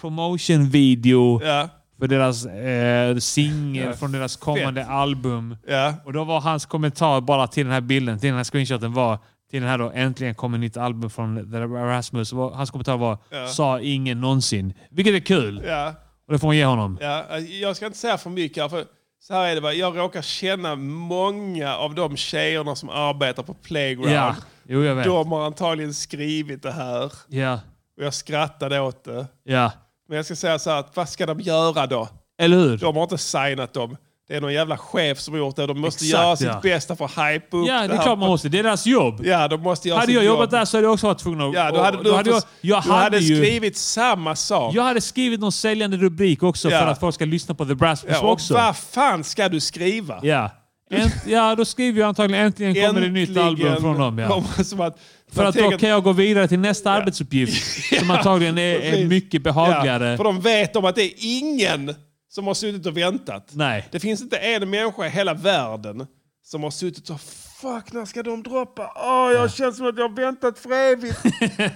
promotion-video Ja. för deras eh, singel från deras kommande album. Och då var hans kommentar bara till den här bilden, till den här screenshoten var till den här då äntligen kommer nytt album från The Erasmus. Och Hans kommentar var Ja. sa ingen någonsin. Vilket är kul. Ja. Och det får man ge honom. Ja, jag ska inte säga för mycket här, för så här är det bara. Jag råkar känna många av de tjejerna som arbetar på Playground. Ja, jo, jag vet. De har antagligen skrivit det här. Ja. Och jag skrattade åt det. Ja. Men jag ska säga så här, att vad ska de göra då? Eller hur? De har inte signat dem. Det är någon jävla chef som har gjort det. De måste Exakt, göra sitt ja. bästa för att hype upp Ja, det är här. klart man måste. Det är deras jobb. Ja, de måste göra Hade sitt jag jobb. jobbat där så hade jag också varit tvungen att... Ja, då hade du, då hade jag, jag du hade ju- skrivit samma sak. Jag hade skrivit någon säljande rubrik också Ja. för att folk ska lyssna på The Brass Ja, Boys och också. vad fan ska du skriva? Ja. Änt, ja, då skriver jag antagligen äntligen kommer det nytt album från dem. Ja. kommer- som att, För jag att då tänker- kan jag gå vidare till nästa arbetsuppgift *laughs* som antagligen är, är precis. mycket behagligare. Ja, för de vet om att det är ingen som har suttit och väntat. Nej. Det finns inte en människa i hela världen som har suttit och Fuck, när ska de droppa? Åh, jag känns som att jag har väntat för evigt.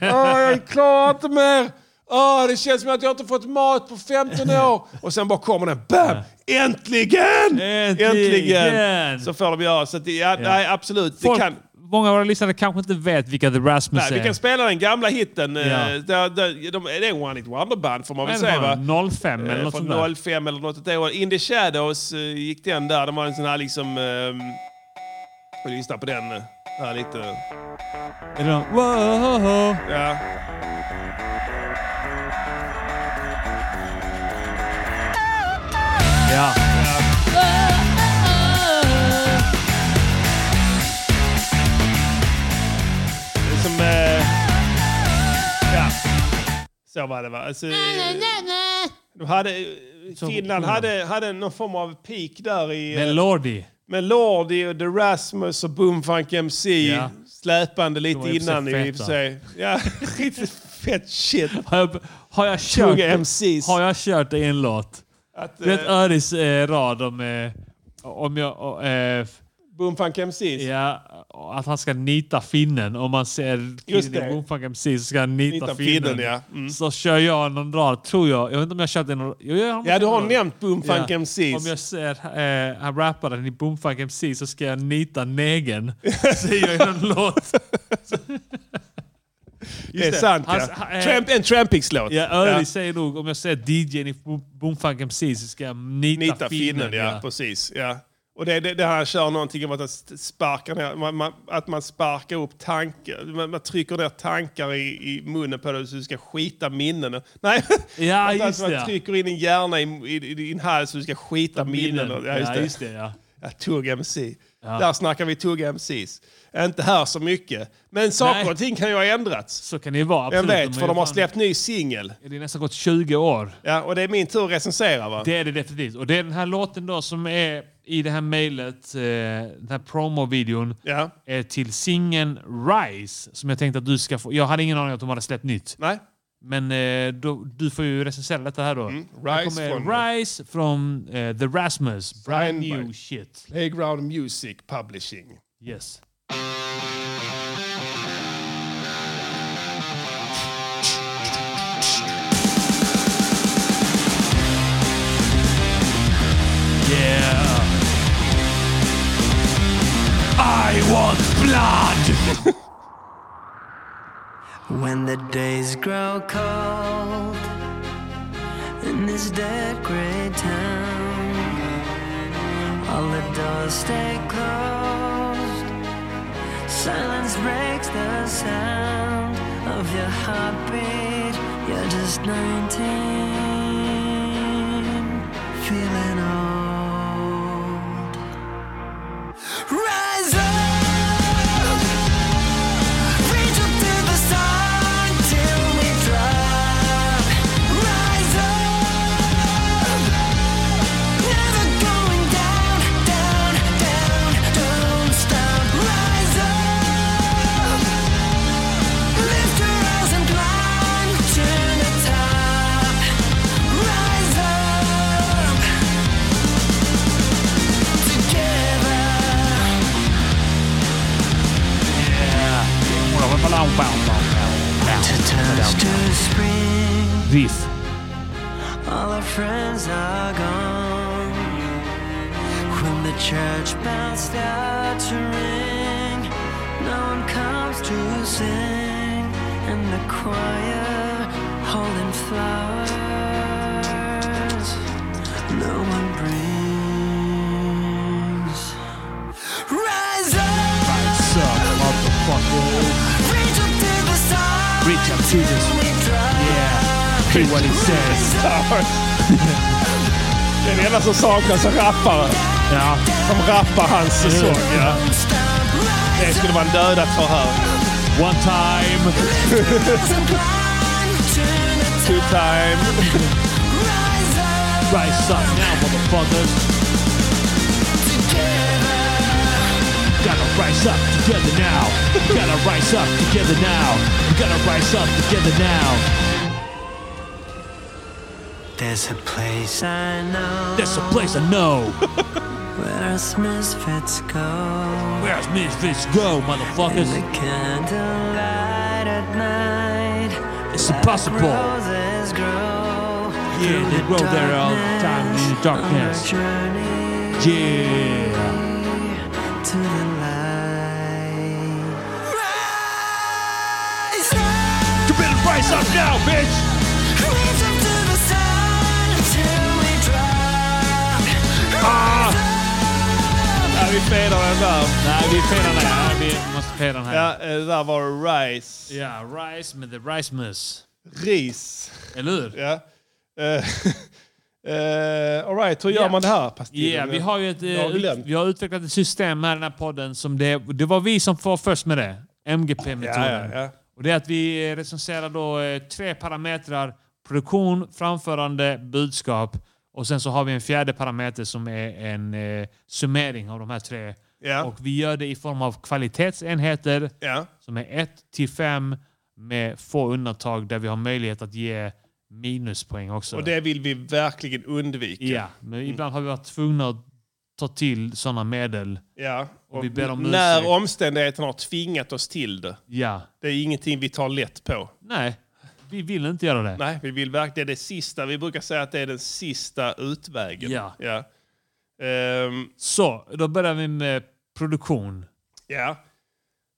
Åh, jag klarar inte mer. Åh, det känns som att jag inte fått mat på 15 år. Och sen bara kommer den. Bam! Äntligen! Äntligen! Så får de göra. Så att, det- ja, Nej, absolut. Folk, det kan, Många av våra lyssnare kanske inte vet vilka The Rasmus Nej, vi är. kan spela den gamla hiten. eh, Ja. där, där, de, det är en One It Wonder-band får man väl Vad säga är va? det från? 05 eller Eh, något sånt där. Från 05 eller något åt det året. In the Shadows eh, gick den där. De har en sån här liksom... Um, vi lyssnar på den eh, här lite. Är det någon- Whoa. Ja. Ja. Det är som... eh, ja. Så var det va? Alltså, eh, de hade, Finland hade, hade någon form av peak där i... eh, Men Lordi. Med Lordi och The Rasmus och Boomfunk MC. Ja. Släpande De lite är i och för sig innan i och för feta. sig. Ja, *laughs* riktigt fett shit. Har jag, har jag kört, Tunga MCs. har jag kört det i en låt? Att, Du vet eh, Öris eh, rad om... Eh, om jag... Eh, f- Boomfunk MCs. ja, att han ska nita finnen. Om man ser Just det. Boomfunk MC så ska han nita, Nita finnen. finnen, ja. Mm. Så kör jag någon rad, tror jag. Jag vet inte om jag har kört en... Jo, jag måste Ja, du har ha- nämnt Boomfunk Ja. MCs. Om jag ser eh, han rapparen i Boomfunk MC så ska jag nita negen. Säger *laughs* jag i någon låt. det är sant Hans- ja. ha- eh, Tramp, en Trampix-låt. Ja, Öri säger nog om jag ser DJn i Bo- Boomfunk MC så ska jag nita, Nita finnen. finnen, ja. Precis. Ja. Och det, det, det här kör någonting om att man st- sparkar ner, man, man, att man sparkar upp tankar, man, man trycker ner tankar i, i munnen på dig så du ska skita minnen. Nej, *laughs* Ja, att just man det, ja. trycker in din hjärna i, i, i din hals så du ska skita minnen. Minnen. Ja, just det. ja. Ja, Tugg MC. Där snackar vi Tugg MCs. Inte här så mycket. Men saker Nej. och ting kan ju ha ändrats. Så kan det ju vara. Jag Absolut. vet, för ju de har fan- släppt ny singel. Det är nästan gått 20 år. Ja, och det är min tur att recensera va? Det är det definitivt. Och det är den här låten då som är i det här mejlet, eh, den här promovideon Ja. eh, till singeln Rise. Som jag tänkte att du ska få. Jag hade ingen aning om att de hade släppt nytt. Nej? Men eh, då, du får ju recensera detta här då. Mm, Rise från- från... Rise från eh, The Rasmus. Brand Signed by- new shit. Playground Music Publishing. Yes. Yeah! I want blood! When the days grow cold in this dead gray town, all the doors stay closed. Silence breaks the sound of your heartbeat. You're just 19, feeling old. Rise up! Reach up to the sun till we drop. Rise up. Never going down, down, down. Don't stop. Rise up. Lift your eyes and climb to the top. spring. Riff. All our friends are gone. When the church bells start to ring, no one comes to sing. And the choir holding flowers, no one brings. Rise up, So, motherfucker. reach up to the stars. Reach up to the Yeah. Hear what he says. Det är det enda som saknas som rappare. Ja. Mm. Som rappar hans sång. Ja. Det skulle man dödat för här. One time. *laughs* Two time. *laughs* Rise up now, motherfuckers. Gotta rise up together now. Gotta rise up together now. Gotta rise up together now. There's a place I know. There's a place I know. Where us misfits go. Where's Misfits go, motherfuckers? In the candlelight at night. It's impossible. Roses grow. Yeah, they grow there all the time in the darkness. Yeah. To the light. Rise up, You better rise up now, bitch! reach up to the sun until we drop. Ja, vi fedar den där. Nej, vi felar den här. Vi måste fela den här. Ja, eh, där var det Rice. Ja, Rice med The Rice Mus. Ris. Eller hur? Ja. Eh, eh, all right, hur gör Ja. man det här? Ja, pastillen? vi har ju ett, eh, Jag har ut, glömt. vi har utvecklat ett system här i den här podden som det, det var vi som var först med det. MGP-metoden. Ja, ja, ja. Och det är att vi eh, recenserar då eh, tre parametrar. Produktion, framförande, budskap. Och sen så har vi en fjärde parameter som är en eh, summering av de här tre. Ja. Och vi gör det i form av kvalitetsenheter. Ja. som är 1 till 5 med få undantag där vi har möjlighet att ge minuspoäng också. Och det vill vi verkligen undvika. ja, Mm. men ibland har vi varit tvungna att ta till sådana medel. Ja. Och vi ber om när ursäkt. omständigheterna har tvingat oss till det. Ja, Det är ingenting vi tar lätt på. nej, vi vill inte göra det. Nej, vi vill verkligen det är det sista. Vi brukar säga att det är den sista utvägen. Ja. Ja. Ehm, Så, då börjar vi med produktion. ja.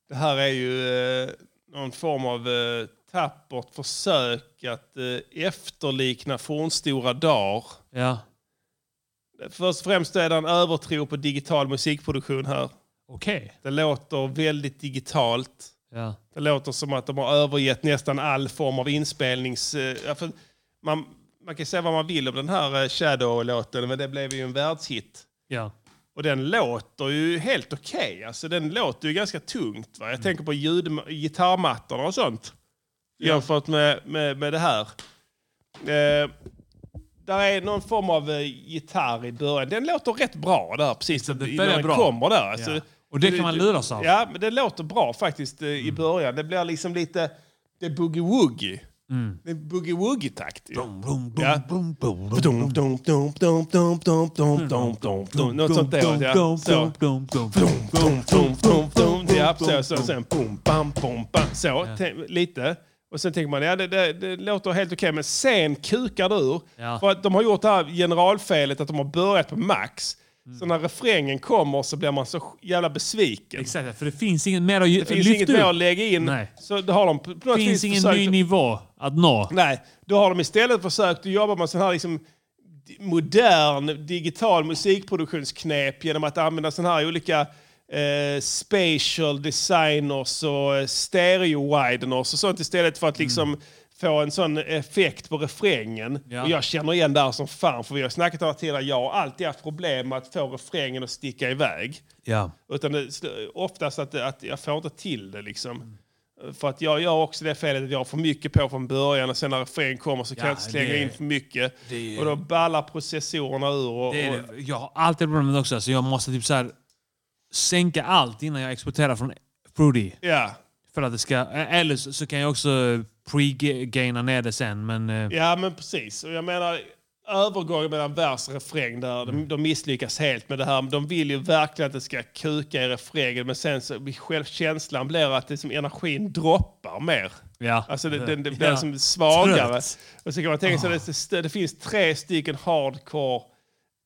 Det här är ju eh, någon form av eh, tappert försök att eh, efterlikna fornstora dagar. Ja, Först och främst är det en övertro på digital musikproduktion här. okej. Det låter väldigt digitalt. Ja. Det låter som att de har övergett nästan all form av inspelnings... eh, ja, för Man, man kan säga vad man vill om den här eh, Shadow-låten, men det blev ju en världshit. ja. Och den låter ju helt okej. Alltså, den låter ju ganska tungt. Va? Jag Mm. tänker på ljud, gitarrmattorna och sånt jämfört med, med, med det här. Eh, där är någon form av eh, gitarr i början. Den låter rätt bra där precis det börjar i- när den bra. kommer där. Alltså, ja. Och det kan man luras av. Ja, men det låter bra faktiskt eh, i början. Det blir liksom lite... Det är boogie-woogie. Det är boogie-woogie-takt. ju. Ja. Dum, dum, dum, dum, dum, dum, dum, dum, dum, dum. Något sånt där. ja. Så. Dum, dum, dum, dum. Ja, så, så. Sen bum, bam, bum, bam. Så, te- lite. Och sen tänker man, ja det, det, det låter helt okej, men sen kukar det ur. Ja. För att de har gjort det här generalfelet att de har börjat på max. Mm. Så när refrängen kommer så blir man så jävla besviken. Exakt, ja, för det finns inget mer att ju- Det finns lyfta inget upp. mer att lägga in. Nej. Så då har de på på något Det finns vis ingen försökt- ny nivå att nå. *laughs* Nej, då har de istället försökt att jobba med sån här liksom di- modern digital musikproduktionsknep genom att använda sån här olika eh, spatial designers och eh, stereo wideners och sånt istället för att Mm. liksom få en sån effekt på refrängen. Ja. Och jag känner igen där som fan, för vi har snackat om det här tidigare. Jag har alltid haft problem med att få refrängen att sticka iväg. Ja. Utan det, sl- oftast att, att jag får inte till det liksom. För att jag gör också det felet att jag har för mycket på från början och sen när refrängen kommer så kan Ja, jag inte slänga det- in för mycket. det- och då ballar processorerna ur. Och, Det är och, det. Jag har alltid problem med det också. Alltså jag måste typ så här sänka allt innan jag exporterar från Fruity. ja. För att det ska, eller så så kan jag också pre-gaina ner det sen. Men eh, ja, men precis. Och jag menar, övergången mellan vers och refräng där de, de misslyckas helt med det här. De vill ju verkligen att det ska kuka i refrängen men sen så blir självkänslan blir att det som energin droppar mer. Ja. Alltså det, den, den Ja. blir som svagare. Trött. Och så kan man tänka sig att det, det finns tre stycken hardcore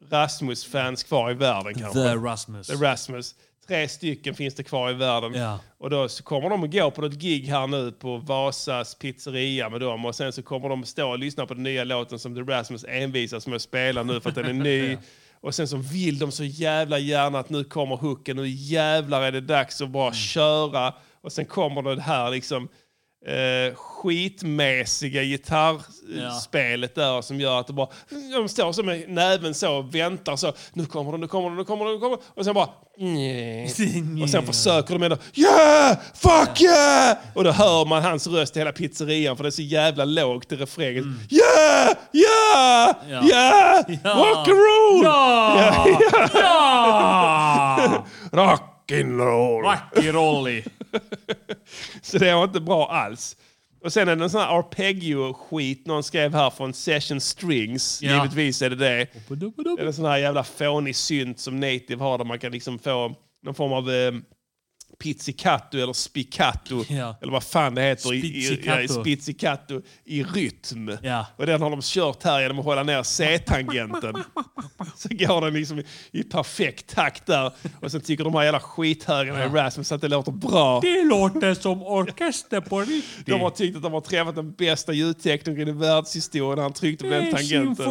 Rasmus-fans kvar i världen kanske. The Rasmus. The Rasmus. Tre stycken finns det kvar i världen. Ja. Och då så kommer de att gå på något gig här nu på Vasas pizzeria med dem och sen så kommer de att stå och lyssna på den nya låten som The Rasmus envisas med att spela nu för att den är ny. Och sen så vill de så jävla gärna att nu kommer hooken, nu jävlar är det dags att bara köra. Och sen kommer det här liksom eh, skitmäsiga gitarrspelet där som gör att det bara... De står så med näven så och väntar så. Nu kommer de, nu kommer de, nu kommer de, nu kommer de. Och sen bara... *laughs* Och sen försöker de ändå... Yeah! Fuck yeah! Och då hör man hans röst i hela pizzerian för det är så jävla lågt i refrängen. Mm. Yeah! Yeah! Yeah! Rock and roll! Ja! *laughs* Ja! *laughs* Ja! Rock'n'roll! Rock'n'rolly! så det var inte bra alls. Och sen är det en sån här arpeggio-skit någon skrev här från Session Strings. Ja. Givetvis är det det. Det är en sån här jävla fånig synt som Native har där man kan liksom få någon form av eh, pizzicato eller spiccato. Ja. Eller vad fan det heter. i- i- ja, i Spizzicato. Spizzicato i rytm. Ja. Och den har de kört här genom att hålla ner C-tangenten. *laughs* Så går den liksom i, i perfekt takt där. Och sen tycker de här jävla skithögarna i Rasmus att det låter bra. Det låter som orkester *laughs* på riktigt. De har tyckt att de har träffat den bästa ljudteknikern i världshistorien. Han tryckte på den tangenten.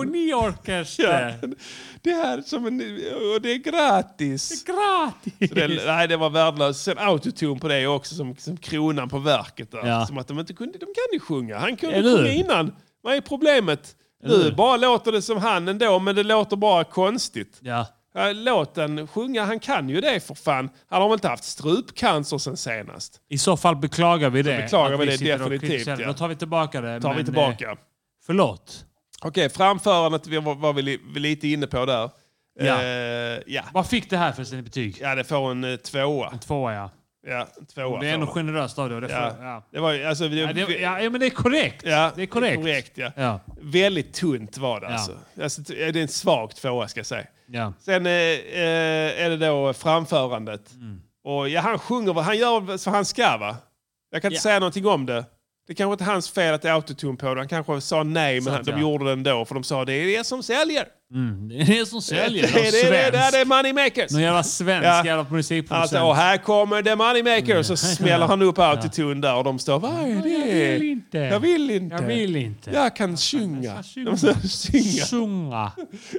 symfoniorkester. Ja, det här är som en... Och det är gratis. Det är gratis. Så det, nej, det var värdelöst. Sen autotune på det också som, som kronan på verket. Där. Ja. Som att de inte kunde... De kan ju sjunga. Han kunde Eller hur? sjunga innan. Vad är problemet? Eller hur? Nu bara låter det som han ändå, men det låter bara konstigt. Ja. Ja, Låt den sjunga. Han kan ju det för fan. Han har väl inte haft strupcancer sen senast? I så fall beklagar vi det. beklagar att vi det sitter och definitivt, kritiserar. ja. Då tar vi tillbaka det. Tar vi men, tillbaka. eh, Förlåt. Okej, framförandet vi var, var vi li- vi lite inne på där. Ja. Eh, ja. Vad fick det här för sin betyg? Ja, det får en eh, tvåa. En tvåa, ja. Ja, en tvåa. Det är får ändå det. generöst av dig. och Det, Ja. får- ja. Det var ju- alltså, det, Ja, det- ja, ja, men det är korrekt. Ja, det är korrekt. ja. Ja. Väldigt tunt var det Ja. alltså. alltså. t- ja, Det är en svag tvåa ska jag säga. Ja. Sen eh, eh, är det då framförandet. Mm. Och ja, han sjunger, vad- han gör väl så han ska va? Jag kan inte Ja. säga någonting om det. Det kanske inte är hans fel att det är autotune på det. Han kanske sa nej, men Sant, han, de ja. gjorde det ändå. För de sa det är det som säljer. Mm. Det är det som säljer. Det, det, det, det, det, Svensk. det är moneymakers. Någon jävla svensk Ja. jävla musikproducent. Alltså, och här kommer The Moneymakers och smäller han upp autotune där och de står Vad är det? Jag vill inte. Jag vill inte. Jag vill inte. Jag kan sjunga. sjunga. De ska sjunga. Sjunga.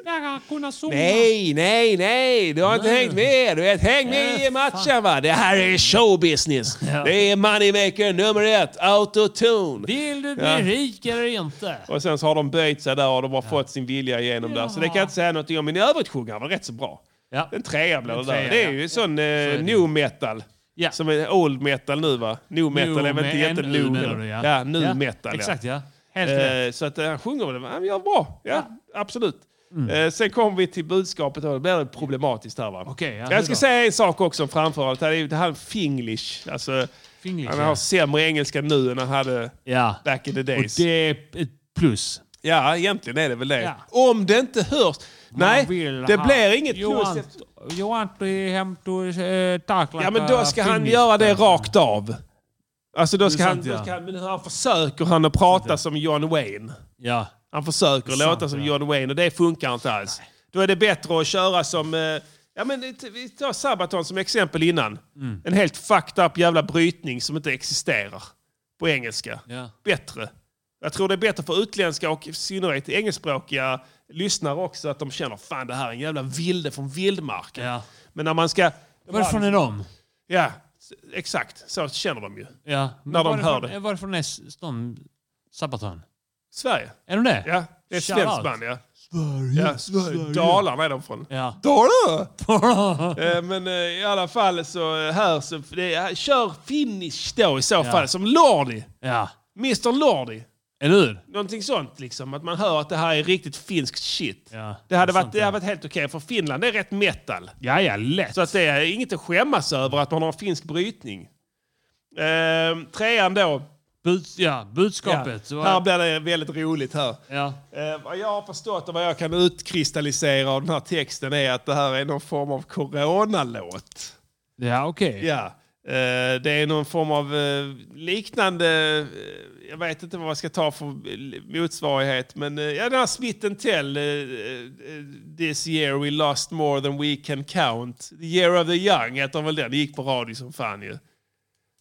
Jag har kunnat sjunga. Nej, nej, nej! Du har inte Nej. hängt med! Du vet, häng med i matchen va! Det här är showbusiness! Det är moneymaker nummer ett, autotune! Vill du bli Ja. rik eller inte? Och sen så har de böjt sig där och de har fått sin vilja igenom där. Så det kan jag inte säga någonting om. Men i övrigt sjunger han väl rätt så bra. Ja. En trea blir det En där. trea, Det är ja. ju sån eh, new metal. Som är old metal nu va? New metal är väl inte med en U jättenow? menar du, Ja. ja. ja, new Ja, metal ja. exakt, ja. Helt Eh, rätt. Så att eh, han sjunger väl, han gör bra. Ja, absolut. Mm. Eh, sen kommer vi till budskapet och då blir det problematiskt här va? Okej, ja, hur jag ska då? säga en sak också om framförandet. Det här är ju- Det här är finglish. Alltså, Finglish, han ja. har sämre engelska nu än han hade Ja. back in the Och days. det är ett plus. Ja, egentligen är det väl det. Om det inte hörs. Nej, det blir inget plus. efter- Johan tog hem till eh, tackla. Ja, men då ska han göra det rakt av. Alltså då Det är ska han... sant, Då ja. ska han men han försöker han att prata som John Wayne. Ja. Han försöker Det är låta sant, som John Wayne och det funkar inte alls. Då är det bättre att köra som... eh, Ja, men det- vi tar Sabaton som exempel innan. Mm. En helt fucked up jävla brytning som inte existerar på engelska. Ja. Bättre. Jag tror det är bättre för utländska och i synnerhet engelskspråkiga lyssnare också att de känner fan det här är en jävla vilde från vildmarken. Men när man ska... Varifrån är de? Ja, s- exakt. Så känner de ju. Ja. När de hör varifrån, det. Varifrån är s- de Sabaton? Sverige. Är de det? Ja, det är ett Shout svenskt out. band. Ja. Sverige, ja, Sverige. Dalarna är de från. Ja. Dalarna! *laughs* Eh, Men eh, i alla fall så eh, här så... Det är, kör finish då i så fall, som Lordi. Ja. Mr Lordi. Eller hur? Någonting sånt liksom. Att man hör att det här är riktigt finskt shit. Ja. Det hade, Det är varit, det hade varit helt okej, för Finland är rätt metal. Ja, ja, lätt. Så att det är inget att skämmas över att man har en finsk brytning. Ehm, trean då. Buds ja, budskapet. Ja. Här blir det väldigt roligt här. Ja. Eh, vad jag har förstått och vad jag kan utkristallisera av den här texten är att det här är någon form av coronalåt. Ja, okej. Ja. Eh, det är någon form av eh, liknande, eh, jag vet inte vad jag ska ta för eh, motsvarighet, men eh, ja, den här Smith Tell, eh, eh, This year we lost more than we can count. The year of the young heter väl den, det gick på radio som fan ju.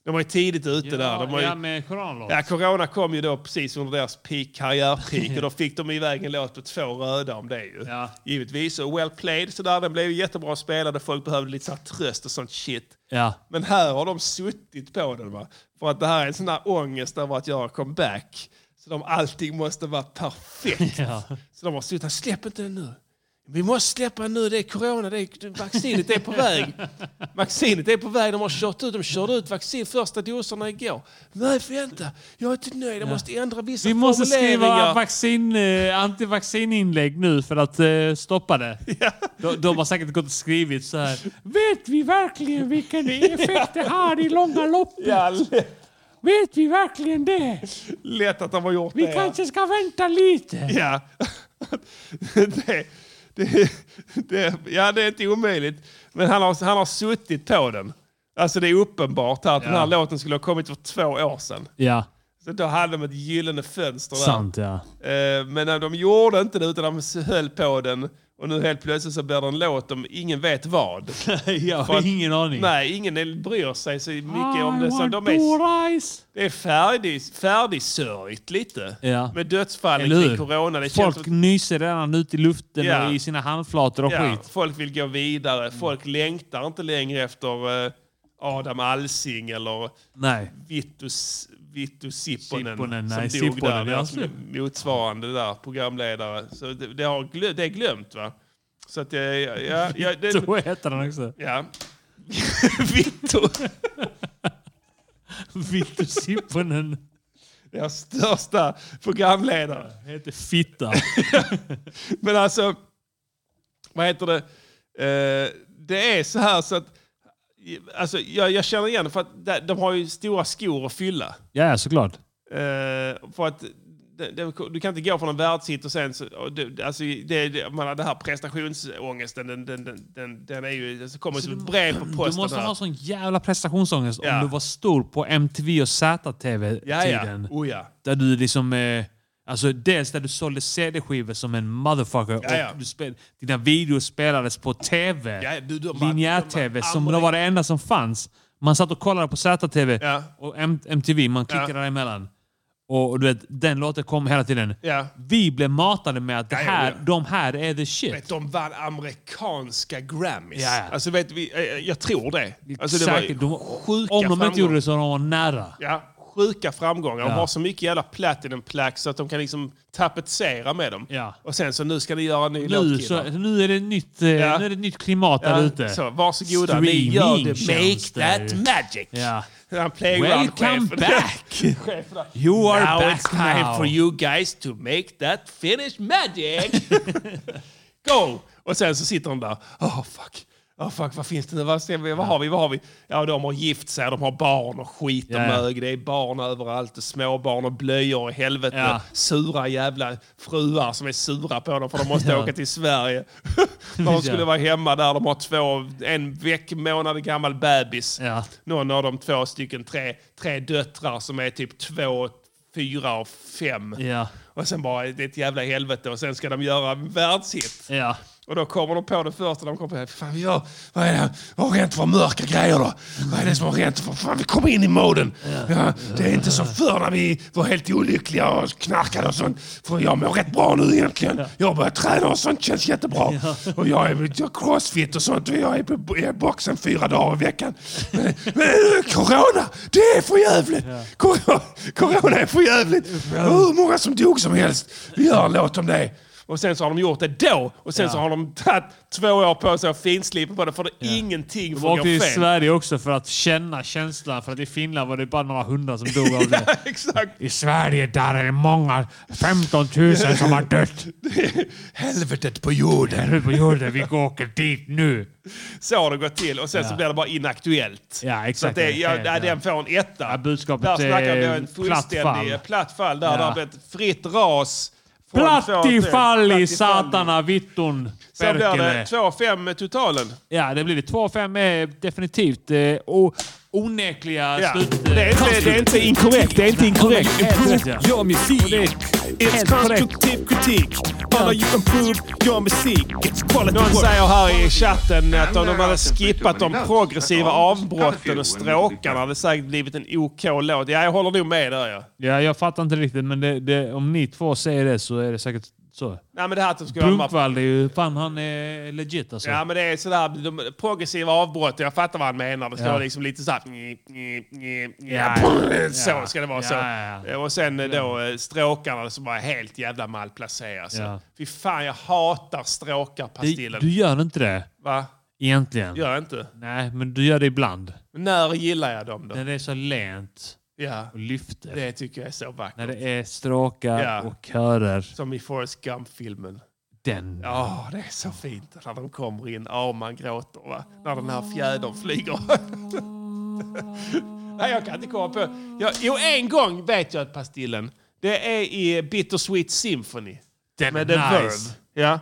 De var ju tidigt ute där. De var ju, ja, med koranlåt. Ja, corona kom ju då precis under deras peak, karriärpeak och då fick de iväg en låt på två röda om det ju. Ja. Givetvis. Och Well Played, så där, den blev ju jättebra spelad och folk behövde lite så här tröst och sånt shit. Ja. Men här har de suttit på den va. För att det här är en sån här ångest över att göra comeback. Så de allting måste vara perfekt. Ja. Så de har suttit här, släpp inte den nu. Vi måste släppa den nu, det är corona, det är, vaccinet är på väg. Vaccinet är på väg, de har kört ut, de körde ut vaccin första doserna igår. Nej, vänta, jag är inte nöjd, jag måste ändra vissa Vi måste skriva formuleringar. vaccin, eh, antivaccininlägg nu för att eh, stoppa det. De, de har säkert gått och skrivit så här. Vet vi verkligen *laughs* vilken effekt det har i långa loppet? *laughs* Ja, lätt, Vet vi verkligen det? lätt att de har gjort Vi det. kanske ska vänta lite. Ja. *laughs* det, det, det, ja, det är inte omöjligt. Men han har, han har suttit på den. Alltså det är uppenbart här att den här låten skulle ha kommit för två år sedan. Ja, Så då hade de ett gyllene fönster där. sant ja. Eh, Men eh, de gjorde inte det utan de höll på den. Och nu helt plötsligt så blir det en låt om ingen *laughs* vet vad. Jag För att- har ingen aning. Nej, ingen bryr sig så mycket om I det. Så want de to är, rise. det är färdig, färdigsörjt lite. Ja. Med dödsfallen Eller hur? kring corona. Det känns Folk som att- nyser redan ut i luften Ja. och i sina handflator och Ja, skit. folk vill gå vidare. Folk längtar inte längre efter eh, Adam Alsing eller Nej. Vittus, Vittus Sipponen, Sipponen, som nej, dog Sipponen, där. ja, Ja, som är motsvarande där, programledare. Så det, det, har glö, det är glömt va? Så att jag... Ja, ja, ja, det, Så heter den också. ja. *laughs* Vittu. Vittu Sipponen Deras största programledare. heter Fitta. Men alltså, vad heter det? Eh, det är så här så att, alltså, jag, jag känner igen det för att de- de har ju stora skor att fylla. Ja, såklart. Eh, för att det, det, du kan inte gå från en världshit och sen så, och det, alltså, det, det, man har den här prestationsångesten, den, den, den, den, den är ju, alltså, kommer som ett brev på Du posten. måste här. ha sån jävla prestationsångest Alltså- Ja. om du var stor på MTV och ja, ja. ZTV-tiden. Oh, ja. Där du liksom... Eh, alltså dels där du sålde CD-skivor som en motherfucker Ja, ja. och du spel, dina videor spelades på TV. Ja, du, de var- de Linjär-TV var som aldrig- det var det enda som fanns. Man satt och kollade på ZTV Ja. och M- MTV, man klickade däremellan. Och, och du vet, den låten kom hela tiden. Ja. Vi blev matade med att det Ja, ja, här, ja. de här är the shit. Vet, de vann amerikanska Grammys. Ja, ja. Alltså, vet, vi, eh, jag tror det. Alltså, det var Säkert. De var sjuka Om de inte gjorde framgångar. det så var de nära. Ja, sjuka framgångar. Ja. De har så mycket jävla platinum plaques så att de kan liksom tapetsera med dem. Ja. Och sen så nu ska ni göra en ny Nu, låt så, killar. nu, är det ett nytt, eh, Ja. nu är det ett nytt klimat där ute. Så, varsågoda, ni gör det. Streamingtjänster. Make that magic! Ja. Den Welcome playground-chefen. *laughs* back! Chefen där. You are now back it's time now. for you guys to make that Finnish magic! *laughs* Go! Och sen så sitter de där. Oh fuck. Oh fuck, vad finns det nu? Vad, ser vi? vad har vi? Vad har vi? Ja, de har gift sig, de har barn och skit och Ja. mög. Det är barn överallt och småbarn och blöjor och helvete. Ja. Sura jävla fruar som är sura på dem för de måste Ja. åka till Sverige. *laughs* de skulle Ja. vara hemma där, de har två, en veck, månad gammal bebis Ja. någon av de två stycken tre, tre döttrar som är typ två, fyra och fem. Ja. Och sen bara, det är ett jävla helvete och sen ska de göra en världshit. Ja. Och då kommer de på det första de kommer på. Eh, Fan, vi gör, vad är det? Vad har hänt för mörka grejer då? Vad är det som har hänt? För fan, vi kom in i moden. Ja, det är inte som förr när vi var helt olyckliga och knarkade och sånt. För jag mår rätt bra nu egentligen. Jag har börjat träna och sånt känns jättebra. Och jag är jag är crossfit och sånt. Och jag är på i boxen fyra dagar i veckan. Men, men nu, corona, det är för jävligt. Corona, corona är för jävligt. Och Hur många som dog som helst. Vi gör en låt om det. Och sen så har de gjort det då. Och sen Ja. så har de tagit två år på sig och finslipat på det. För det är ingenting De får gå åkte i fel. Sverige också för att känna känslan. För att i Finland var det bara några hundra som dog av *laughs* det. *laughs* Exakt. I Sverige där är det många, 15 000 som har dött. *laughs* Helvetet på jorden. Helvetet på jorden. Vi går och åker dit nu. Så har det gått till. Och sen Ja. så blir det bara inaktuellt. Ja, exakt. Så att det, ja, Ja, ja, den får en etta. budskapet där snackar vi är en platt fullständig fall. platt fall. Där Ja. det har blivit fritt ras. från två Platt i till- fall i platt i fall. satana vitton Så blir det perkele. 2-5 totalen. Ja, det blir det. 2-5 är definitivt eh, o- onekliga Ja. slut... Det är inte- det är inte inkorrekt, det är inte inkorrekt. Gör musik. It's constructive critique. How you improve your music? It's quality Någon work. säger här i chatten att om de hade skippat de progressiva avbrotten och stråkarna hade det säkert blivit en OK låt. Ja, jag håller nog med där ja. Ja, jag fattar inte riktigt, men det, det, om ni två säger det så är det säkert så. Nej, men det här att de skulle ha de här- Brunkvall är ju... Fan, han är legit alltså. Ja, men det är sådär de progressiva avbrott. Jag fattar vad han menar. Det står Ja. liksom lite såhär... nj, nj, nj, nj, Ja, ja. Så ska det vara. Ja, så. ja, Och sen eh, då eh, stråkarna som var helt jävla malplacerade. så. Ja. Fy fan, jag hatar Du, stråkarpastillen. du gör inte det. Va? Egentligen. Gör jag inte? Nej, men du gör det ibland. När gillar jag dem då? När det är så lent Ja. och lyfter. Det tycker jag är så vackert. När det är stråkar Ja. och körer. Som i Forrest Gump-filmen. Den. Ja, det är så fint när de kommer in. Ja, man gråter va? När den här fjädern *laughs* flyger. Nej, jag kan inte komma på. Jag, jo, en gång vet jag att Pastillen, det är i Bittersweet Symphony. Den Med är The Verve. nice. Ja.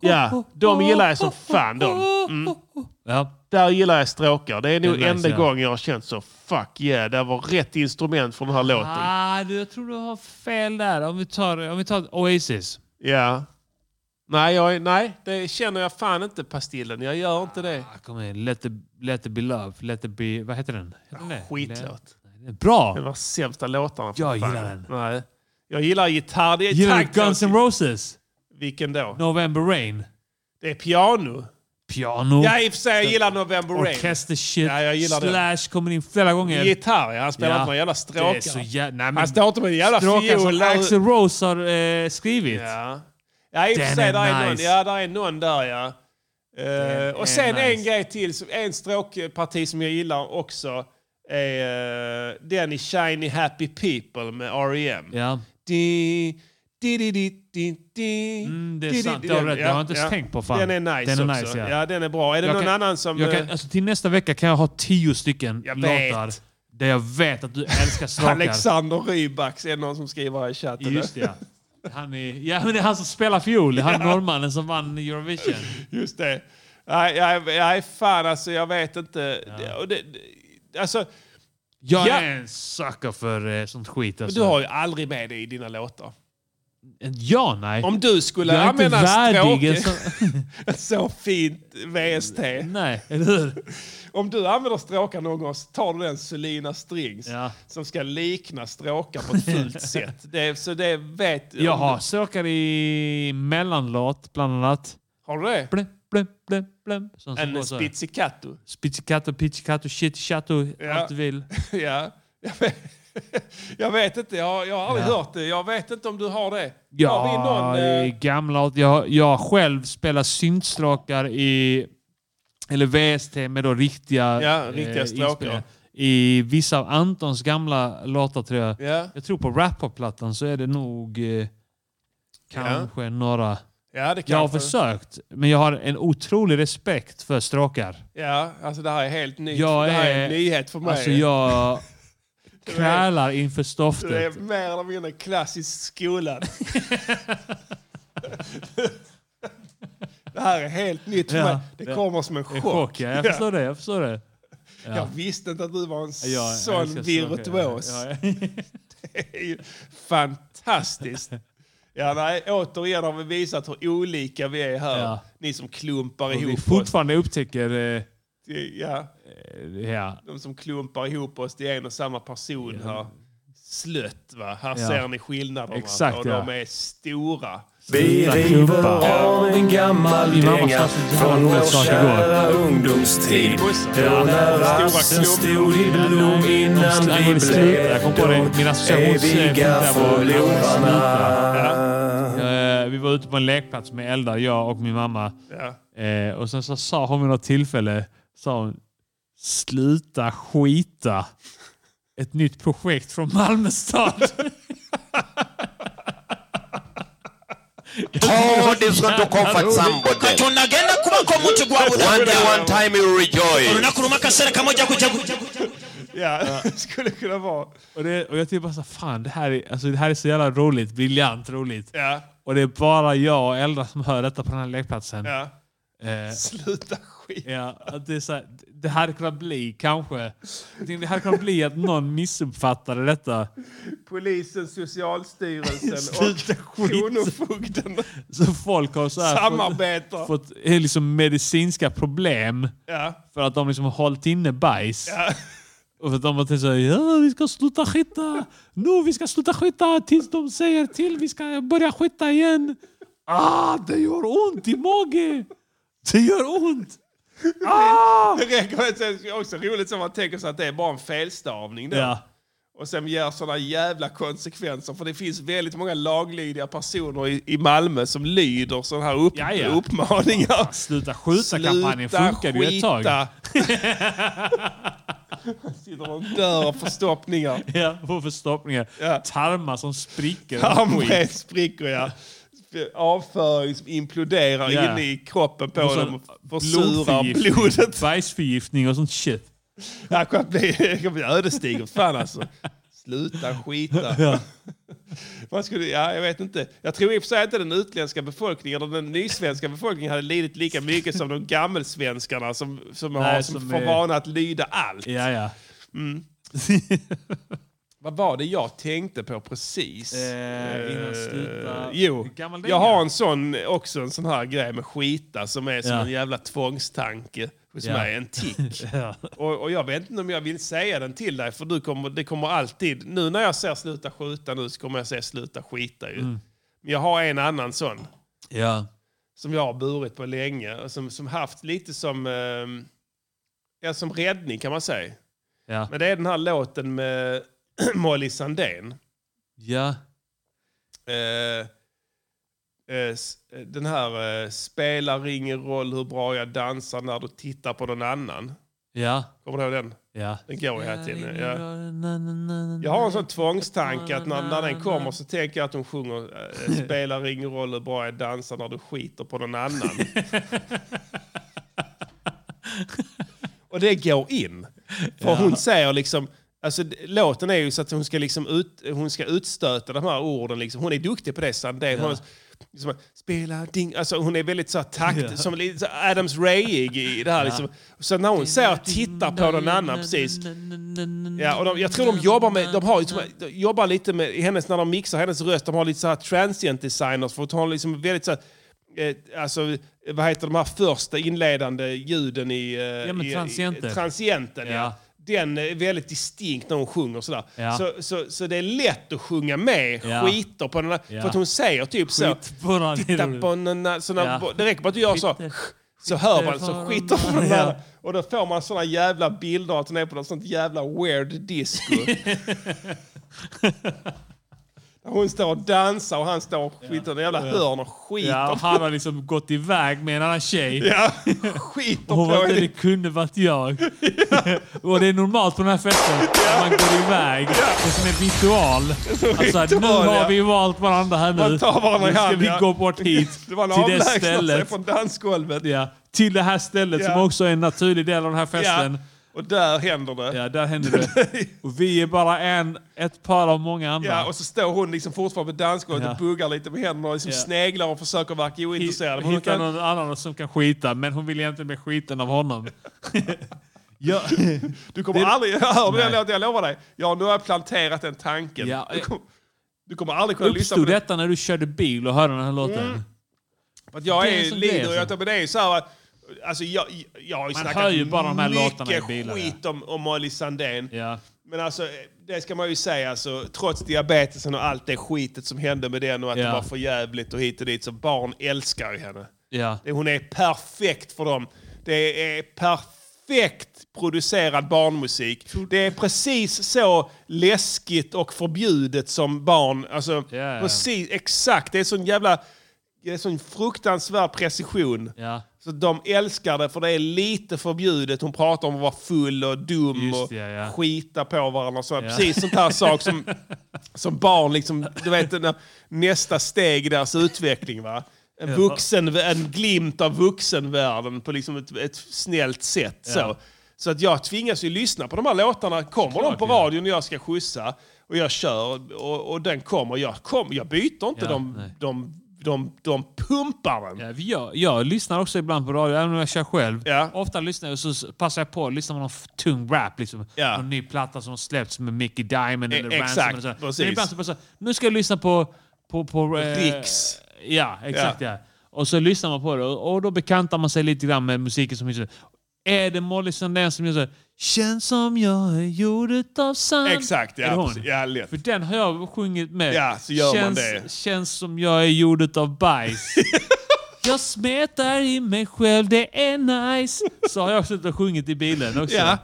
Ja, de gillar jag som fan de. Mm. Ja. Där gillar jag stråkar. Det är nog Det är nice, enda ja. gången jag har känt så fuck yeah, det var rätt instrument för den här låten. Ah, du, jag tror du har fel där. Om vi tar, om vi tar Oasis. Ja. Nej, jag, nej, det känner jag fan inte Pastillen. Jag gör inte det. Ah, Kom igen. Let it, let it be love. Let it be... Vad heter den? Heter den det? Ah, Skitlåt. Bra! Det var sämsta låtarna. för Jag fan. gillar den. Nej. Jag gillar gitarr. Det är Gillar takt- du Guns N' Roses? Vilken då? November Rain? Det är piano. Piano? Ja, i och för sig. Jag gillar November Rain. Orkestershit. Ja, jag gillar den. Slash kommer in flera gånger. Gitarr, ja. Han spelar Ja. inte några jävla stråkar. Det är så jä- Nej, men Han står inte med en jävla Stråkar fiol. som där. Axl Rose har eh, skrivit. Ja. Ja, i och för Den sig. är Där är, någon, nice. ja, där är någon där, ja. Eh, är och sen en nice. grej till. som- En stråkparti som jag gillar också är eh, den i Shiny Happy People med E R.E.M. Ja. Di, di, di, di, di, di. Mm, det är Di, di, sant. di, Det har den. du rätt. Jag har inte tänkt på, fan. Den är nice Den är också. nice, ja. ja. den är bra. Är det Jag någon kan- annan som... Jag kan, eh, alltså, till nästa vecka kan jag ha tio stycken Jag vet. låtar där jag vet att du älskar stråkar. Alexander Rybacks är det någon som skriver här i chatten. Just det, ja. Han är, ja, men det är han som spelar fiol. Han norrmannen som vann Eurovision. *laughs* Just det. Nej, nej, nej, fan alltså. Jag vet inte. Det- och Det, det, alltså, Jag Ja. är en sucker för eh, sånt skit. men Alltså. du har ju aldrig med det i dina låtar. Ja, nej. Om du skulle jag är inte använda värdig. alltså. en stråk... sån- *laughs* så fint *laughs* VST. nej, eller hur? Om du använder stråkar någon gång så tar du den Selina Strings Ja. som ska likna stråkar på *laughs* ett fult sätt. Det, är- så det vet Jag har stråkar i mellanlåt, bland annat. Har du det? Blä, blä, blä, blä. Sån som går En så här. spizzicatto? Spizzicato, pizzicato, shit, chatto, allt du vill. *laughs* ja. Jag vet, *laughs* jag vet inte, jag, jag har aldrig Ja. hört det. Jag vet inte om du har det. Har vi Ja, någon, det är eh, gamla... Jag, jag själv spelar syntstråkar i... Eller VST med då riktiga... eh, Ja, riktiga stråkar. inspelningar. I vissa av Antons gamla låtar tror jag. Ja. Jag tror på Rapper-plattan så är det nog eh, kanske några... ja, det Jag har kanske... försökt, men jag har en otrolig respekt för stråkar. Ja, alltså det här är helt nytt. Jag det här är är- en nyhet för mig. Alltså *laughs* jag krälar inför Det är stoftet. mer eller mindre *laughs* klassiskt skolad. det här är helt nytt för Ja, mig. Det det- kommer som en En chock. chock, ja. Jag Ja. förstår det. Jag förstår det. Jag visste inte att du var en Jag sån älskar stråkar. virtuos. Ja, *laughs* ja. Det är ju fantastiskt. Ja, nej, återigen har vi visat hur olika vi är här. Ja. Ni som klumpar Och vi ihop oss. fortfarande upptäcker... eh, Ja, Ja. de som klumpar ihop oss till en och samma person här. Slött va? Här Ja. ser ni skillnaderna. Exakt, och ja. de är stora. Vi river av en gammal Min mamma dänga satt inte från hemma på vår sak igår. kära ungdomstid. Då när rasten stod i blom innan Nej, vi men sluta. blev Jag kom på det. Mina de associationspunkter eviga var- förlorarna. Eh, Vi vi var ute på en lekplats med eldar, jag och min mamma. Ja. Eh, och sen så sa hon vid något tillfälle, sa hon, sluta skita. Ett nytt projekt från *laughs* Malmö stad. Kodis kotokomfa sambo then. katonagenda kuba ko omuntu One day, one time you rejoice. olunaku lumu akaseera kamu ojja kujja ku- Ja, *laughs* skulle kunna vara. Och, det, och jag tycker bara så här, fan det här, är, alltså, det här är så jävla roligt, briljant roligt. Ja. Och det är bara jag och Eldra som hör detta på den här lekplatsen. Ja. Eh, Sluta skit. Ja, att det, är så här, det hade kunnat bli kanske... jag tänkte, Det hade kunnat bli att någon missuppfattade detta. Polisen, *laughs* Socialstyrelsen Sluta och Kronofogden. Så folk har så här Samarbetar. fått, fått eh, liksom medicinska problem Ja. för att de liksom har hållit inne bajs. Ja. Och för att de har tänkt så här, ja, vi ska sluta skita. Nu vi ska sluta skita tills de säger till. Vi ska börja skita igen. Ah, det gör ont i magen. Det gör ont. Ah! Det räcker med- sen är det också roligt som man tänker sig att det är bara en felstavning då. Ja. Och sen ger sådana jävla konsekvenser. För det finns väldigt många laglydiga personer i, i Malmö som lyder sådana här upp, Ja, ja. uppmaningar. Fan, sluta skjuta-kampanjen funkade ju ett tag. skita. *laughs* Sitter och dör av förstoppningar. Ja, får förstoppningar. Tarmar som spricker. Tarmben spricker ja. Avföring som imploderar Ja. inne i kroppen på Och så dem och försurar blod. Bajsförgiftning och sånt shit. Det här kommer att bli, det kommer att bli ödesdigert. Fan alltså. Sluta *laughs* skita. Ja. Vad skulle, ja, jag vet inte. Jag tror i och för sig inte den utländska befolkningen eller den nysvenska befolkningen hade lidit lika mycket som de gammelsvenskarna som, som har Nej, som, som får är- vana att lyda allt. Ja, ja. *laughs* Eh, Mm. Vad var det jag tänkte på precis? Eh, innan sluta- Eh, Jo, Hur gammal är jag? jag har en sån, också en sån här grej med skita som är som Ja. en jävla tvångstanke hos Ja. mig, en tick. *laughs* Ja. och, och jag vet inte om jag vill säga den till dig för du kommer, det kommer alltid, nu när jag säger sluta skjuta nu så kommer jag säga sluta skita ju. Mm. Men jag har en annan sån Ja. som jag har burit på länge och som, som haft lite som, eh, ja, som räddning kan man säga. Ja. Men det är den här låten med *clears throat* Molly Sandén. Ja. Eh, eh, s- eh, den här eh, spelar ingen roll hur bra jag dansar när du tittar på någon annan. Ja. Kommer du ihåg den? Ja. Den går ju här Eh, till. Ja. Mm. Jag har en sån tvångstanke att när, när den kommer så tänker jag att hon sjunger eh, spelar ingen roll hur bra jag dansar när du skiter på *laughs* någon annan. Och det går in. För Ja. hon säger liksom, alltså d- låten är ju så att hon ska, liksom ut, hon ska utstöta de här orden. Liksom. Hon är duktig på det Sandén. Hon, liksom, spelar ding, alltså hon är väldigt så här takt, Ja. som lite så här Adams Rayig i det här. Ja. Liksom. Så när hon säger titta på någon annan, precis. Ja, och de, jag tror de jobbar med, de har ju, de jobbar lite med, i hennes, när de mixar hennes röst, de har lite så här transient designers för att ha liksom väldigt så här, eh, alltså, eh, vad heter de här första inledande ljuden i... eh, men i- i- transienter. Transienten, ja. Ja. Den är väldigt distinkt när hon sjunger sådär. Ja. Så, så, så det är lätt att sjunga med Ja. skiter på den här, Ja. För att hon säger typ så. Skit på den. Titta på den här, så när, Ja. Det räcker bara att du gör så. Så hör man så skiter på den här. Och då får man såna jävla bilder att hon är på något sånt jävla weird *laughs* disco. Där hon står och dansar och han står och skiter i en jävla hörn och skiter. Ja, och han har liksom gått iväg med en annan tjej. *laughs* Ja, skiter Hon på var inte, det henne. kunde varit *laughs* jag. och det är normalt på den här festen att man går iväg. Det är som en ritual. en Alltså, ritual, nu har ja. vi valt varandra här nu. Man tar varandra i nu ska hand, vi ja. gå bort hit. *laughs* Det var en till det avlägsnande sig stället. från dansgolvet. Ja, till det här stället Ja. som också är en naturlig del av den här festen. Ja. Och där händer det. Ja, där händer *laughs* det. Och vi är bara en, ett par av många andra. Ja, och så står hon liksom fortfarande på dansgolvet Ja. och buggar lite med händerna och liksom Ja. sneglar och försöker verka ointresserad. Men hon Hitta kan- någon annan som kan skita, men hon vill egentligen bli skiten av *laughs* honom. *laughs* ja. Du kommer Det- aldrig... *laughs* Hör du Nej. den låten? Jag lovar dig. Ja, nu har jag planterat den tanken. Ja, eh, Du, kommer, du kommer aldrig kunna lyssna på Uppstod den. detta när du körde bil och hörde den här låten? Mm. För att jag Det är är som det är, lider. Jag alltså. tar med det är ju så här att... Alltså jag, jag har ju Man snackat hör ju bara de här låtarna i mycket bilar, skit om, om Molly Sandén. Ja. Men alltså, det ska man ju säga, alltså, trots diabetesen och allt det skitet som hände med den och att Ja. det var för jävligt och hit och dit, så barn älskar ju henne. Ja. Det- Hon är perfekt för dem. Det är perfekt producerad barnmusik. Det är precis så läskigt och förbjudet som barn. Alltså, ja. precis, exakt. Det är sån jävla det är sån fruktansvärd precision. Så de älskar det för det är lite förbjudet. Hon pratar om att vara full och dum Just och det, ja. skita på varandra. och Så, Ja. Precis sånt här *laughs* sak som, som barn, liksom, du vet när, nästa steg i deras utveckling. Va? En, Ja. vuxen, en glimt av vuxenvärlden på liksom ett, ett snällt sätt. Ja. Så. så att jag tvingas ju lyssna på de här låtarna. Kommer de på radion när jag ska skjutsa och jag kör och, och den kommer, jag, kom, jag byter inte Ja, de, de, de, de pumpar den. Jag, jag lyssnar också ibland på radio, även om jag kör själv. Ofta lyssnar jag och så passar jag på att lyssna på någon f- tung rap. Liksom. Ja. Någon ny platta som har släppts med Mickey Diamond E- eller exakt, Ransom. Eller så. precis. Men ibland så bara så, här, nu ska jag lyssna på... på, på eh, Riks. Ja, exakt. Ja. Och så lyssnar man på det och, och då bekantar man sig lite grann med musiken som finns. Är det Molly Sandén som gör så här, Känns som jag är gjord utav sand. Exakt, Är ja. det hon? precis. ja lätt. För den har jag sjungit med. Ja, så gör man känns, det. Känns som jag är gjord utav *laughs* bajs. jag smetar i mig själv, det är nice. Så har jag suttit och sjungit i bilen också. Ja.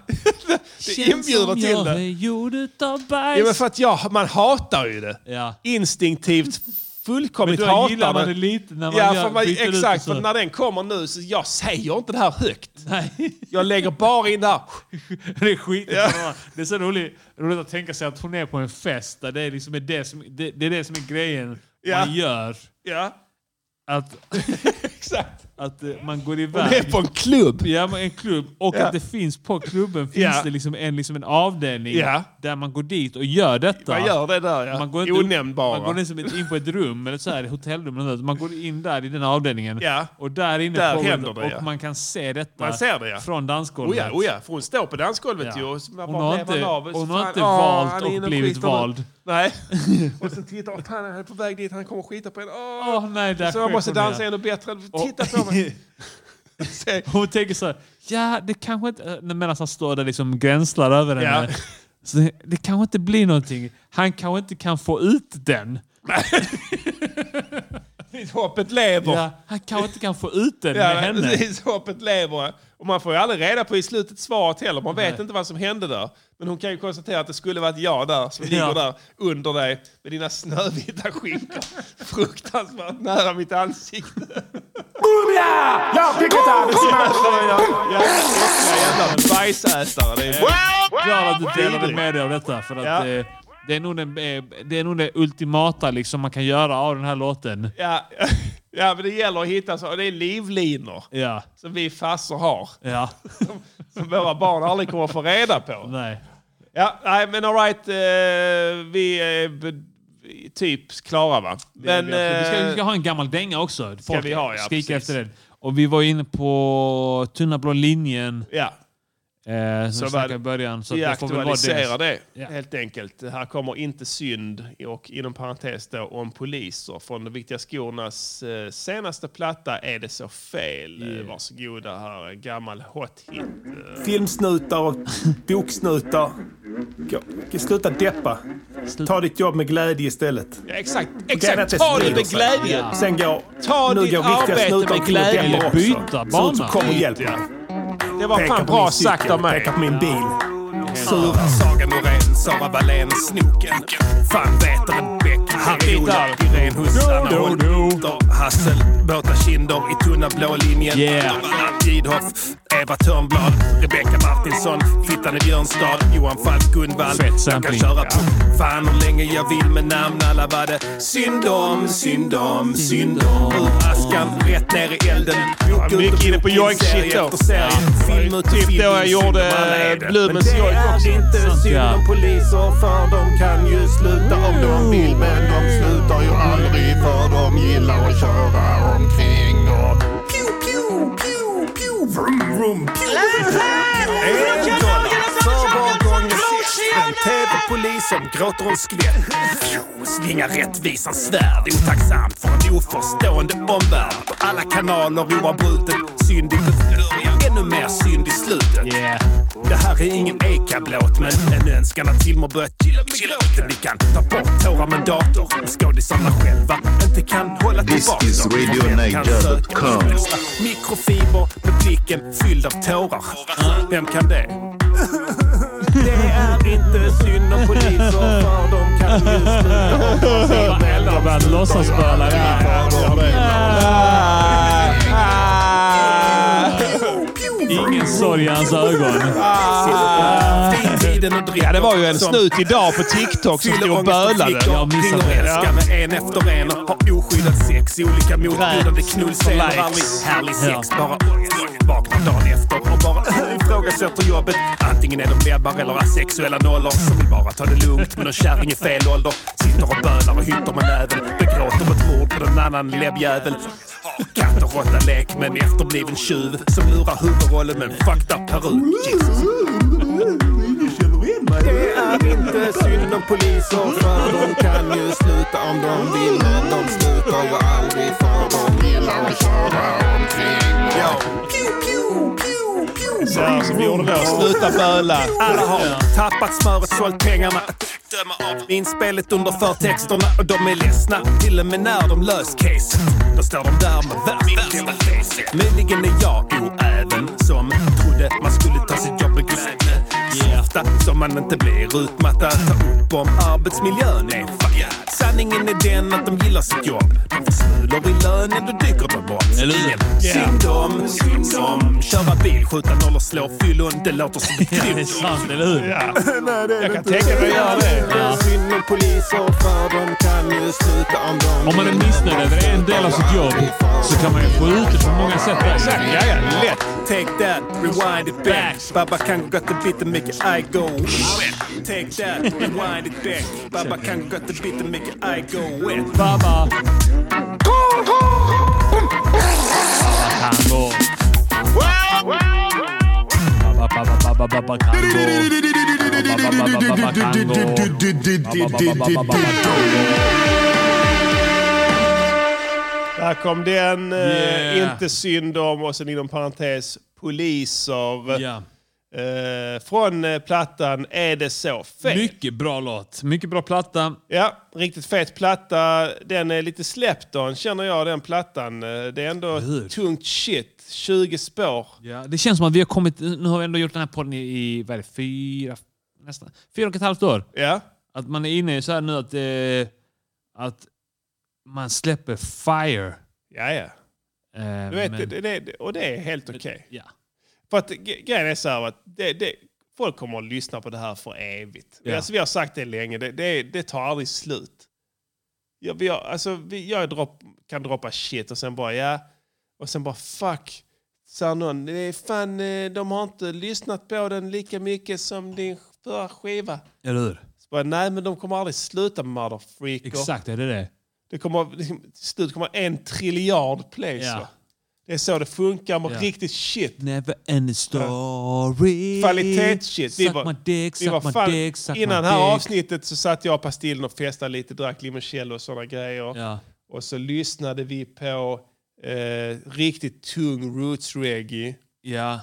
Känns inbjuder som till jag det. är gjord utav bajs. Ja, men för att jag, man hatar ju det. Instinktivt fullkomligt Men då hatar gillar man det lite när man ja, gör- för man, byter ut och Exakt, så. för när den kommer nu så jag säger inte det här högt. Jag lägger bara in det här. *laughs* Det är skit. Ja. Det är så roligt, roligt att tänka sig att hon är på en fest där det är, liksom är, det, som, det, det, är det som är grejen Ja. man gör. Ja. Att, *laughs* Exakt. att eh, man går iväg. Hon är *laughs* på en klubb. Ja, men en klubb. Och Ja. att det finns på klubben finns Ja. det liksom en, liksom en avdelning Ja. där man går dit och gör detta. Man gör det där, ja. Man går inte, Onämnbara. Man går liksom inte in på ett rum eller så här, hotellrum. Eller något. Man går in där i den avdelningen. Ja. Och där inne Där pågår händer det, Och ja. man kan se detta Man ser det, ja. från dansgolvet. Oh ja, oh ja, för hon står på dansgolvet Ja. ju. Och så bara Hon har blev inte- han av. hon Så har fan, inte åh, valt han är och inne blivit skiter nu. vald. Nej. och sen tittar hon, fan han är på väg dit, han kommer skita på henne. Åh, Åh, nej, där så jag sköt måste hon ner. dansa ännu bättre. Titta på mig. *laughs* Hon tänker så här, ja det kanske inte... eh, Medan han står där liksom gränslar över Ja. henne. *laughs* Så det, det kanske inte blir någonting. Han kanske inte kan få ut *laughs* den. Hoppet lever. Ja, han kanske inte kan få ut den med henne. precis. Hoppet lever. Och man får ju aldrig reda på i slutet svaret heller. Man vet inte vad som hände där. Men hon kan ju konstatera att det skulle varit jag där som ligger där under dig med dina snövita skinkor. *laughs* Fruktansvärt nära mitt ansikte. Booyah! Jag fick ett arbetsmatch! Ja, jävla bajsätare. Det är... glad att du delade med dig av detta. För att, eh, det, är nog den, eh, det är nog det ultimata liksom man kan göra av den här låten. Ja, ja, men det gäller att hitta så. och Det är livlinor Ja. som vi farsor har. Ja. Som våra barn aldrig kommer att få reda på. Nej. Ja, nej men alright. Eh, vi är b- typ klara va? Men, vi, har- vi, ska, vi ska eh, ha en gammal dänga också. Ska vi ha, ja, skriker precis. efter den. Och vi var inne på tunna blå linjen. Ja. Eh, som Så vi vad- snackade i början. Så vi det får väl vara aktualiserar det, Ja. helt enkelt. Här kommer inte synd och inom parentes då om poliser. Från de viktiga skornas eh, senaste platta är det så fel. Yeah. Varsågoda här, en gammal hot hit. *laughs* Filmsnutar och boksnutar. Gå- Sluta deppa. Ta ditt jobb med glädje istället. Ja, exakt, Grejen är att exakt. Ta det sprider med sig. glädje. Ja. Sen går... Ta nu ditt går riktiga arbete snutar med omkring och glädje. deppar också. Så Byta bana. ut, Kom och hjälp mig. Det var Peka fan på min bra cykel, sagt av mig. Peka på min bil. Sur. Saga Norén, Sara Wallén, Snoken. Van Veteren, Beck. Harry Ola, Irene Hussarna, Do, do, Holter, Hassel. Båta kinder i tunna blå linjen. Yeah. Laurent Gidhoff, Eva Törnblad, Rebecca Martinsson, Fittan i Björnstad, Johan Falk, Gunvald. Fett Jag kan sampling. köra fan hur länge jag vill med namn. Alla var det synd om, synd om, synd om. Ur askan, rätt ner i elden. Bok ut mycket och inne på bok in, joint shit serie då. efter serie. Ja. Film ut och Typ film då in, jag synd om gjorde alla är det. Blumens Men det joint också. är inte Sant, synd ja. om poliser för de kan ju sluta om de vill. Men de slutar ju aldrig för de gillar att köra omkring. Och... Pew, pew, pew, pew, vroom, vroom, pew. En dollar för var gång jag ser en tv-polis som gråter en skvätt. Pew, Svingar rättvisan svärd otacksamt för en oförstående omvärld. På alla kanaler oavbrutet synd i början, ännu mer synd i slutet. Det här är ingen Eka-blåt, men en önskan att filmer börjar chilla med gråten. Vi kan ta bort tårar med dator, om skådisarna själva inte kan hålla This tillbaka is dem. För vem kan söka radionaja.com. Mikrofiber med blicken fylld av tårar. Vem kan det? Det är inte synd om poliser för de kan ju sluta hoppa sig men de Börjat låtsas spela. Ingen sorg i hans ögon. Ja, det var ju en snut idag på TikTok som stod och bölade. Jag missade det. med en efter en. Har oskyddat sex i olika motbjudande knullscener. likes. Aldrig härlig sex. Bara vaknar dagen efter och bara "Äh, ifrågasätter jobbet. Antingen är de webbar eller asexuella nollor som vill bara ta det lugnt med någon kärring i fel ålder. Sitter och bölar och hytter med näven. Begråter ett mord på någon annan läbbjävel. Katt och råtta lek med en efterbliven tjuv som lurar huvudrollen med en fucked up peruk. Det är inte synd om poliser för de kan ju sluta om de vill. Men de slutar ju aldrig för de gillar att köra omkring. Så här som vi gjorde då. Sluta böla. Alla har tappat smöret, sålt pengarna. Döma av inspelet under förtexterna och de är ledsna. Till och med när de löst caset. Då står de där med världens jävla face. Möjligen är jag oäven som trodde man skulle ta sitt jobb med glädje. Ofta som man inte blir utmattad. Ta upp om arbetsmiljön är fuckad. Sanningen är den att de gillar sitt jobb. De får smulor i lönen, då dyker de bort. Eller hur? Yeah. Synd om, synd om. Köra bil, skjuta nollor, slå fyllon. Det låter som ett grymt Det är sant, eller hur? Jag kan tänka mig att göra det. Synd om poliser för de kan ju sluta om de Om man är missnöjd över en del av sitt jobb så kan man ju få ut det på många sätt. Exakt, ja, ja. Lätt. Take that, rewind it back. Baba Kango got the beat to make your eye go wet. Take that, rewind it back. Baba Kango got the beat to make your eye go wet. Baba. Tango. Baba, baba, baba, baba, tango. Baba, baba, baba, tango. Baba, baba, baba, baba, tango. Där kom den. eh, Yeah. Inte synd om och sen inom parentes poliser. Ja. Eh, från eh, plattan Är det så fel? Mycket bra låt. Mycket bra platta. Ja, riktigt fet platta. Den är lite släppt då, känner jag, den plattan. Eh, Det är ändå tungt shit. 20 spår. Ja, det känns som att vi har kommit... Nu har vi ändå gjort den här podden i, i vad är det, fyra, nästan, fyra och ett halvt år. Ja. Att man är inne i så här nu att, eh, att man släpper fire. Ja, ja. Eh, Du vet, men- det, det- det, och det är helt okej. Ja. För att ge- grejen är så här att det, det, folk kommer att lyssna på det här för evigt. Ja. Alltså, vi har sagt det länge, det, det, det tar aldrig slut. Jag, vi har, alltså, vi, jag dropp, kan droppa shit och sen bara ja, och sen bara fuck. Säger någon, det är fan, eh, de har inte lyssnat på den lika mycket som din förra skiva. Eller hur? Så bara, Nej, men de kommer aldrig sluta med motherfreaker. Exakt, är det det? Det kommer, *laughs* liksom, till slut kommer en triljard plays. Ja. va? Det är så det funkar med Ja. riktigt shit. Never end story. Kvalitetsshit. Vi Suck var, my dick, vi var suck my fan, dick, suck my innan det här dick. avsnittet så satt jag på Pastillen och festade lite, drack limoncello och sådana grejer. Ja. Och så lyssnade vi på eh, riktigt tung roots-reggae. Ja.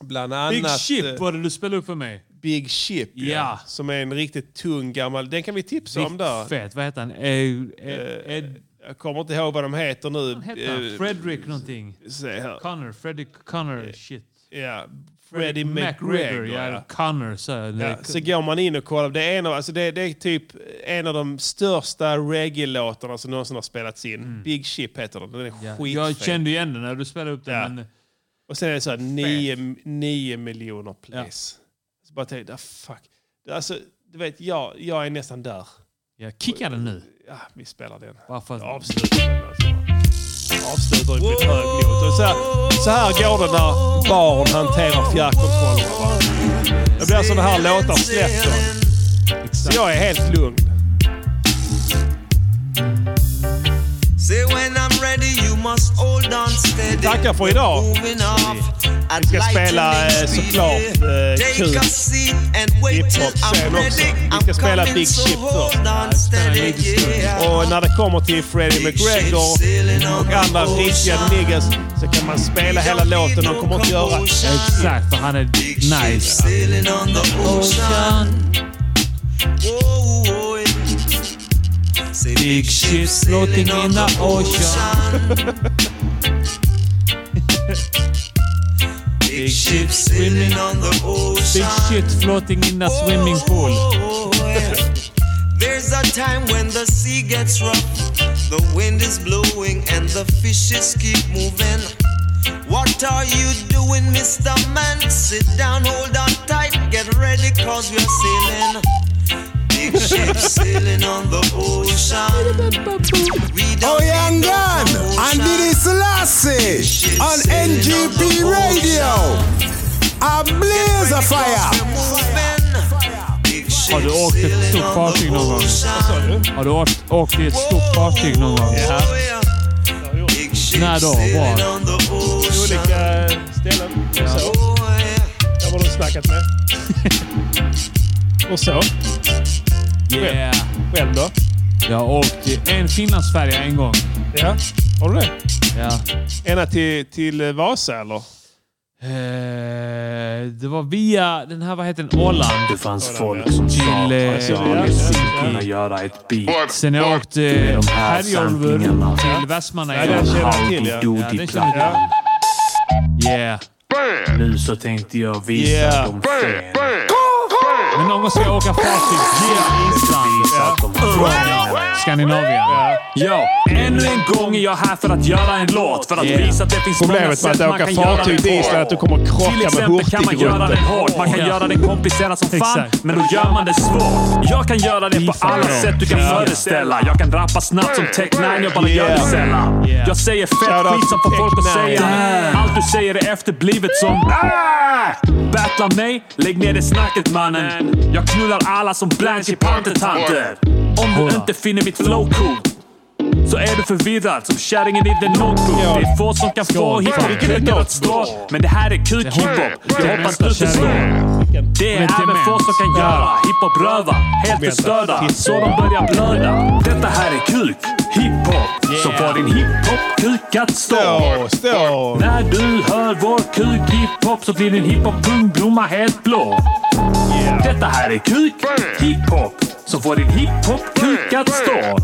Bland annat Big eh, Ship var det du spelade upp för mig. Big Chip. Ja. Som är en riktigt tung gammal... Den kan vi tipsa om Riktigt där. Fet. Vad heter han? Eh, eh, Eh, jag kommer inte ihåg vad de heter nu. vad heter han? Eh, Fredrik någonting. se här. Connor. Fredrik Connor. Shit. Ja, Freddie McGregor. Ja. Ja. Connor. Så, Ja, så går man in och kollar. Det är, en av, alltså det, det är typ en av de största reggae-låtarna som någonsin har spelats in. Big Ship heter den. Den är skitfet. jag kände ju igen den när du spelade upp den. Ja. Men, Och sen är det så här 9, miljoner plays. Så bara tänkte jag, fuck. Det är Alltså, du vet, jag, jag är nästan där. jag kickar den nu. Ja, vi spelar den. Bara för att- Jag avslutar den. Alltså. Jag Avslutar på en hög not. Och Så här, så här går det när barn hanterar fjärrkontrollerna. va? Det blir sådana här låtar släpps. då. Så jag är helt lugn. Say when I'm ready you must hold on steady. Tackar för idag. Moving off. Vi ska spela eh, såklart eh, kul Take a seat and wait till I'm hiphop-scen också. ready. Vi ska spela Big Ship först. Och när det kommer till Freddie McGregor och andra riktiga niggas så kan man spela hela låten. De kommer inte göra Exakt, för han är nice. Sailing on the ocean. Oh, Whoa, whoa, yeah. Say big ships floating in the ocean. Big ship swimming on the ocean. Big shit floating in a swimming pool. There's a time when the sea gets rough, the wind is blowing and the fishes keep moving. What are you doing, Mr. Man? Sit down, hold on tight, get ready, cause we're sailing. Big ship sailing on the ocean. We Oh, don't need no Oyangan and Didi Selassie on NGP Radio. A blaze of fire. Har du åkt ett stort fartyg någon gång? Har du åkt, åkt i ett stort fartyg någon gång? Ja. När då? Var? Olika eh, ställen. Och så. Där var de snackat med. och så. Yeah. Själv då? Jag har åkt i en Finlandsfärja en gång. Ja. Har du det? Ja. Ena till, till eh, Vasa eller? Eh, det var via den här, vad heter den? Åland. Det fanns folk som sa att Till, eh, jag hade skulle kunna göra ett beat. Sen jag åkte De här Härjolvur samplingarna. till Ja, Västmannaeyjar. den känner jag till, ja. Ja, den känner jag till. Yeah. Nu så tänkte jag visa Yeah. dem fel. Men någon gång ska jag åka fartyg genom Island. Skandinavien. Ja, ännu en gång är jag här för att göra en låt. För att Yeah. visa att det finns många Problemet med sätt att man åka kan göra fartyg till den Island är att du på. kommer att Till krocka med exempel kan man hurtig göra den rutten. hård. Man kan Ja. göra den komplicerad som fan, Exakt. men då gör man det svårt. Jag kan göra det på alla sätt du kan Ja. föreställa. Jag kan rappa snabbt som Tech-9, jag bara gör det Yeah. sällan. Yeah. Jag säger fett Shout out skit som får folk att Tech-Nine. säga. Allt du säger är efterblivet som... "Ah!" Battla mig, lägg ner det snacket mannen. Jag knullar alla som Blanche i Pantertanter. Om du inte finner mitt flow coolt så är du förvirrad som kärringen i The Notebook. Det är få som kan få hiphop kuken att slå. Men det här är kuk hiphop. Jag hoppas du förstår. Det är även få som kan göra hiphop-röva. Helt förstörda, så de börjar blöda. Detta här är kuk, hiphop. Så Yeah. får din hiphop-kuk att stå. Stå, stå. När du hör vår kuk hiphop så blir din hiphop-pung blomma helt blå. Detta här är kuk, hiphop. Så får din hiphop-kuk att stå.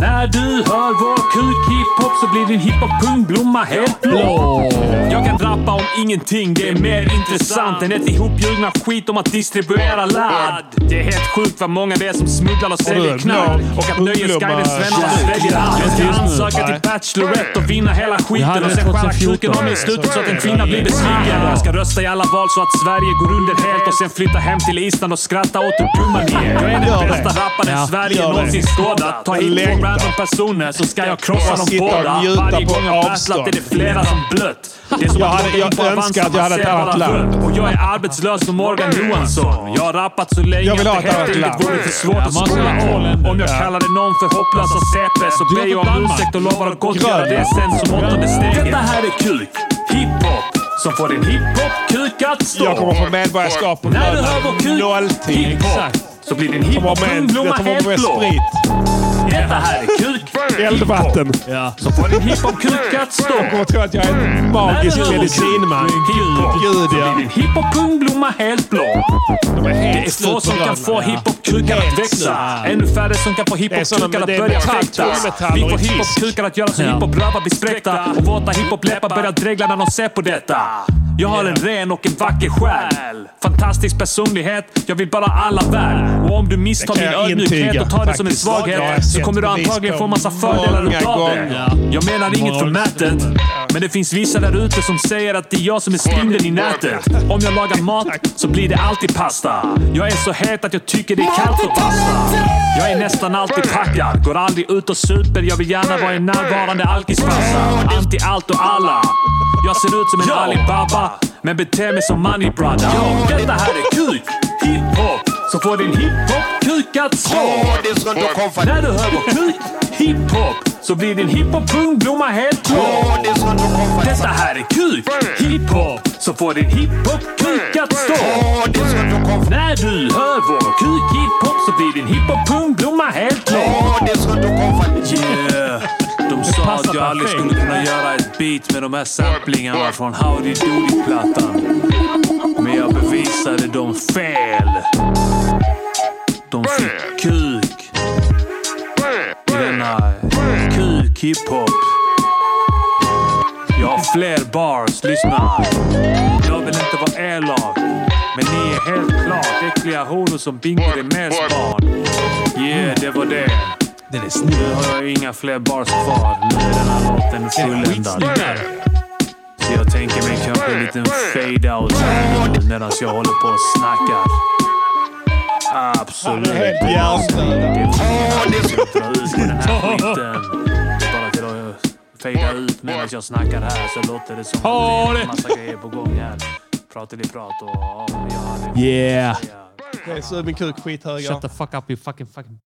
När du hör vår kuk hiphop så blir din hiphop-pung blomma helt blå. Jag kan rappa om ingenting, det är mer intressant än ett ihopljugna skit om att distribuera ladd. Det är helt sjukt vad många det är som smugglar och säljer Har du knark någon och att nöjesguiden ungdomar- Svensson väljer allt. Jag ska ansöka till Bachelorette och vinna hela skiten och sen skära kuken av mig i slutet så att en kvinna blir besviken. Jag ska rösta i alla val så att Sverige går under helt och sen flytta hem till Island och skratta åt hur dumma ni är. Jag är Gör den det. bästa rapparen Ja. Sverige Gör det. någonsin skådat. Ta hit två Längtar. random personer så ska jag krossa Bara dem sitta och båda. njuta Varje på gång jag battlat avstånd. är det flera som blött. Det är som Jag att hade- låta jag in på önskar Avanza, att jag man hade ett ser annat bara land. Mm. rött. Och jag är arbetslös som Morgan Johansson. Jag har rappat så länge Jag vill ha att det ett helt annat enkelt land. vore för svårt att måste skola ha om. länder. Om jag Ja. kallade någon för hopplösa CP så Du är ber jag från om Danmark. ursäkt och lovar att gottgöra Grön, ja. det sen som åttonde steget. Grön. Detta här är kuk. Hiphop. Som får din hiphop-kuk att stå. Jag kommer få medborgarskap på När du hör vår lördag. kuk, Nolltid. hiphop, så blir din Jag kommer hiphop med, blomma jag kommer helt med blå. sprit. Detta här är kuk. Eldvatten. Ja. Så får din hiphop-kuk att stå. Jag kommer att tro att jag är en magisk Nej, det är medicinman. Hiphop. Gud ja. Din hiphop-pung blommar helt blå. De är Det är helt få slut som på kan få röven. hiphop-kukan att Helt växa. sant. Ännu färre som kan få hiphop-kukan sådana- att det är börja metall, fäktas. tungmetaller Vi i får fisk. hiphop-kukan att göra så Ja. hiphop-rövar blir spräckta. Och våta hiphop-läppar börjar dregla när de ser på detta. Jag har en ren och en vacker själ. Fantastisk personlighet, jag vill bara alla väl. Och om du misstar Det min kan jag intyga, ödmjukhet och tar det som en faktiskt. Jag har svaghet så sett kommer du bevis antagligen på få massa fördelar många utav det. gånger. Jag menar inget förmätet, men det finns vissa där ute som säger att det är jag som är spindeln i nätet. Om jag lagar mat så blir det alltid pasta. Jag är så het att jag tycker det är kallt och pasta. Jag är nästan alltid packad, går aldrig ut och super. Jag vill gärna vara en närvarande alkisfarsa. Anti allt och alla. Jag ser ut som en Ali Baba, men beter mig som Money Brother. Detta här är kuk, hiphop, så får din hiphop-kuk att slå. När du hör vår kuk, hiphop, så blir din hiphop-pung blomma helt blå. Detta här är kuk, hiphop, så får din hiphop-kuk att stå. När du hör vår kuk, hiphop, så blir din hiphop-pung blomma helt blå. Yeah. De sa att passar jag aldrig perfekt. skulle kunna göra ett beat med de här samplingarna från Howdy Doody-plattan. Men jag bevisade dem fel. De fick kuk. I denna kuk hiphop. Jag har fler bars, lyssna. Jag vill inte vara elak. Men ni är helt klart äckliga horor som Bingo Rimérs barn. Yeah, det var det. Den är snygg. Nu har jag inga fler bars kvar. Nu är den här låten fulländad. Så jag tänker mig kanske en liten fade-out här nu medan jag håller på och snackar. Absolut. Han är helt hjärndöd. Det är fullt dra ut på den här skiten. Bara till att fejda ut medan jag snackar här så låter det som Ha det är det! en massa grejer på gång här. Prateli-prat och... ja, men jag har- Yeah! Det är så min kuk skithöger. Shut the fuck up you fucking fucking